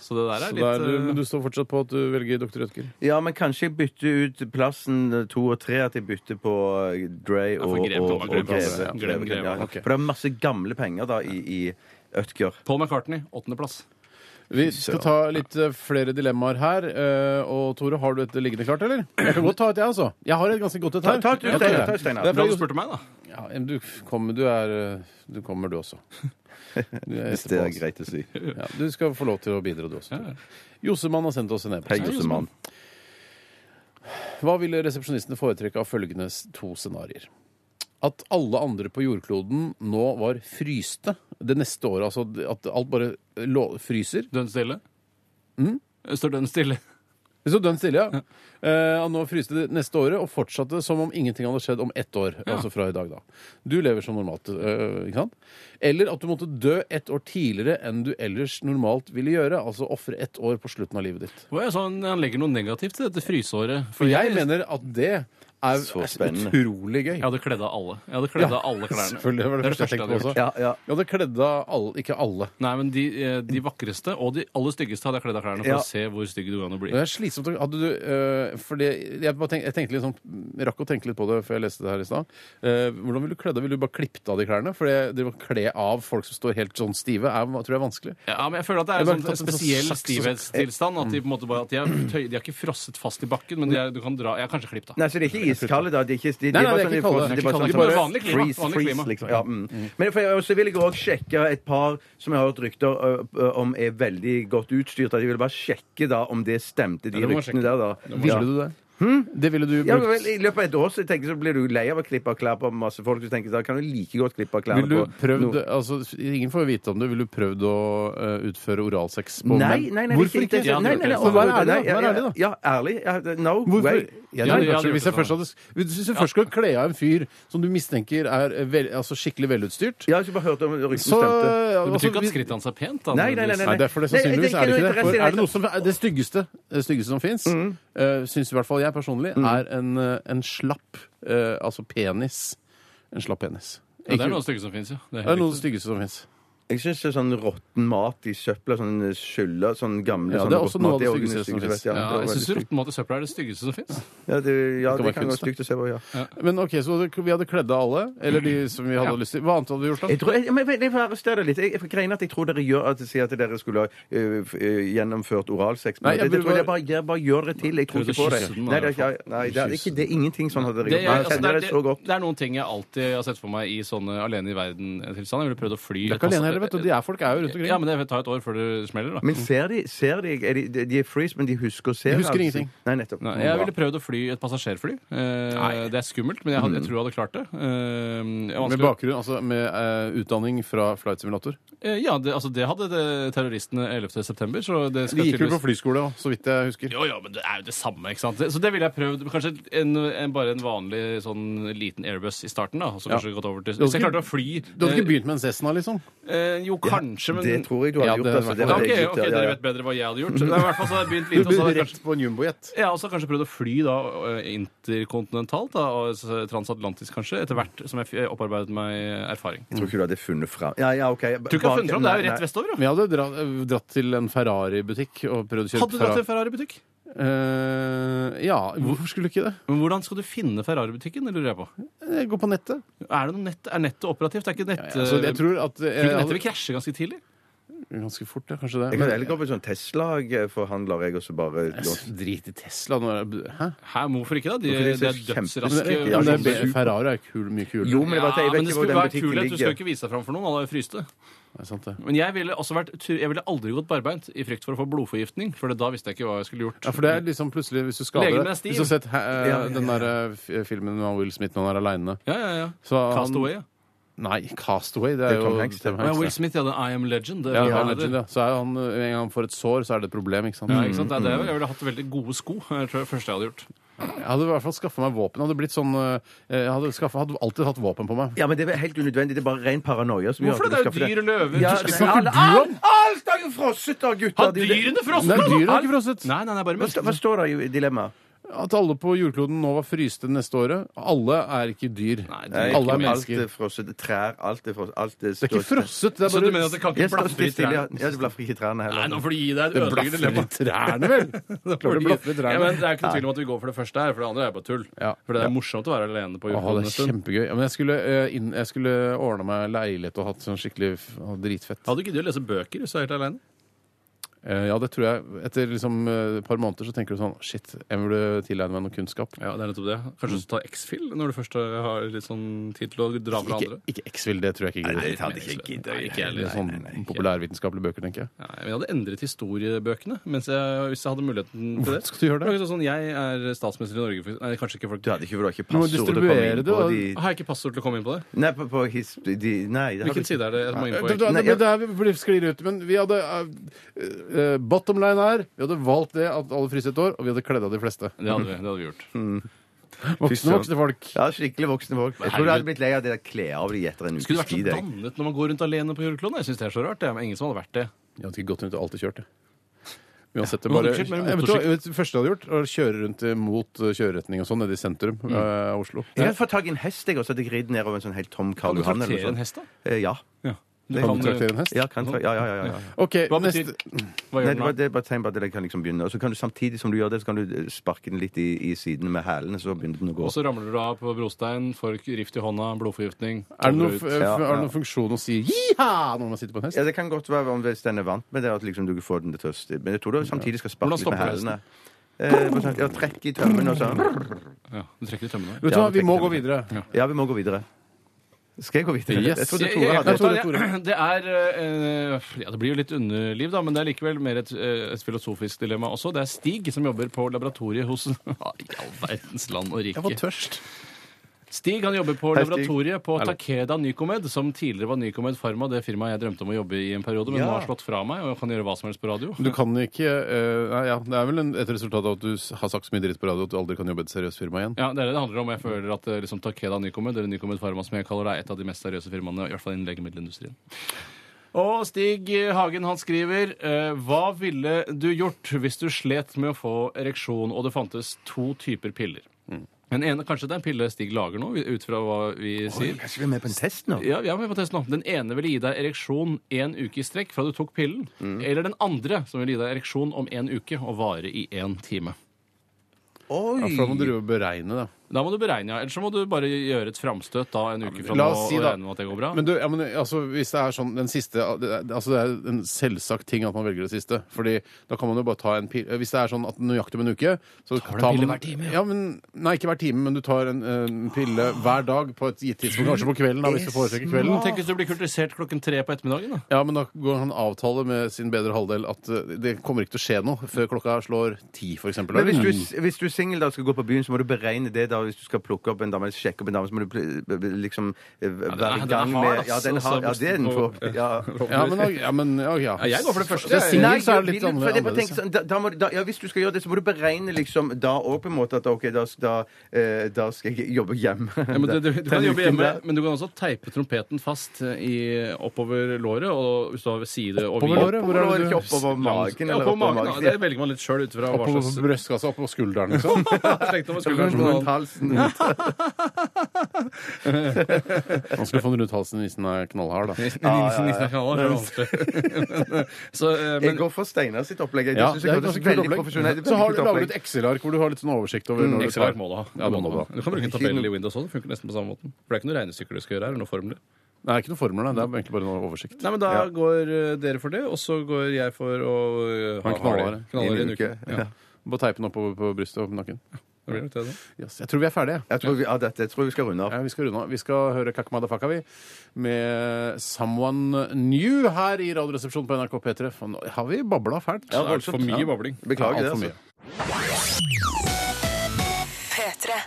Speaker 5: Så det der
Speaker 4: Så
Speaker 5: er
Speaker 4: det
Speaker 5: litt
Speaker 4: er, du,
Speaker 5: eh,
Speaker 4: men du står fortsatt på at du velger Dr. Rødger?
Speaker 6: Ja, men kanskje jeg bytter ut plassen eh, to og tre. At jeg bytter på eh, Dre og,
Speaker 5: for Greve
Speaker 6: og,
Speaker 5: kan
Speaker 6: og
Speaker 5: man
Speaker 6: Greve.
Speaker 5: glemme, altså. Glem
Speaker 6: Greve kan-
Speaker 5: Greve.
Speaker 6: ja.
Speaker 4: Ok.
Speaker 6: For det er masse gamle penger da i, i Ødger.
Speaker 5: eh, Paul McCartney, åttendeplass.
Speaker 4: Vi skal ta litt eh, flere dilemmaer her. eh, Og Tore, har du et liggende klart, eller? Jeg kan godt ta et, jeg, altså. Jeg har et ganske godt et
Speaker 6: Ta-
Speaker 4: her.
Speaker 6: ta et, du,
Speaker 4: Ja,
Speaker 6: Steinar,
Speaker 4: Tore.
Speaker 6: ta et, Steinar.
Speaker 4: Det er
Speaker 5: Bra
Speaker 4: fra
Speaker 5: du
Speaker 4: Josef-
Speaker 5: spurte meg, da.
Speaker 4: Ja, men du kommer, du er eh, Du kommer, du også. Du er
Speaker 6: Hvis det
Speaker 4: etterpå,
Speaker 6: er
Speaker 4: altså.
Speaker 6: greit å si.
Speaker 4: Ja, du skal få lov til å bidra, du også. Tore. Josemann har sendt oss en e-post.
Speaker 6: Hei, Jossemann.
Speaker 4: Hva ville resepsjonistene foretrekke av følgende s- to scenarioer? At alle andre på jordkloden nå var fryste det neste året. Altså at alt bare lå, fryser.
Speaker 5: Dønn stille? Står dønn stille?
Speaker 4: Det sto dønn stille, ja. Eh, og nå fryste det neste året og fortsatte som om ingenting hadde skjedd om ett år. Altså fra i dag, da. Du lever som normalt, eh, ikke sant? Eller at du måtte dø ett år tidligere enn du ellers normalt ville gjøre. Altså ofre ett år på slutten av livet ditt.
Speaker 5: Å, jeg så han, han legger noe negativt til dette frysåret.
Speaker 4: For jeg mener at det er
Speaker 6: Så spennende.
Speaker 4: utrolig gøy.
Speaker 5: Jeg hadde kledd av alle. Jeg hadde kledd
Speaker 4: Ja,
Speaker 5: av alle klærne.
Speaker 4: Selvfølgelig, det var det, første jeg tenkte på også.
Speaker 5: hadde gjort.
Speaker 6: Ja, ja.
Speaker 4: Jeg hadde kledd av alle, ikke alle.
Speaker 5: Nei, men de, eh, de vakreste og de aller styggeste hadde jeg kledd av klærne for
Speaker 6: Ja.
Speaker 5: å se hvor stygg du kan bli.
Speaker 4: Det er slitsomt. å- Hadde du, øh, for det, jeg, bare tenk, jeg tenkte litt sånn, rakk å tenke litt på det før jeg leste det her i stad. Eh, hvordan ville du kledd av? Ville du bare klippet av de klærne? For det, det å kle av folk som står helt sånn stive, er, tror jeg er vanskelig.
Speaker 5: Ja, men jeg føler at det
Speaker 4: Jeg
Speaker 5: er
Speaker 4: bare
Speaker 5: en
Speaker 4: tatt
Speaker 5: sånn
Speaker 4: en sånn
Speaker 5: spesiell
Speaker 4: saks-
Speaker 5: stivhetstilstand. At de på en måte bare at de er, tøy, de er ikke frosset fast i bakken, men de er, du kan dra Jeg er kanskje klippet av.
Speaker 6: Nei, så det er ikke iskalde, da. De er ikke, de, de
Speaker 4: Nei, nei,
Speaker 6: bare
Speaker 4: det er
Speaker 6: sånn-
Speaker 4: ikke kalde.
Speaker 6: de
Speaker 4: Det er ikke
Speaker 6: bare sånn-
Speaker 4: kalde.
Speaker 6: sånn-
Speaker 5: Vanlig klima,
Speaker 6: Freeze,
Speaker 5: vanlig
Speaker 6: freeze,
Speaker 5: klima.
Speaker 6: liksom. Ja, mm. Men for, jeg- så vil jeg òg sjekke et par som jeg har hørt rykter ø, ø, om er veldig godt utstyrt. at Jeg vil bare sjekke da om det stemte, de
Speaker 5: det må man sjekke.
Speaker 6: ryktene der, da.
Speaker 4: Ville du det? Hm? Det ville du
Speaker 6: Ja,
Speaker 4: brukt.
Speaker 6: men vel, I løpet av et år så tenker jeg så blir du lei av å klippe av klær på masse folk. Så tenker jeg, da kan du like godt klippe av
Speaker 4: Vil
Speaker 6: klærne
Speaker 4: du
Speaker 6: på
Speaker 4: prøvd,
Speaker 6: noe-
Speaker 4: altså, ingen får jo vite om det. Vil du prøvd å eh, utføre oralsex på
Speaker 6: Nei, nei, nei,
Speaker 4: Hvorfor ikke?
Speaker 6: Nei, nei, nei,
Speaker 4: Så vær
Speaker 6: overhodet,
Speaker 4: ærlig, da.
Speaker 6: nei, ja,
Speaker 4: Vær ærlig, da.
Speaker 6: Ja, ærlig. ja, No
Speaker 4: Hvorfor?
Speaker 5: Ja,
Speaker 4: Ja,
Speaker 6: way.
Speaker 4: nei,
Speaker 5: jeg hadde
Speaker 4: kanskje, hvis
Speaker 5: gjort
Speaker 4: jeg
Speaker 5: det
Speaker 4: først hadde Hvis jeg først skulle kle av en fyr som du mistenker er eh, vel, altså skikkelig velutstyrt,
Speaker 6: Jeg har ikke bare hørt om ryktene
Speaker 4: så
Speaker 6: stemte.
Speaker 5: Det
Speaker 4: altså,
Speaker 5: betyr ikke at
Speaker 4: vi-
Speaker 5: skrittet hans er pent. Da,
Speaker 6: Nei, nei, nei, nei.
Speaker 4: Nei, derfor det
Speaker 6: Nei,
Speaker 4: sannsynligvis
Speaker 6: det er
Speaker 4: er det ikke Mm. det.
Speaker 6: ikke noe
Speaker 4: For
Speaker 6: interesse i
Speaker 4: er det
Speaker 6: det
Speaker 4: noe som er det styggeste, det styggeste som fins, syns i hvert fall jeg personlig, er en, eh, en slapp eh, altså penis. En slapp penis.
Speaker 5: Ja, det er noe av
Speaker 4: Ikke-
Speaker 5: det styggeste som fins, ja. Det
Speaker 4: det er
Speaker 5: er
Speaker 4: noe av
Speaker 5: helt
Speaker 4: det styggeste som fins.
Speaker 6: Jeg syns sånn råtten mat i søpla, sånn skylla, sånn gamle
Speaker 4: Ja,
Speaker 6: sånn
Speaker 4: det er også
Speaker 6: råtten
Speaker 4: noe
Speaker 6: mat,
Speaker 4: av det styggeste som finnes.
Speaker 6: også det
Speaker 5: riktig.
Speaker 6: styggeste,
Speaker 5: ja,
Speaker 6: det
Speaker 5: jeg
Speaker 6: var veldig
Speaker 5: syns
Speaker 6: stygt.
Speaker 5: råttenmat i søpla er det styggeste som fins.
Speaker 6: Ja, det,
Speaker 4: Det kan
Speaker 6: ja, det
Speaker 4: være
Speaker 6: kan være
Speaker 4: kunst, da.
Speaker 6: stygt å se på, ja.
Speaker 4: Men ok, Så det- vi hadde kledd av alle? Eller de som vi hadde
Speaker 5: Ja.
Speaker 4: lyst til? Hva annet hadde vi gjort da?
Speaker 6: Jeg tror, jeg, men jeg får arrestere deg litt. Jeg, jeg greiner at jeg tror dere gjør at, sier at dere skulle ha øh, f- øh, gjennomført oralsex.
Speaker 4: Nei, jeg
Speaker 6: Men det, det,
Speaker 4: burde
Speaker 6: tror jeg
Speaker 4: bare-
Speaker 6: bare, jeg bare gjør det til. Jeg tror
Speaker 5: Prøvde
Speaker 6: ikke på
Speaker 5: å
Speaker 6: det.
Speaker 5: kysse den,
Speaker 6: Nei, det
Speaker 5: i
Speaker 6: er,
Speaker 5: hvert
Speaker 6: ikke, nei, det er, ikke, det er ingenting sånn hadde dere
Speaker 5: Det,
Speaker 6: gjort.
Speaker 5: jeg,
Speaker 6: Nei, Jeg
Speaker 5: altså, det,
Speaker 6: kjenner
Speaker 5: er,
Speaker 6: det så
Speaker 5: det,
Speaker 6: godt.
Speaker 5: det er noen ting jeg alltid har sett for meg i sånne alene i verden-tilstand. Jeg ville prøvd å fly.
Speaker 4: Det er ikke alene heller, vet du. De er folk er jo rundt omkring.
Speaker 5: Ja, men det tar et år før det smeller, da.
Speaker 6: Men ser de, ser de, er de De er freeze, men de husker å se.
Speaker 4: De husker
Speaker 6: altså.
Speaker 4: ingenting.
Speaker 6: Nei, nettopp.
Speaker 5: Nei, jeg ville prøvd å fly et passasjerfly. Eh, det er skummelt, men jeg, hadde, jeg tror jeg hadde klart det. Eh, det er
Speaker 4: Mm. Med
Speaker 5: vanskelig å-
Speaker 4: bakgrunn, altså med eh, utdanning fra flight simulator.
Speaker 5: Eh, ja, det, altså, det hadde det, terroristene 11. september. Så det skal
Speaker 4: De gikk jo på
Speaker 5: tydeligvis-
Speaker 4: flyskole òg, så vidt jeg husker.
Speaker 5: Jo, jo, men det er jo det samme, ikke sant. Det- Så det ville jeg prøvd. Kanskje en, en, bare en vanlig sånn liten airbus i starten, da. Og så kanskje gått over til Hvis jeg
Speaker 4: ikke-
Speaker 5: klarte å fly
Speaker 4: Du hadde ikke
Speaker 5: eh,
Speaker 4: begynt med en Cessna, liksom?
Speaker 5: eh, Jo, kanskje, men
Speaker 6: Det tror jeg du hadde
Speaker 4: Ja,
Speaker 6: gjort.
Speaker 4: det-
Speaker 6: altså. Det
Speaker 5: Ja,
Speaker 6: hadde
Speaker 5: ok,
Speaker 6: jeg
Speaker 5: ok,
Speaker 6: gjort, ja, ja,
Speaker 5: dere
Speaker 6: ja.
Speaker 5: vet bedre hva jeg hadde gjort. Det er i hvert fall så hadde jeg begynt litt, og så hadde jeg kanskje
Speaker 4: på en jumbojet.
Speaker 5: ja, og så kanskje prøvd å fly da, eh, interkontinentalt, da, og s- transatlantisk kanskje, etter hvert som jeg f- opparbeidet meg erfaring.
Speaker 6: Jeg tror ikke du hadde funnet fram Ja, ja, OK.
Speaker 5: Tror ikke jeg har funnet fram, det er jo rett vestover, da.
Speaker 4: Men jeg hadde dratt, dratt til en Ferrari-butikk og prøvd å kjøre
Speaker 5: Hadde du dratt til en Ferrari-butikk?
Speaker 4: Eh, ja, hvorfor skulle du ikke det?
Speaker 5: Men hvordan skal du finne Ferrari-butikken, det lurer jeg på.
Speaker 4: Eh, Gå på nettet.
Speaker 5: Er, det noe nett, er nettet operativt? Er ikke nett...
Speaker 4: Altså, jeg tror
Speaker 5: Tror du
Speaker 4: at eh,
Speaker 5: ikke
Speaker 4: hadde-
Speaker 5: nettet vil krasje ganske tidlig?
Speaker 4: Ganske fort, ja. Kanskje det.
Speaker 6: Jeg kan heller gå på en sånn Tesla-forhandler, jeg, og så bare
Speaker 4: Men- Drit i Tesla. Nå er det, hæ?
Speaker 5: Hæ, men hvorfor ikke da? De,
Speaker 6: Hvorfor de
Speaker 5: de
Speaker 6: ser
Speaker 5: er
Speaker 4: Men,
Speaker 5: dødsraske.
Speaker 4: det-
Speaker 6: Ja,
Speaker 4: men det,
Speaker 6: sånn
Speaker 4: er
Speaker 6: super.
Speaker 4: be- Ferrari er kul, mye kulere.
Speaker 6: Jo, men jeg
Speaker 5: Ja,
Speaker 6: bare tenker, jeg
Speaker 5: men det
Speaker 6: vet ikke hvor
Speaker 5: skulle
Speaker 6: den
Speaker 5: være
Speaker 6: butikken
Speaker 5: kulhet. Du skal jo
Speaker 6: ligger.
Speaker 5: ikke vise deg fram for noen, alle har jo fryst det.
Speaker 4: Det er sant, det.
Speaker 5: Men jeg ville, også vært, jeg ville aldri gått barbeint i frykt for å få blodforgiftning, for da visste jeg ikke hva jeg skulle gjort.
Speaker 4: Ja, for det er liksom plutselig Hvis du skader
Speaker 5: Legen
Speaker 4: deg
Speaker 5: er stiv.
Speaker 4: Hvis du har sett hæ, eh,
Speaker 6: Ja, ja, ja.
Speaker 4: den der eh, f- filmen med Will Smith når han er aleine
Speaker 5: Ja, ja, ja. Cast away, ja.
Speaker 4: Nei, Castaway. Det
Speaker 6: Det
Speaker 4: er
Speaker 6: er
Speaker 4: jo
Speaker 6: Tom Hanks, det.
Speaker 5: Ja, Will Smith, ja. det er I am legend. Det,
Speaker 4: Ja,
Speaker 5: ja,
Speaker 4: han er legend, ja. Så er jo han, eh, en gang han får et sår, så er det et problem, ikke sant?
Speaker 5: Ja, ikke sant? Det er
Speaker 4: Mm.
Speaker 5: det. Jeg ville hatt veldig gode sko. Jeg tror det første jeg hadde gjort.
Speaker 4: Jeg hadde i hvert fall skaffa meg våpen. Jeg hadde blitt sånn, eh, jeg hadde, skaffet, hadde alltid hatt våpen på meg.
Speaker 6: Ja, men det er helt unødvendig. Det er bare ren paranoia. som
Speaker 5: Hvorfor
Speaker 6: gjør
Speaker 5: det? Det
Speaker 6: at
Speaker 5: er
Speaker 6: du
Speaker 5: jo
Speaker 6: skaffer
Speaker 5: dyr og løver. Du
Speaker 6: Ja, nei,
Speaker 5: skal-
Speaker 6: alle- alt, alt er jo frosset, da, gutter!
Speaker 5: Har dyrene
Speaker 4: Nei,
Speaker 5: frosne?
Speaker 4: dyret har ikke frosset.
Speaker 5: Nei, nei, nei, bare
Speaker 6: Hva sta- Hva
Speaker 5: menneskene.
Speaker 6: står det i dilemmaet?
Speaker 4: At alle på jordkloden nå var fryste neste året. Alle er ikke dyr.
Speaker 5: Nei, dyr er ikke
Speaker 4: alle er
Speaker 5: mennesker.
Speaker 6: Alt
Speaker 4: mennesker.
Speaker 6: er frosset. Trær, alt er frosset. Alt er
Speaker 4: Det er ikke frosset. Det
Speaker 5: Så du
Speaker 4: er
Speaker 5: mener
Speaker 4: bare
Speaker 5: at det kan
Speaker 6: Jeg
Speaker 5: ikke
Speaker 6: står
Speaker 5: blaffe i
Speaker 6: stille, ja.
Speaker 5: trærne?
Speaker 6: Ja, det blaffer ikke i trærne
Speaker 5: Nei,
Speaker 6: heller.
Speaker 5: nå får du gi deg et ødeleggende
Speaker 4: blaffer
Speaker 5: dilemma.
Speaker 4: i trærne, vel? Klart det blaffer i
Speaker 5: Ja,
Speaker 4: trærne.
Speaker 5: men det er ikke noe tvil om at vi går for det første her, for det andre er bare tull.
Speaker 4: Ja.
Speaker 5: For det er morsomt å være alene på
Speaker 4: Åh,
Speaker 5: jordkloden en
Speaker 4: det er
Speaker 5: stund.
Speaker 4: kjempegøy. Ja, men jeg skulle, eh, inn, jeg skulle ordna meg leilighet og hatt sånn skikkelig f- og dritfett.
Speaker 5: Hadde du giddet å lese bøker hvis du er helt alene?
Speaker 4: Eh, ja, det tror jeg. Etter liksom, eh, et par måneder så tenker du sånn Shit, jeg burde tilegne meg noe kunnskap.
Speaker 5: Ja, det er nettopp det. Kanskje du tar X-Fill når du først har litt sånn tid til å dra fra
Speaker 4: Ikke,
Speaker 5: andre?
Speaker 4: ikke X-Vil, det tror jeg ikke gidder.
Speaker 6: det hadde ikke jeg giddet.
Speaker 5: Nei, ikke jeg
Speaker 4: Eller
Speaker 5: heller.
Speaker 4: sånn populærvitenskapelige bøker, tenker jeg.
Speaker 5: Nei, men jeg hadde endret historiebøkene mens jeg, hvis jeg hadde muligheten til det.
Speaker 4: Hvorfor skal du gjøre det?
Speaker 5: Det er ikke Sånn, jeg er statsminister i Norge for, Nei, kanskje ikke folk
Speaker 6: Du hadde ikke, for du har ikke
Speaker 4: må
Speaker 6: passord til å komme
Speaker 4: distribuere
Speaker 6: inn
Speaker 4: det,
Speaker 6: på
Speaker 4: da.
Speaker 6: de
Speaker 5: Har jeg ikke passord til å komme inn på det?
Speaker 6: Nei, på, på his... De, nei, det har du
Speaker 5: Hvilken
Speaker 6: ikke.
Speaker 5: side er det jeg må inn på?
Speaker 4: Det,
Speaker 5: egentlig?
Speaker 4: det,
Speaker 6: Nei,
Speaker 4: det, det her blir- sklir ut, men vi hadde eh, eh, Bottom line er Vi hadde valgt det at alle fryser et år, og vi hadde kledd av de fleste.
Speaker 5: Det hadde vi, det hadde vi gjort.
Speaker 4: Voksne,
Speaker 6: søren.
Speaker 4: voksne folk.
Speaker 6: Ja, skikkelig voksne folk. Jeg tror du hadde blitt lei av det der kle av de etter en
Speaker 5: Skulle vært
Speaker 6: ukes
Speaker 5: sånn så
Speaker 6: tid. jeg.
Speaker 5: dannet når man går rundt alene på jordkloden? Jeg syns det er så rart. Det er ingen som hadde vært det.
Speaker 4: Jeg hadde ikke gått rundt og alltid kjørt, jeg. Uansett, det
Speaker 5: Men
Speaker 4: bare,
Speaker 5: motorsykkel, men
Speaker 4: jeg Eh, vet, du hva, jeg vet, det første jeg hadde gjort, var å kjøre rundt eh, mot eh, kjøreretning og sånn, nede i sentrum eh, av Oslo.
Speaker 6: Jeg hadde fått tak i en hest, jeg, og så hadde jeg ridd nedover en sånn helt tom
Speaker 5: Kan
Speaker 6: Karl
Speaker 5: du
Speaker 6: Johan. eller noe
Speaker 5: traktere en
Speaker 6: sånt.
Speaker 5: hest, da?
Speaker 6: Eh, Ja.
Speaker 5: Du
Speaker 4: Kan du traktere en hest?
Speaker 6: Ja, kan, tra- ja, ja, ja, ja. ja.
Speaker 4: OK,
Speaker 5: eh, Hva betyr
Speaker 4: neste
Speaker 5: Hva gjør
Speaker 6: Nei, det,
Speaker 5: den
Speaker 6: var,
Speaker 5: da?
Speaker 6: det er bare tegn på at den kan liksom begynne. Og så kan du samtidig som du gjør det, så kan du eh, sparke den litt i, i siden med hælene, så begynner den å gå.
Speaker 5: Og så ramler du av på brostein, får rift i hånda, blodforgiftning
Speaker 4: er det,
Speaker 5: kommer ut.
Speaker 4: noen, f- eh,
Speaker 6: Ja,
Speaker 4: er det
Speaker 6: ja.
Speaker 4: noen funksjon å si jiha når man sitter på en hest?
Speaker 6: Ja, Det kan godt være om hvis den er vant med det, at liksom du ikke får den til tørst. Men jeg tror du samtidig skal sparke
Speaker 5: Hvordan
Speaker 6: litt med
Speaker 5: stopper hesten?
Speaker 6: hælene. Eh, for eksempel, ja, trekk i tømmen og sånn.
Speaker 5: Ja, du trekker i tømmene.
Speaker 4: Vet du hva,
Speaker 6: Ja,
Speaker 4: vi må gå
Speaker 6: tenker jeg.
Speaker 4: videre.
Speaker 6: Ja, vi må gå videre. Skal jeg gå videre?
Speaker 4: Yes.
Speaker 6: Jeg trodde
Speaker 5: Jeg-
Speaker 6: Tore
Speaker 5: jeg-
Speaker 6: hadde
Speaker 5: jeg tror det- Det er eh, ja, Det blir jo litt underliv, da, men det er likevel mer et, eh, et filosofisk dilemma også. Det er Stig som jobber på laboratoriet hos Ja, I all verdens land og rike.
Speaker 4: tørst.
Speaker 5: Stig han jobber på
Speaker 6: Hei, Stig.
Speaker 5: laboratoriet på Takeda Nycomed, som tidligere var Nycomed Pharma, det firmaet jeg drømte om å jobbe i en periode, men
Speaker 6: Ja.
Speaker 5: nå har slått fra meg, og jeg kan gjøre hva som helst på radio.
Speaker 4: Du kan ikke eh, nei, ja, Det er vel en, et resultat av at du s- har sagt så mye dritt på radio at du aldri kan jobbe i et seriøst firma igjen.
Speaker 5: Ja, det er det det handler om. Jeg føler at eh, liksom, Takeda Nycomed, eller Nycomed Pharma som jeg kaller det, er et av de mest seriøse firmaene, i hvert fall innen legemiddelindustrien. Og Stig Hagen han skriver eh, Hva ville du gjort hvis du slet med å få ereksjon og det fantes to typer piller? Den ene, Kanskje det er en pille Stig lager nå, ut fra hva vi sier.
Speaker 6: Kanskje vi er med på en test nå?
Speaker 5: Ja, vi er med på test nå. Den ene vil gi deg ereksjon én uke i strekk fra du tok pillen. Eller den andre som vil gi deg ereksjon om én uke og vare i én time.
Speaker 6: Oi!
Speaker 4: Ja, for da må du drive og beregne, da.
Speaker 5: Da må du beregne, ja. Ellers så må du bare gjøre et framstøt da en uke fra
Speaker 4: La
Speaker 5: nå
Speaker 4: oss si
Speaker 5: og
Speaker 4: da-
Speaker 5: regne med at det går bra.
Speaker 4: Men du, ja, men, altså, hvis det er sånn den siste det er- altså, Det er en selvsagt ting at man velger det siste. Fordi da kan man jo bare ta en pille Hvis det er sånn at nøyaktig om en uke så
Speaker 5: du en pille hver time, ja?
Speaker 4: Ja, men, nei, ikke hver time, men du tar en, en pille hver dag på et gitt tidspunkt. Kanskje på kvelden, da, hvis du foretrekker kvelden.
Speaker 5: Tenk hvis du blir kultisert klokken tre på ettermiddagen, da.
Speaker 4: Ja, men da går han avtale med sin bedre halvdel at eh, det kommer ikke til å skje noe før klokka slår ti, for eksempel.
Speaker 6: Men hvis du, hvis du er singel og skal gå på byen, så må du beregne det. da Hvis du skal plukke opp en dame, sjekke opp en dame, så må du pl- b- b- liksom eh, være i
Speaker 5: den er
Speaker 6: gang
Speaker 5: hard,
Speaker 6: med Ja,
Speaker 5: ass,
Speaker 6: den er
Speaker 5: altså,
Speaker 6: hard. Ja, det er den for ja.
Speaker 4: ja, men, da- ja, men ja, ja.
Speaker 5: jeg går for det første.
Speaker 4: Hvis du er singel,
Speaker 6: Nei,
Speaker 4: så er det
Speaker 6: jeg
Speaker 4: litt
Speaker 6: vil- for jeg bare
Speaker 4: annerledes.
Speaker 6: tenker sånn, da, da må, du- da, ja, hvis du skal gjøre det, så må du beregne liksom da òg, på en måte. At OK, da, da, eh, da skal jeg jobbe hjemme.
Speaker 5: Ja, men du, du, du kan
Speaker 6: Den
Speaker 5: jobbe
Speaker 6: uken
Speaker 5: hjemme,
Speaker 6: der.
Speaker 5: men du kan også teipe trompeten fast eh, i, oppover låret. Og hvis du har side og
Speaker 4: Oppover låret? Hvor er
Speaker 6: Oppover,
Speaker 4: det
Speaker 6: ikke
Speaker 4: du
Speaker 6: oppover magen.
Speaker 5: Ja,
Speaker 6: eller
Speaker 5: oppover magen.
Speaker 6: magen.
Speaker 5: Ja, det velger man litt sjøl ut fra hva
Speaker 4: Oppå
Speaker 5: slags
Speaker 4: brystkassa, oppå skulderen, liksom?
Speaker 5: Tenkte om man skulle kanskje
Speaker 6: Rundt
Speaker 5: noe-
Speaker 6: halsen.
Speaker 4: Man skulle få den rundt halsen hvis den er knallhard, da.
Speaker 5: Nissen- nissen- nissen er ikke alle, det er vanskelig. Men, så, eh,
Speaker 6: Jeg
Speaker 5: men
Speaker 6: går for Steinar sitt opplegg. Jeg
Speaker 4: Ja,
Speaker 6: synes
Speaker 4: det er et
Speaker 6: jeg høres
Speaker 4: ganske kult
Speaker 6: veldig
Speaker 4: opplegg.
Speaker 6: profesjonelt ut.
Speaker 4: Så har du
Speaker 6: Kult
Speaker 4: laget et
Speaker 6: opplegg.
Speaker 4: Excel-ark hvor du har litt sånn oversikt over når du
Speaker 5: Mm,
Speaker 4: tar-
Speaker 5: Excel-ark må du ha.
Speaker 4: Ja, det må du ha.
Speaker 5: Du kan bruke en tabell i Windows også. Det funker nesten på samme måten. For det er ikke noe regnestykker du skal gjøre her, eller noe formler.
Speaker 4: Nei, det er ikke noen formler, nei. det er egentlig bare en oversikt.
Speaker 5: Nei, men Da går eh, dere for det, og så går jeg for å eh,
Speaker 4: Ha en knallhard.
Speaker 5: knallhard i en
Speaker 6: I en
Speaker 5: uke.
Speaker 6: uke.
Speaker 5: Ja,
Speaker 4: Bare teipe den oppover på brystet og nakken.
Speaker 5: det blir nok det, da.
Speaker 4: Yes. Jeg tror vi er ferdige.
Speaker 6: Jeg tror vi, ja, dette jeg tror vi skal runde av.
Speaker 4: Ja, vi skal runde av. Vi skal høre Kakmadafaka, vi, med Someone New her i Radioresepsjonen på NRK P3. Faen, Har vi babla fælt?
Speaker 5: Det er for mye babling.
Speaker 6: Beklager det.
Speaker 4: Alt for
Speaker 6: altså.
Speaker 4: mye.
Speaker 8: P3.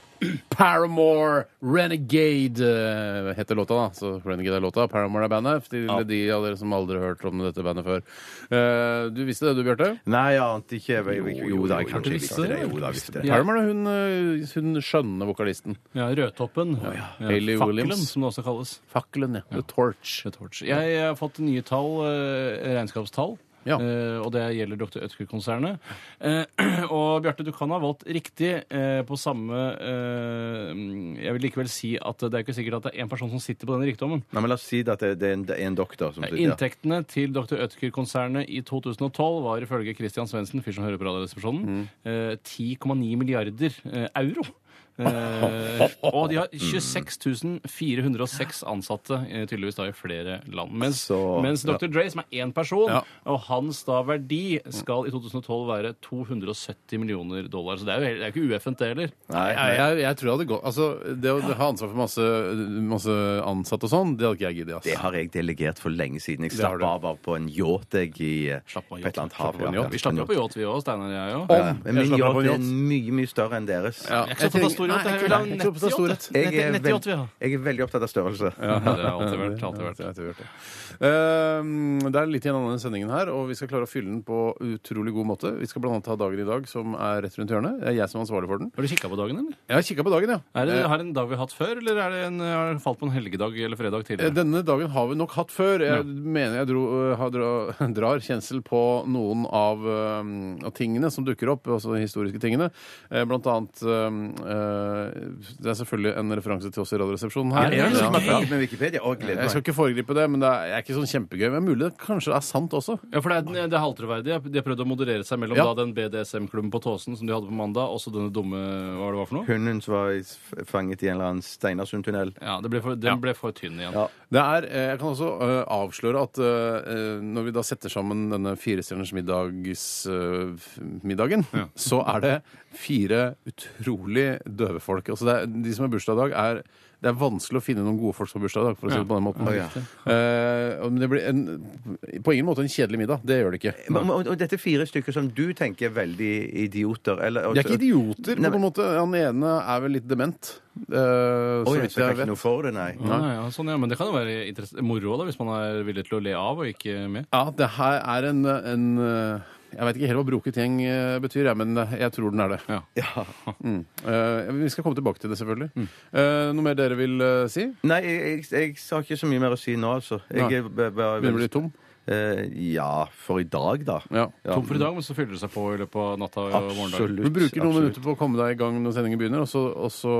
Speaker 4: Paramore Renegade eh, heter låta, da. Så Renegade er låta. Paramore er bandet. Til de av dere som aldri har hørt om dette bandet før. Eh, du visste det, du, Bjarte?
Speaker 6: Nei, jeg ante ikke. Jeg- jeg- jeg- Jo da, jeg kanskje
Speaker 5: du
Speaker 6: jeg
Speaker 5: visste
Speaker 6: visste det.
Speaker 5: det.
Speaker 6: Jo da, jeg visste det.
Speaker 5: Ja.
Speaker 4: Paramore er hun, eh, hun skjønne vokalisten.
Speaker 5: Ja, Rødtoppen. Ja,
Speaker 4: Hayley
Speaker 5: Fakkelen,
Speaker 4: Williams.
Speaker 5: som det også kalles.
Speaker 4: Fakkelen, ja. The Torch.
Speaker 5: The Torch. Jeg har fått nye tall, eh, regnskapstall.
Speaker 4: Ja.
Speaker 5: Eh, og det gjelder Dr. Ødsker-konsernet. Eh, og Bjarte, du kan ha valgt riktig eh, på samme eh, Jeg vil likevel si at det er ikke sikkert at det er én person som sitter på den rikdommen.
Speaker 6: Nei, men La oss si det at det, det, er en, det er en doktor som sitter der.
Speaker 5: Inntektene til Dr. Ødker-konsernet i 2012 var ifølge Christian Svendsen, fyr som hører på
Speaker 4: Mm.
Speaker 5: Radioresepsjonen, eh, 10,9 milliarder eh, euro. Eh, og de har 26 406 ansatte, eh, tydeligvis da i flere land. Mens,
Speaker 6: Så-
Speaker 5: mens Dr. Dre, som er én person,
Speaker 4: Ja. Mm.
Speaker 5: og hans da verdi skal i 2012 være 270 millioner dollar. Så det er jo, helt- det er jo ikke ueffent, det heller.
Speaker 6: Nei,
Speaker 4: Nei, jeg, jeg tror jeg hadde gått Altså, det å ha ansvar for masse, masse ansatte og sånn, det hadde ikke jeg giddet.
Speaker 6: Det
Speaker 4: Altså.
Speaker 6: har jeg delegert for lenge siden. Jeg
Speaker 4: Det har
Speaker 6: slapp
Speaker 4: du.
Speaker 6: av av på en yacht jeg i eh,
Speaker 5: Slapp
Speaker 6: på
Speaker 5: av,
Speaker 6: et
Speaker 5: yacht.
Speaker 6: eller annet hav.
Speaker 4: Slapp av en
Speaker 6: ja.
Speaker 4: yacht.
Speaker 5: Vi slapp jo på yacht, vi òg, Steinar og jeg òg.
Speaker 6: Ja, men
Speaker 4: Jeg
Speaker 6: min
Speaker 4: slapper av på
Speaker 6: yacht
Speaker 4: en
Speaker 6: er mye, mye større enn deres.
Speaker 4: Ja,
Speaker 5: Jeg er ikke så opptatt av stor yacht,
Speaker 4: Nei,
Speaker 5: jeg vil
Speaker 4: ikke-
Speaker 5: ha en
Speaker 4: jeg er ikke opptatt av stor yacht.
Speaker 6: Jeg er,
Speaker 5: Nett-
Speaker 6: veld,
Speaker 5: nettyacht vi har.
Speaker 6: jeg er veldig opptatt av størrelse.
Speaker 5: Ja, det har jeg alltid vært. Alltid vært.
Speaker 4: Ja, det har jeg alltid vært, ja. Ehm, det er litt igjen av denne sendingen her, og vi skal klare å fylle den på utrolig god måte. Vi skal bl.a. ha dagen i dag, som er rett rundt hjørnet. Det er jeg som er ansvarlig for den.
Speaker 5: Har du kikka på dagen, eller?
Speaker 4: Jeg har kikka på dagen, ja.
Speaker 5: Er det, har det en dag vi har hatt før, eller er det en, har det falt på en helgedag eller fredag
Speaker 4: Eh,
Speaker 5: tidligere?
Speaker 4: Denne dagen har vi nok hatt før. Jeg mener jeg dro, eh, har dra, drar kjensel på noen av, eh, av tingene som dukker opp, altså de historiske tingene. Eh, Blant annet eh, eh, Det er selvfølgelig en referanse til oss i Radioresepsjonen her.
Speaker 5: det er
Speaker 6: Jeg
Speaker 5: så
Speaker 6: som har
Speaker 5: gøy.
Speaker 6: pratet med Wikipedia og gleder
Speaker 4: Jeg skal
Speaker 6: meg.
Speaker 4: ikke foregripe det, men det er, er ikke sånn kjempegøy. Men mulig det kanskje er sant også.
Speaker 5: Ja, for det er, den- det er halterverdig. De har prøvd å moderere seg mellom
Speaker 4: Ja.
Speaker 5: da den BDSM-klubben på Tåsen som de hadde på mandag, og så denne dumme Hva var det var for noe?
Speaker 6: Hunden som var i- fanget i en eller annen Steinarsundtunnel.
Speaker 5: Ja, det ble for, Den ble for tynn igjen.
Speaker 6: Ja.
Speaker 4: Det er, eh, jeg kan også eh, avsløre at eh, eh, når vi da setter sammen denne firestjerners middags eh, f- middagen, så er det fire utrolig med døve folk. Altså det er, de som har bursdag i dag, er det er vanskelig å finne noen gode folk som har bursdag i dag. for å si det på den måten. Eh, og men det blir en, på ingen måte en kjedelig middag. Det gjør det ikke.
Speaker 6: Men- men- Og, og dette er fire stykker som du tenker er veldig idioter. Eller,
Speaker 4: De er ikke idioter,
Speaker 6: Nei,
Speaker 4: men på en måte. Han ene er vel litt dement. eh, så
Speaker 6: Å, ja,
Speaker 4: vidt
Speaker 6: så det er
Speaker 4: jeg
Speaker 6: ikke
Speaker 4: vet.
Speaker 6: noe for det, nei.
Speaker 5: Ja, ja, sånn, ja, men det kan jo være interess- moro da, hvis man er villig til å le av og ikke med.
Speaker 4: Ja, det her er en, en eh, Jeg veit ikke helt hva broket gjeng eh, betyr, jeg, men jeg tror den er det.
Speaker 5: Ja.
Speaker 4: Mm. Eh, vi skal komme tilbake til det, selvfølgelig. Eh, noe mer dere vil eh, si?
Speaker 6: Nei, jeg, jeg, jeg har ikke så mye mer å si nå, altså.
Speaker 4: Nei.
Speaker 6: Jeg er b- bare
Speaker 4: Begynner å bli tom?
Speaker 6: Eh, ja, for i dag, da.
Speaker 4: Ja.
Speaker 5: Tom for i dag, men så fyller det seg på i løpet av natta og morgendagen.
Speaker 6: Absolutt.
Speaker 4: Du bruker noen
Speaker 6: absolutt.
Speaker 4: minutter på å komme deg i gang når sendingen begynner, og så, og så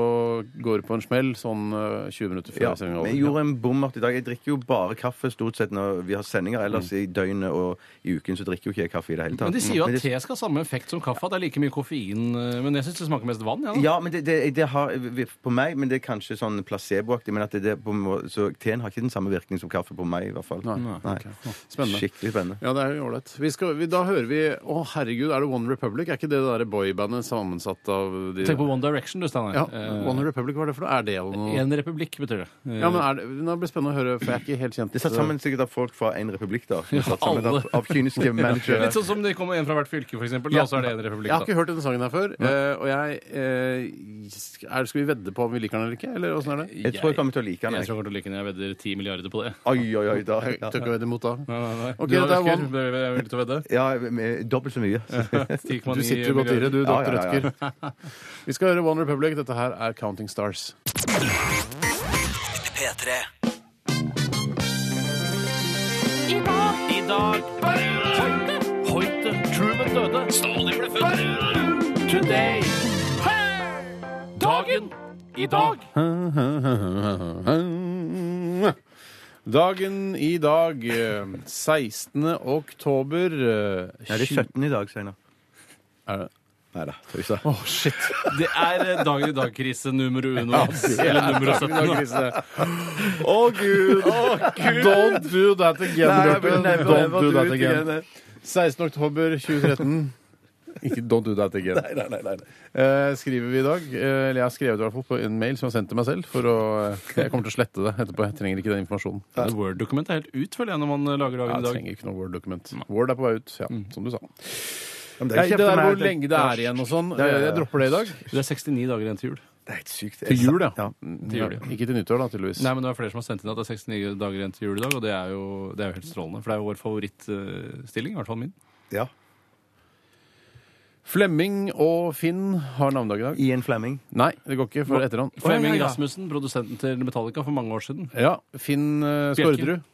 Speaker 4: går du på en smell sånn eh, 20 minutter før
Speaker 6: Ja,
Speaker 4: sendingen er
Speaker 6: men jeg
Speaker 4: over.
Speaker 6: gjorde en bommert i dag. Jeg drikker jo bare kaffe stort sett når vi har sendinger. Ellers
Speaker 4: Mm.
Speaker 6: i døgnet og i uken så drikker jo ikke jeg kaffe i det hele tatt.
Speaker 5: Men de sier jo at
Speaker 6: det-
Speaker 5: te skal ha samme effekt som kaffe. at Det er like mye koffein, eh, men jeg syns det smaker mest vann. Ja, da.
Speaker 6: ja, men det, det, det har på meg, men det er kanskje sånn placeboaktig. Men at det, det på, en må- så teen har ikke den samme virkning som kaffe på meg, i hvert fall. Nei.
Speaker 4: Spennende.
Speaker 6: Skikkelig spennende.
Speaker 4: Ja, det er jo ålreit. Vi skal- vi- Da hører vi Å, herregud, er det One Republic? Er ikke det der boybandet sammensatt av de
Speaker 5: Tenk på One Direction, du, Steinar.
Speaker 4: Ja,
Speaker 5: Eh,
Speaker 4: One Republic, hva er det for noe? Er det noe
Speaker 5: en republikk, betyr det. Eh,
Speaker 4: Ja, men er det, nå blir det spennende å høre, for jeg er ikke helt kjent
Speaker 6: Det er satt sammen sikkert av folk fra én republikk, da. som er Satt sammen
Speaker 5: alle.
Speaker 6: av, av kyniske managere.
Speaker 5: Litt sånn som det kommer en fra hvert fylke, f.eks. Ja.
Speaker 4: Ja.
Speaker 5: Så er det en republikk,
Speaker 4: Jeg
Speaker 5: da.
Speaker 4: har ikke hørt denne sangen her før, eh, og jeg eh, er, Skal vi vedde på om vi liker den eller ikke? Eller åssen er det?
Speaker 6: Jeg tror jeg kommer til å like den.
Speaker 5: Jeg
Speaker 6: jeg.
Speaker 5: tror jeg kommer til å like den. Jeg vedder 10 milliarder på det.
Speaker 6: Oi, oi, oi, da.
Speaker 4: Jeg
Speaker 6: Ja.
Speaker 4: tør ikke å vedde imot da.
Speaker 5: Nei, nei, nei.
Speaker 4: Ok,
Speaker 5: Du,
Speaker 4: det er
Speaker 5: Rødtger,
Speaker 4: One.
Speaker 5: vil- vil- vil du til å vedde?
Speaker 6: Ja, med dobbelt så mye.
Speaker 5: 10,9
Speaker 4: Du sitter jo godt i det, du,
Speaker 6: Ja,
Speaker 4: dr.
Speaker 6: ja, ja.
Speaker 4: Rødtger. Vi skal høre One Republic. Dette her er Counting Stars.
Speaker 2: P3
Speaker 7: I dag Hoite. Truman døde. Stalin ble født. Today. Dagen. I dag.
Speaker 4: Dagen i dag, eh, 16. oktober eh,
Speaker 6: Nei, det er 17 i dag, Steinar.
Speaker 4: Er det?
Speaker 6: Nei da, tøysa.
Speaker 4: Å, shit!
Speaker 5: Det er eh, dagen i dag-krise nummer uno. Eller nummer 17.
Speaker 6: Å, gud!
Speaker 4: Don't do that again,
Speaker 6: Nei, jeg
Speaker 4: Bjarte.
Speaker 6: vil never,
Speaker 4: Don't
Speaker 6: ever
Speaker 4: do
Speaker 6: do
Speaker 4: that
Speaker 6: it
Speaker 4: again.
Speaker 6: again.
Speaker 4: 16. oktober 2013. Ikke don't do that again.
Speaker 6: Nei, nei, nei, nei.
Speaker 4: Eh, skriver vi i dag. Eh, eller jeg har skrevet i hvert fall på en mail som jeg har sendt til meg selv. For å, eh, jeg kommer til å slette det etterpå. Jeg trenger ikke den informasjonen.
Speaker 5: Word-dokumentet er helt ut, føler jeg, når man eh, lager
Speaker 4: Jeg
Speaker 5: dagen i dag.
Speaker 4: trenger ikke noe Word-dokument. Word er på vei ut, ja, som du sa.
Speaker 6: Ja, men
Speaker 4: Nei, det
Speaker 6: ikke for
Speaker 4: der
Speaker 6: meg,
Speaker 4: hvor
Speaker 6: det-
Speaker 4: lenge det er igjen og sånn.
Speaker 6: Ja, ja, ja.
Speaker 4: Jeg dropper det i dag.
Speaker 5: Det er 69 dager igjen til jul.
Speaker 6: Det er helt sykt.
Speaker 4: Til jul, ja.
Speaker 6: ja.
Speaker 5: Til jul, ja.
Speaker 4: Ikke til nyttår, da, tydeligvis.
Speaker 5: Nei, men det er flere som har sendt inn at det er 69 dager igjen til jul i dag, og det er jo, det er jo helt strålende. For det er jo vår favorittstilling, i hvert fall min.
Speaker 6: ja.
Speaker 4: Flemming og Finn har navnedag i dag.
Speaker 6: Ian Flemming.
Speaker 4: Nei, det går ikke for etternavn.
Speaker 5: Flemming
Speaker 4: Å, ja, ja, ja.
Speaker 5: Rasmussen, produsenten til Metallica for mange år siden.
Speaker 4: Ja. Finn eh, Skårderud.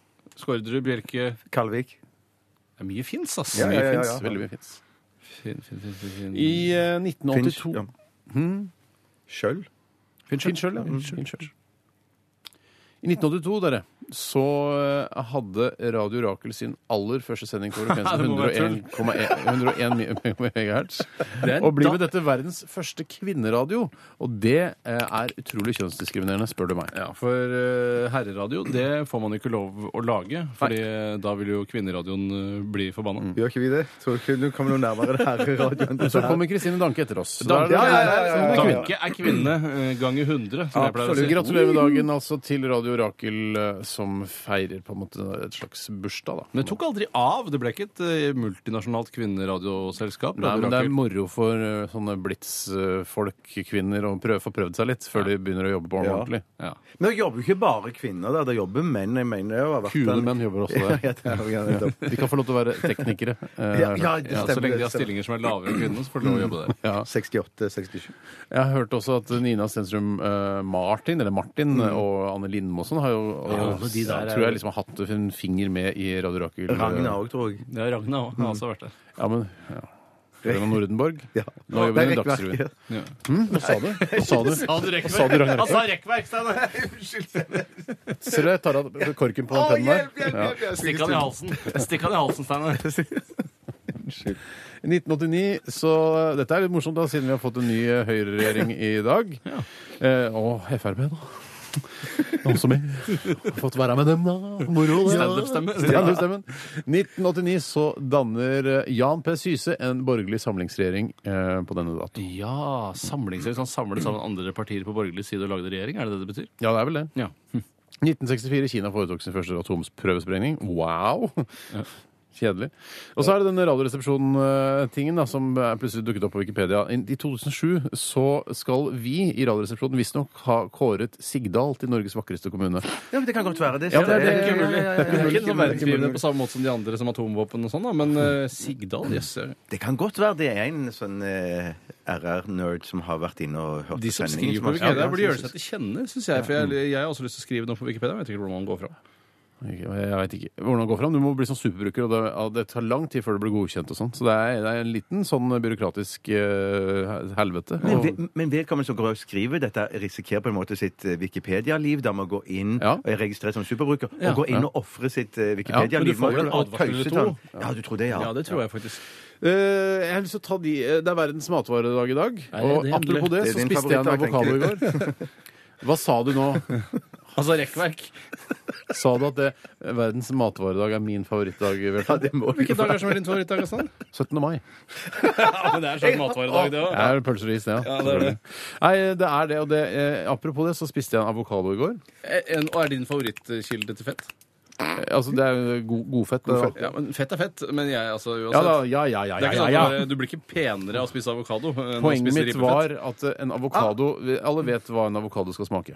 Speaker 5: Skårderud, Bjelke
Speaker 6: Kalvik.
Speaker 5: Det er mye fins, ass.
Speaker 6: Ja, ja, ja, ja.
Speaker 4: Fins. Veldig mye fins.
Speaker 5: Fin, fin, fin, fin, fin.
Speaker 4: I eh,
Speaker 6: Finch.
Speaker 4: 1982
Speaker 6: Ja.
Speaker 4: Hmm?
Speaker 6: Skjøll?
Speaker 5: Finn
Speaker 4: Finn
Speaker 5: Schjøll,
Speaker 4: Schjøll, ja. Finn Schjøll. I 1982 dere, så eh, hadde Radio Rakel sin aller første sending på
Speaker 5: Det må være tull.
Speaker 4: frekvensen 101,1 MHz.
Speaker 5: Det er
Speaker 4: Og blir
Speaker 5: da-
Speaker 4: med dette verdens første kvinneradio. Og det eh, er utrolig kjønnsdiskriminerende, spør du meg.
Speaker 5: Ja, for eh, herreradio det får man ikke lov å lage, Fordi da vil jo kvinneradioen eh, bli forbanna.
Speaker 6: Gjør ikke vi det? Tror ikke du kommer noe nærmere det her i radioen.
Speaker 4: Så kommer Kristine Danke etter oss. Så
Speaker 5: Danke,
Speaker 4: da er det-
Speaker 6: ja, ja, ja, ja, ja.
Speaker 4: Kvinne.
Speaker 5: Danke er kvinne eh, ganger 100, som jeg pleier å
Speaker 4: Absolutt.
Speaker 5: si.
Speaker 4: Gratulerer med dagen altså til Radio Rakel, eh, som feirer på en måte et slags bursdag. da.
Speaker 5: Men det tok aldri av. Det ble ikke et eh, multinasjonalt kvinneradioselskap.
Speaker 4: Nei,
Speaker 5: Radio
Speaker 4: men det er
Speaker 5: Rakel.
Speaker 4: moro for eh, sånne blitsfolk, kvinner, å prøve, få prøvd seg litt før de begynner å jobbe på
Speaker 6: Ja.
Speaker 4: ordentlig.
Speaker 5: ja.
Speaker 6: Men det jobber jo ikke bare kvinner der, det jobber menn. Jeg mener det har vært
Speaker 4: Kule menn jobber også der.
Speaker 6: Ja, det er jo gjerne det.
Speaker 4: De kan få lov til å være teknikere. eh,
Speaker 6: Ja,
Speaker 4: har jeg
Speaker 6: ja,
Speaker 4: hørt.
Speaker 6: det
Speaker 5: Ja, så lenge de
Speaker 6: stemmer. det
Speaker 5: har
Speaker 6: stemmer.
Speaker 5: stillinger som er lavere enn kvinnenes, får de lov å jobbe der.
Speaker 6: 68, 67.
Speaker 4: Jeg har hørt også at Nina Stenstrøm eh, Martin, eller Martin,
Speaker 6: Mm.
Speaker 4: og Anne Lindmo og sånn har jo og, ja, tror jeg liksom har hatt en finger med i Radio Rakel. eh,
Speaker 6: Ragna òg, tror jeg.
Speaker 5: Ja, Ragna òg har også vært der.
Speaker 4: Ja, men ja. Ragna Nordenborg.
Speaker 6: Ja.
Speaker 4: Nå jobber hun i
Speaker 6: Nei, rekkverket.
Speaker 4: Dagsrevyen. Hva sa du? Hva sa du? Hva sa du, Ragnar?
Speaker 6: Altså-
Speaker 5: sa rekkverk, Steinar!
Speaker 4: Ser du, jeg tar av korken på den
Speaker 6: Å,
Speaker 4: pennen der.
Speaker 6: hjelp, hjelp, hjelp, hjelp.
Speaker 5: Stikk han i halsen, Stikk han i halsen, Steinar.
Speaker 4: 1989, så dette er litt morsomt da, siden vi har fått en ny eh, høyreregjering i dag. Eh, og Frp, da. Noen som har fått være med dem, da. Moro. det.
Speaker 5: Standup-stemme.
Speaker 4: Standup-stemmen. 1989 så danner eh, Jan P. Syse en borgerlig samlingsregjering eh, på denne datoen.
Speaker 5: Ja, samlingsregjering. Sånn samle sammen andre partier på borgerlig side og lagde regjering? Er det det det betyr?
Speaker 4: Ja, det er vel det.
Speaker 5: Ja.
Speaker 4: 1964. Kina foretok sin første atomprøvesprengning. Wow! Kjedelig. Og så er det denne Radioresepsjonen-tingen da, som er plutselig dukket opp på Wikipedia. I i 2007 så skal vi i Radioresepsjonen visstnok ha kåret Sigdal til Norges vakreste kommune.
Speaker 6: Ja, men det kan godt være det.
Speaker 4: Ja, det er- det er ikke
Speaker 6: Ja, ja, ja,
Speaker 4: mulig.
Speaker 6: ja, ja,
Speaker 5: Det er
Speaker 6: ja.
Speaker 5: ikke noe verdensgivende på samme måte som de andre som atomvåpen og sånn, da, men eh, Sigdal, jøss.
Speaker 6: Det kan godt være det er en sånn eh, RR-nerd som har vært inne og hørt
Speaker 5: De som
Speaker 6: sendingen,
Speaker 5: skriver
Speaker 6: som
Speaker 5: på
Speaker 6: har-
Speaker 5: Wikipedia,
Speaker 6: Ja, ja,
Speaker 5: burde gjøre
Speaker 6: synes-
Speaker 5: seg til kjenne, syns jeg. For jeg, jeg har også lyst til å skrive noe på Wikipedia, men jeg vet ikke hvordan man går fra.
Speaker 4: Ok, Jeg vet ikke hvordan det går fram. Du må bli sånn superbruker, og det, ja, det tar lang tid før det blir godkjent og sånn. Så det er, det er en liten sånn byråkratisk eh, helvete.
Speaker 6: Men,
Speaker 4: Og-
Speaker 6: ve- men vedkommende som går og skriver dette, risikerer på en måte sitt eh, Wikipedia-liv. Da må gå inn
Speaker 4: Ja.
Speaker 6: og registrere som superbruker, og
Speaker 5: Ja.
Speaker 6: gå inn og ofre sitt
Speaker 5: Ja,
Speaker 6: eh,
Speaker 5: men du
Speaker 6: Wikipedia-liv.
Speaker 5: får vel en
Speaker 6: Og
Speaker 5: advarsel eller
Speaker 6: tause
Speaker 5: to?
Speaker 6: til han. Ja, du tror det, ja.
Speaker 5: Ja, det tror jeg faktisk.
Speaker 4: Eh, jeg har lyst til å ta de eh, Det er verdens matvaredag i
Speaker 5: Er
Speaker 4: dag.
Speaker 5: det
Speaker 4: Og
Speaker 5: det, endelig?
Speaker 4: apropos det,
Speaker 6: Det er
Speaker 4: så
Speaker 6: din
Speaker 4: spiste jeg en
Speaker 6: favorittdag,
Speaker 4: avokado i går. Hva sa du nå?
Speaker 5: Altså rekkverk.
Speaker 4: Sa du at det, verdens matvaredag er min favorittdag? Bjarte?
Speaker 6: det må vi
Speaker 5: Hvilke dager som er din favorittdag? Sånn?
Speaker 4: 17. mai.
Speaker 5: Ja, men det er sånn matvaredag, det
Speaker 4: Det
Speaker 5: òg.
Speaker 4: er pølser og is, det. Ja,
Speaker 5: Ja, det er det.
Speaker 4: Nei, det er det. Og det, eh, apropos det, så spiste jeg en avokado i går.
Speaker 5: Eh, Og er din favorittkilde til fett?
Speaker 4: Eh, Altså, det er jo god, godfett. det, da.
Speaker 5: Ja, men Fett er fett, men jeg altså
Speaker 4: Ja,
Speaker 5: uansett
Speaker 4: da, ja, ja, ja,
Speaker 5: Det er ikke
Speaker 4: ja,
Speaker 5: sånn
Speaker 4: ja,
Speaker 5: at du bare-
Speaker 4: ja.
Speaker 5: Du blir ikke penere av å spise avokado. eh, enn å
Speaker 4: Poenget
Speaker 5: spise
Speaker 4: mitt
Speaker 5: ribbefett.
Speaker 4: var at eh, en avokado Alle vet hva en avokado skal smake.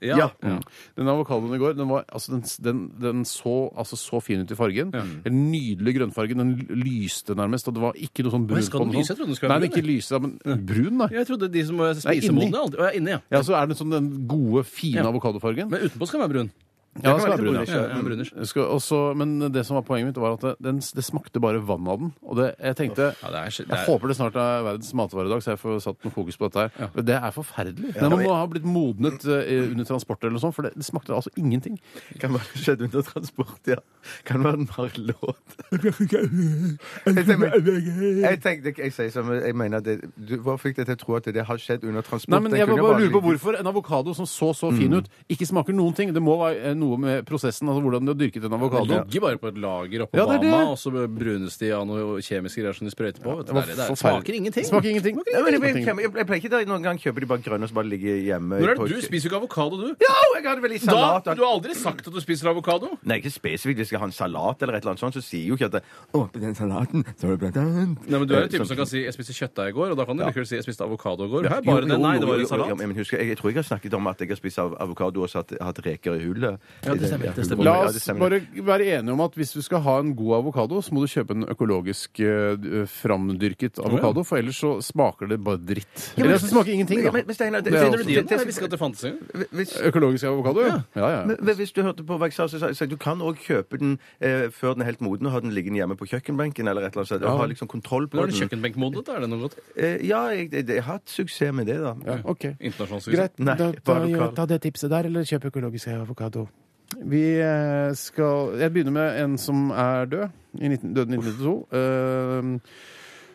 Speaker 5: ja.
Speaker 6: Ja.
Speaker 4: Mm. Den avokadoen i går, den, var, altså, den, den, den så altså, så fin ut i fargen. En nydelig grønnfarge. Den lyste nærmest, og det var ikke noe sånn brun
Speaker 5: skal den
Speaker 4: på sånn.
Speaker 5: lyse? Jeg trodde den skulle være
Speaker 4: Nei,
Speaker 5: brun,
Speaker 4: ikke lyse, men eh, brun, da.
Speaker 5: Jeg trodde de som var
Speaker 4: Nei, inni.
Speaker 5: spisemodne aldri- Å, ja, inni, ja.
Speaker 4: Ja, så er den sånn den gode, fine
Speaker 5: Ja.
Speaker 4: avokadofargen.
Speaker 5: Men utenpå skal den være brun.
Speaker 4: Ja, den skal
Speaker 6: være
Speaker 4: være brun,
Speaker 6: litt
Speaker 4: ja.
Speaker 5: Ja, ja, bruners.
Speaker 4: Jeg Skal, også, men det som var poenget mitt, var at det- den, det smakte bare vann av den. Og det, jeg tenkte
Speaker 5: Ja, det er, det
Speaker 4: jeg
Speaker 5: er,
Speaker 4: håper det snart er verdens matvaredag, så jeg får satt noe fokus på dette her. Men Det er forferdelig. Den må ha blitt modnet eh, under transport eller noe sånt, for det, det smakte altså ingenting.
Speaker 6: Kan være skjedd under transport, ja. Kan være en marlåt. Jeg tenker- jeg tenkte, jeg sier som jeg mener det, du, Hvorfor fikk jeg til å tro at det har skjedd under transport?
Speaker 4: Nei, men
Speaker 6: Den
Speaker 4: jeg
Speaker 6: kunne
Speaker 4: bare lurer på
Speaker 6: ligge-
Speaker 4: hvorfor en avokado som så så fin ut, ikke smaker noen ting. Det må være eh, noe med prosessen, altså hvordan du har dyrket en
Speaker 5: det
Speaker 4: avokado.
Speaker 5: ligger bare på et lager oppå
Speaker 4: Ja, det er det.
Speaker 5: Bama, og så brunes de av noe kjemiske greier som de sprøyter på. vet du.
Speaker 4: var
Speaker 5: det, er, det er,
Speaker 4: forferdelig.
Speaker 5: smaker ingenting.
Speaker 4: Smaker ingenting.
Speaker 6: Ja, men jeg, jeg, jeg, jeg, pleier ikke da, noen gang kjøpe de bare grønne og så bare ligge hjemme.
Speaker 5: Når er
Speaker 6: på-
Speaker 5: det du spiser jo ikke avokado, du?
Speaker 6: Ja, jeg hadde vel i
Speaker 5: Da,
Speaker 6: salat.
Speaker 5: du har aldri sagt at du spiser avokado.
Speaker 6: Nei, ikke spesifikt. Hvis jeg skal ha en salat eller et eller annet sånt, så sier jo ikke at det, Å, på den salaten så er det blant annet
Speaker 5: Nei, men Du er jo
Speaker 6: Eh,
Speaker 5: typen som
Speaker 6: sånn-
Speaker 5: kan si 'jeg spiste kjøttdeig i går', og da kan du likevel si 'jeg spiste avokado i går'. Her,
Speaker 6: Jo,
Speaker 5: bare det.
Speaker 6: jo,
Speaker 5: Nei,
Speaker 6: jo,
Speaker 5: det var
Speaker 6: jo,
Speaker 5: en
Speaker 6: jo, jo,
Speaker 5: salat.
Speaker 6: men husker, jeg, jeg tror jeg har snakket om at jeg har spist av avokado og satt, hatt reker i hullet.
Speaker 5: Ja, det stemmer, det stemmer.
Speaker 4: La
Speaker 6: Ja, det
Speaker 4: oss bare være enige om at hvis du skal ha en god avokado, så må du kjøpe en økologisk eh, framdyrket avokado, for ellers så smaker det bare dritt.
Speaker 6: men-
Speaker 4: Eller så smaker det ingenting,
Speaker 6: Ja, men,
Speaker 4: da.
Speaker 6: men Steinar, det,
Speaker 4: Det er
Speaker 6: det-
Speaker 4: også-
Speaker 6: det-
Speaker 5: Dyr,
Speaker 6: det-
Speaker 5: jeg visste ikke at det fantes engang.
Speaker 6: det- hvis-
Speaker 4: Økologisk avokado, altså. ja. ja, ja.
Speaker 6: men- men Hvis du hørte på hva jeg sa, så sa jeg- så du kan òg kjøpe den eh, før den er helt moden, og ha den liggende hjemme på kjøkkenbenken eller et eller annet sånt. Og ha liksom kontroll på
Speaker 5: Nå er det
Speaker 6: den.
Speaker 5: kjøkkenbenkmodet. Er det noe godt?
Speaker 6: Eh, ja, jeg, jeg, jeg har hatt suksess med det, da.
Speaker 4: ja. OK.
Speaker 5: Internasjonalt suksess.
Speaker 4: Greit.
Speaker 6: Nei,
Speaker 4: Da, da,
Speaker 6: bare lokal.
Speaker 4: ta det tipset der, eller kjøp økologisk avokado. Vi eh, skal Jeg begynner med en som er død. I 19, døde i 1992. Uh,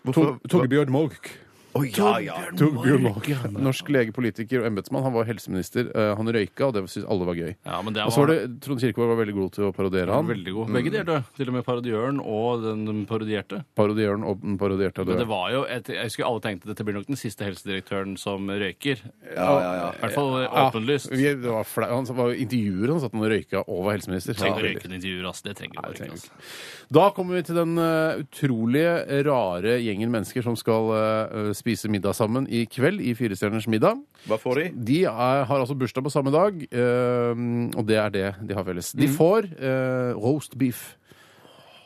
Speaker 6: Hvorfor-
Speaker 4: Torbjørn Mork.
Speaker 6: Å, ja, ja.
Speaker 4: Torbjørn Mork. Norsk lege, politiker og embetsmann. Han var helseminister. Eh, han røyka, og det syntes alle var gøy.
Speaker 5: Ja, men det
Speaker 4: Og så var det Trond Kirkevaag var veldig god til å parodiere han.
Speaker 5: Veldig
Speaker 6: Mm.
Speaker 5: god. Begge deler døde. Til og med parodiøren og den parodierte.
Speaker 4: Parodieren og den parodierte
Speaker 5: Men det
Speaker 4: død.
Speaker 5: var jo et, Jeg husker alle tenkte dette blir nok den siste helsedirektøren som røyker.
Speaker 6: ja, ja, ja.
Speaker 5: I hvert fall åpenlyst.
Speaker 4: Ah, vi, det var flau. Han var jo intervjuer han satt han og røyka og var helseminister.
Speaker 5: Trenger
Speaker 4: Ja.
Speaker 5: røykende intervjuer, ass. Det trenger
Speaker 4: Nei, det
Speaker 5: du
Speaker 4: trenger
Speaker 5: ikke.
Speaker 4: vi
Speaker 5: ass.
Speaker 4: Da kommer vi til den eh, utrolige, rare gjengen mennesker som skal eh, spise middag sammen i kveld i Firestjerners middag.
Speaker 6: Hva får de? Hm,
Speaker 4: De er, har altså bursdag på samme dag, eh, og det er det de har felles. De får eh, roast beef.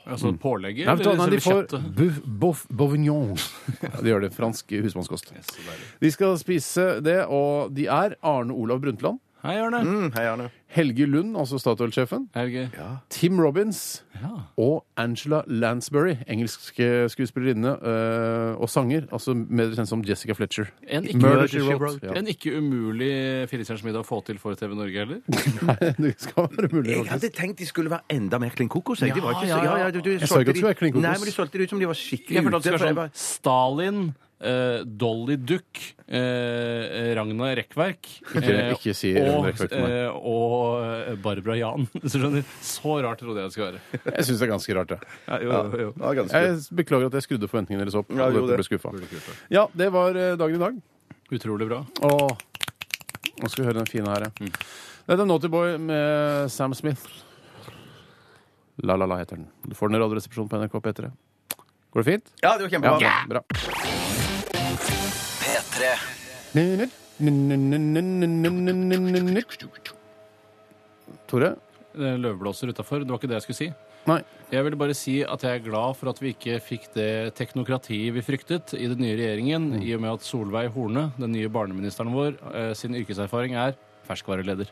Speaker 5: Altså pålegget?
Speaker 4: Nei, vet du hva,
Speaker 5: eller
Speaker 4: nei, de
Speaker 5: selve
Speaker 4: får boeuf, boeuf, bourguignon. Ja, de gjør det. Fransk husmannskost. De skal spise det, og de er Arne Olav Brundtland.
Speaker 5: Hei, Arne.
Speaker 6: Mm, hei, Arne.
Speaker 4: Helge Lund, altså Statoil-sjefen.
Speaker 5: Er det gøy?
Speaker 4: Tim Robbins.
Speaker 5: Ja.
Speaker 4: Og Angela Lansbury, engelsk eh, skuespillerinne eh, og sanger. Altså mer kjent som Jessica Fletcher.
Speaker 5: En ikke,
Speaker 4: Murder, She Wrote. Ja.
Speaker 5: en ikke umulig Firestjerners middag å få til for TV Norge heller.
Speaker 4: Nei, det skal være mulig.
Speaker 6: Jeg hadde tenkt de skulle være enda mer klin kokos. Jeg. De var ikke så,
Speaker 5: Ja, ja,
Speaker 6: ja,
Speaker 5: ja.
Speaker 6: ja, du, du,
Speaker 4: Jeg sa ikke
Speaker 6: solgte
Speaker 4: at de skulle være klin kokos.
Speaker 6: Nei, men du solgte det ut som de var skikkelig
Speaker 5: Jeg følte at det
Speaker 6: ute. for
Speaker 5: var sånn
Speaker 6: jeg bare-
Speaker 5: Stalin, eh, Dolly Duck, eh, Ragna Rekkverk
Speaker 4: Ikke- ikke si Ragna
Speaker 5: og,
Speaker 4: Rekkverk til meg.
Speaker 5: eh, og Barbara Jan. Så skjønner du? Så rart trodde jeg det skulle være.
Speaker 4: Jeg syns det er ganske rart, det.
Speaker 6: Ja, ganske.
Speaker 4: Jeg beklager at jeg skrudde forventningene deres opp.
Speaker 6: Ja,
Speaker 4: og
Speaker 6: jo,
Speaker 4: dere
Speaker 6: det.
Speaker 4: ble skuffet. Ja, det var eh, dagen i dag.
Speaker 5: Utrolig bra.
Speaker 4: Åh. Nå skal vi høre den fine her, ja.
Speaker 6: Mm.
Speaker 4: Dette er Naughty Boy med Sam Smith. La La La heter den. Du får den i Radioresepsjonen på NRK P3. Går det fint?
Speaker 6: Ja, det var kjempebra.
Speaker 4: bra.
Speaker 2: P3
Speaker 4: Tore?
Speaker 5: Det er Løvblåser utafor. Det var ikke det jeg skulle si.
Speaker 4: Nei.
Speaker 5: Jeg ville bare si at jeg er glad for at vi ikke fikk det teknokratiet vi fryktet i den nye regjeringen,
Speaker 4: Mm.
Speaker 5: i og med at Solveig Horne, den nye barneministeren vår, eh, sin yrkeserfaring er ferskvareleder.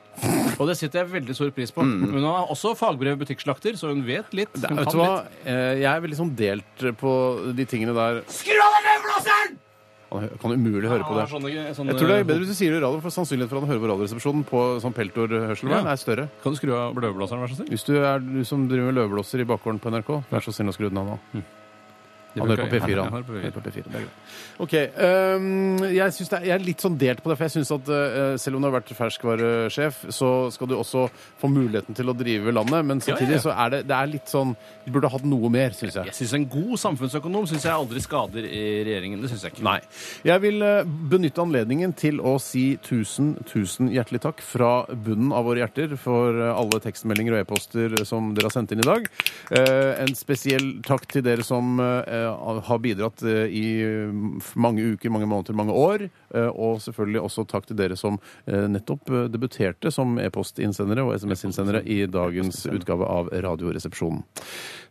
Speaker 5: Og det setter jeg veldig stor pris på. Hun har også fagbrev butikkslakter, så hun vet litt. Hun
Speaker 4: Mm. Vet
Speaker 5: kan
Speaker 4: du hva?
Speaker 5: litt.
Speaker 4: Eh, Jeg er veldig sånn delt på de tingene der.
Speaker 3: Skru av den sånn, løvblåseren!
Speaker 4: Han hø- kan umulig høre på
Speaker 5: Hun har
Speaker 4: det.
Speaker 5: sånne, sånne,
Speaker 4: Jeg tror det
Speaker 3: eh,
Speaker 4: er bedre hvis du sier det i radioen, for sannsynligheten for at han hører på Radioresepsjonen på sånn peltorhørselvern
Speaker 5: Ja.
Speaker 4: er større.
Speaker 5: Kan du skru av løvblåseren, vær så snill?
Speaker 4: Hvis du er du som driver med løvblåser i bakgården på NRK, vær så snill å skru den av nå. Han hører på
Speaker 5: bruker jeg.
Speaker 4: P4.
Speaker 5: Han
Speaker 4: Han.
Speaker 5: hører på P4.
Speaker 4: Hører på P4. Det er greit. OK. øhm, jeg, synes det er, jeg er litt sånn delt på det, for jeg syns at øh, selv om du har vært ferskvaresjef, så skal du også få muligheten til å drive landet, men
Speaker 5: Ja, ja,
Speaker 4: samtidig
Speaker 5: ja.
Speaker 4: så er det, det er litt sånn Du burde hatt noe mer, syns jeg.
Speaker 5: Jeg syns en god samfunnsøkonom synes jeg aldri skader i regjeringen. Det syns jeg ikke.
Speaker 4: Nei. Jeg vil eh, benytte anledningen til å si tusen, tusen hjertelig takk fra bunnen av våre hjerter for eh, alle tekstmeldinger og e-poster som dere har sendt inn i dag. Eh, En spesiell takk til dere som eh, har bidratt eh, i eh, mange uker, mange måneder, mange år. Eh, Og selvfølgelig også takk til dere som eh, nettopp eh, debuterte som e-postinnsendere og SMS-innsendere i dagens utgave av Radioresepsjonen.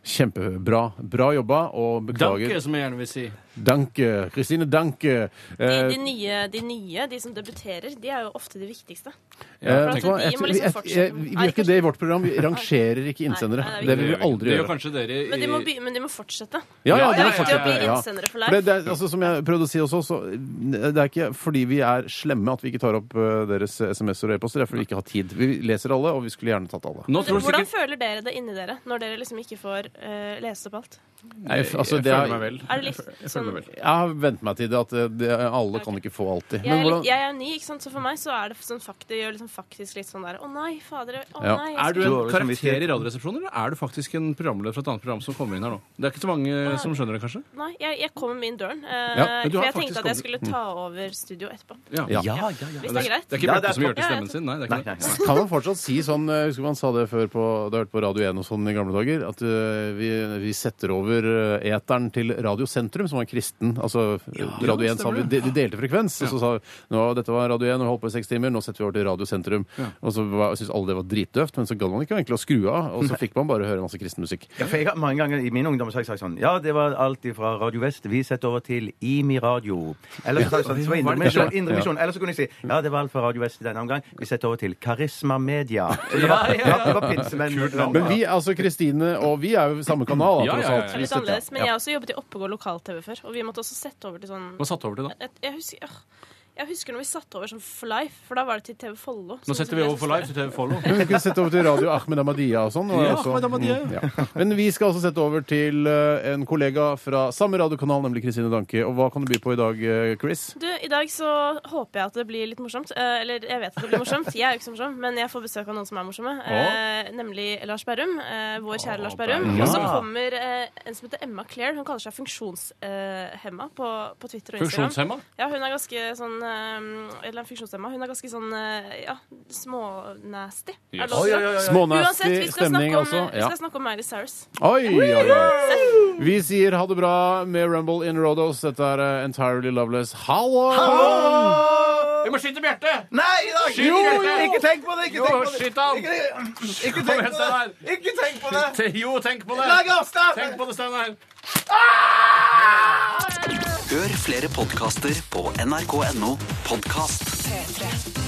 Speaker 4: Kjempebra. Bra jobba, og beklager
Speaker 5: Danke, som jeg gjerne vil si.
Speaker 4: Danke. Kristine Danke. Eh,
Speaker 8: De nye, de nye, de som debuterer, de er jo ofte de viktigste.
Speaker 4: eh,
Speaker 8: tenker-
Speaker 4: vet du hva?
Speaker 8: Vi må
Speaker 4: Jeg-
Speaker 8: liksom
Speaker 4: jeg-
Speaker 8: fortsette.
Speaker 4: jeg- Vi
Speaker 8: Nei,
Speaker 4: gjør ikke
Speaker 8: kanskje-
Speaker 4: det i vårt program. Vi rangerer ikke
Speaker 8: Nei,
Speaker 4: innsendere.
Speaker 8: det
Speaker 4: Det
Speaker 8: er
Speaker 4: vil vi aldri
Speaker 5: Det gjør
Speaker 4: gjøre.
Speaker 5: kanskje dere i
Speaker 8: Men de må, be, men de må fortsette.
Speaker 4: Ja, ja,
Speaker 5: Ja,
Speaker 4: det
Speaker 5: ja,
Speaker 4: må
Speaker 5: ja, ja,
Speaker 4: fortsette.
Speaker 5: ja,
Speaker 8: ja.
Speaker 4: Ja.
Speaker 8: Innsendere for life.
Speaker 4: For Det, det, er- altså, som jeg prøvde å si også, så det er ikke fordi vi er slemme at vi ikke tar opp eh, deres SMS-er og e-poster. Det er fordi vi ikke har tid. Vi leser alle, og vi skulle gjerne tatt alle.
Speaker 5: Nå tror
Speaker 8: Hvordan
Speaker 5: sikkert
Speaker 8: føler dere det inni dere når dere liksom ikke får eh, lest opp alt?
Speaker 4: Jeg, altså, det
Speaker 5: føler meg
Speaker 4: er,
Speaker 5: vel.
Speaker 8: Er det litt sånn
Speaker 4: jeg har vent meg til det at eh, det, alle kan ikke få alltid.
Speaker 8: jeg
Speaker 4: Men
Speaker 8: er, litt,
Speaker 4: hvordan
Speaker 8: jeg er ny, ikke sant? så for meg så er det sånn fakt, det gjør liksom faktisk litt sånn der Å nei, fader. Å
Speaker 4: Ja.
Speaker 8: nei. jeg
Speaker 5: Er du en
Speaker 8: skal-
Speaker 6: Dårlig
Speaker 5: karakter
Speaker 6: samvittighet.
Speaker 5: i Radioresepsjonen, eller er du faktisk en programleder fra et annet program som kommer inn her nå? Det er ikke så mange som skjønner det, kanskje?
Speaker 8: Nei, jeg, jeg kommer med inn døren. eh,
Speaker 4: men du
Speaker 8: for
Speaker 4: har
Speaker 8: jeg tenkte
Speaker 5: faktisk
Speaker 8: at jeg skulle
Speaker 5: kommet-
Speaker 8: ta over studio etterpå.
Speaker 4: Ja.
Speaker 6: Ja, ja, ja.
Speaker 8: Hvis det er greit.
Speaker 5: Det er ikke
Speaker 6: Ja,
Speaker 5: Bjarte
Speaker 6: det er
Speaker 5: som gjør til
Speaker 8: topp.
Speaker 5: stemmen sin. Nei, det er
Speaker 6: Nei,
Speaker 5: ikke
Speaker 6: nei,
Speaker 5: det.
Speaker 6: nei.
Speaker 4: Kan man fortsatt si sånn eh, Husker man sa det før på, da jeg hørte på Radio 1 og sånn i gamle dager, at eh, vi, vi setter over eh, eteren til Radio Sentrum, som var kristen. Altså Radio 1 sa vi, de, de delte frekvens, og så sa vi nå, dette var Radio 1, og vi holdt på i seks timer, nå setter vi over til Radio Sentrum. Og så var- syntes alle det var dritdøvt, men så gadd man ikke egentlig å skru av, og så fikk man bare høre masse kristen musikk.
Speaker 6: Ja, for jeg har mange ganger i min ungdom så har jeg sagt sånn Ja, det var alt fra Radio Vest. Vi setter over til IMI Radio. Eller så sa jeg sånn, så var Indre Misjon. Indre Misjon. Eller så kunne jeg si Ja, det var alt fra Radio Vest i denne omgang. Vi setter over til Karisma Media. Så Det var, ja, det var pinsemenn.
Speaker 4: Men vi, altså Kristine og vi er jo samme kanal, da,
Speaker 5: Ja,
Speaker 4: tross
Speaker 5: ja, ja,
Speaker 4: alt.
Speaker 5: ja.
Speaker 8: Det er
Speaker 4: Vi
Speaker 8: litt
Speaker 4: setter-
Speaker 8: annerledes. Men jeg har også jobbet i Oppegård lokal-TV før, og vi måtte også sette over til sånn
Speaker 5: Hva satt over til da?
Speaker 8: jeg, jeg, husker, øh, jeg husker når vi satte over sånn For Life, for da var det til TV Follo.
Speaker 5: Nå setter vi over for live til TV Follow.
Speaker 4: Men vi kunne sette over til Radio Ahmed Ahmadiyya og sånn. og
Speaker 5: Ja,
Speaker 4: også-
Speaker 5: Ahmed Ahmadiyya,
Speaker 4: Mm, ja. Men vi skal også sette over til eh, en kollega fra samme radiokanal, nemlig Kristine Danke. Og hva kan du by på i dag, eh, Chris?
Speaker 8: Du, I dag så håper jeg at det blir litt morsomt. Eh, eller jeg vet at det blir morsomt. Jeg er jo ikke så morsom, men jeg får besøk av noen som er morsomme. Eh, nemlig Lars Berrum. Eh, vår kjære Lars Berrum.
Speaker 5: Berrum.
Speaker 8: Og så kommer eh, en som heter Emma Claire. Hun kaller seg funksjonshemma på, på Twitter og Instagram.
Speaker 5: Funksjonshemma?
Speaker 8: Ja, hun er ganske sånn eh, Eller funksjonshemma. Hun er ganske sånn eh, ja, smånasty. Er det lov å si det?
Speaker 4: Smånasty
Speaker 8: Uansett, vi skal
Speaker 4: stemning
Speaker 8: snakke om,
Speaker 4: også.
Speaker 8: vi
Speaker 4: Ja.
Speaker 8: skal snakke om Miley Cyrus.
Speaker 4: Oi, oi, oi. Vi sier ha det bra med Rumble in Rodos. Dette er eh, Entirely Loveless. Hallo!
Speaker 5: Vi må skyte Bjarte!
Speaker 6: Nei, i dag!
Speaker 5: Jo, jo, jo.
Speaker 6: Ikke tenk på det! Ikke
Speaker 5: Jo,
Speaker 6: tenk på det!
Speaker 5: skyt han!
Speaker 6: Ikke- Ikke
Speaker 5: Kom
Speaker 6: tenk
Speaker 5: igjen,
Speaker 6: på det!
Speaker 5: Steinar.
Speaker 6: Ikke tenk på det!
Speaker 5: Jo, tenk på
Speaker 6: Lag
Speaker 5: det!
Speaker 6: avstand!
Speaker 5: Tenk på det, Steinar!
Speaker 2: Hør flere podcaster på nrk.no podcast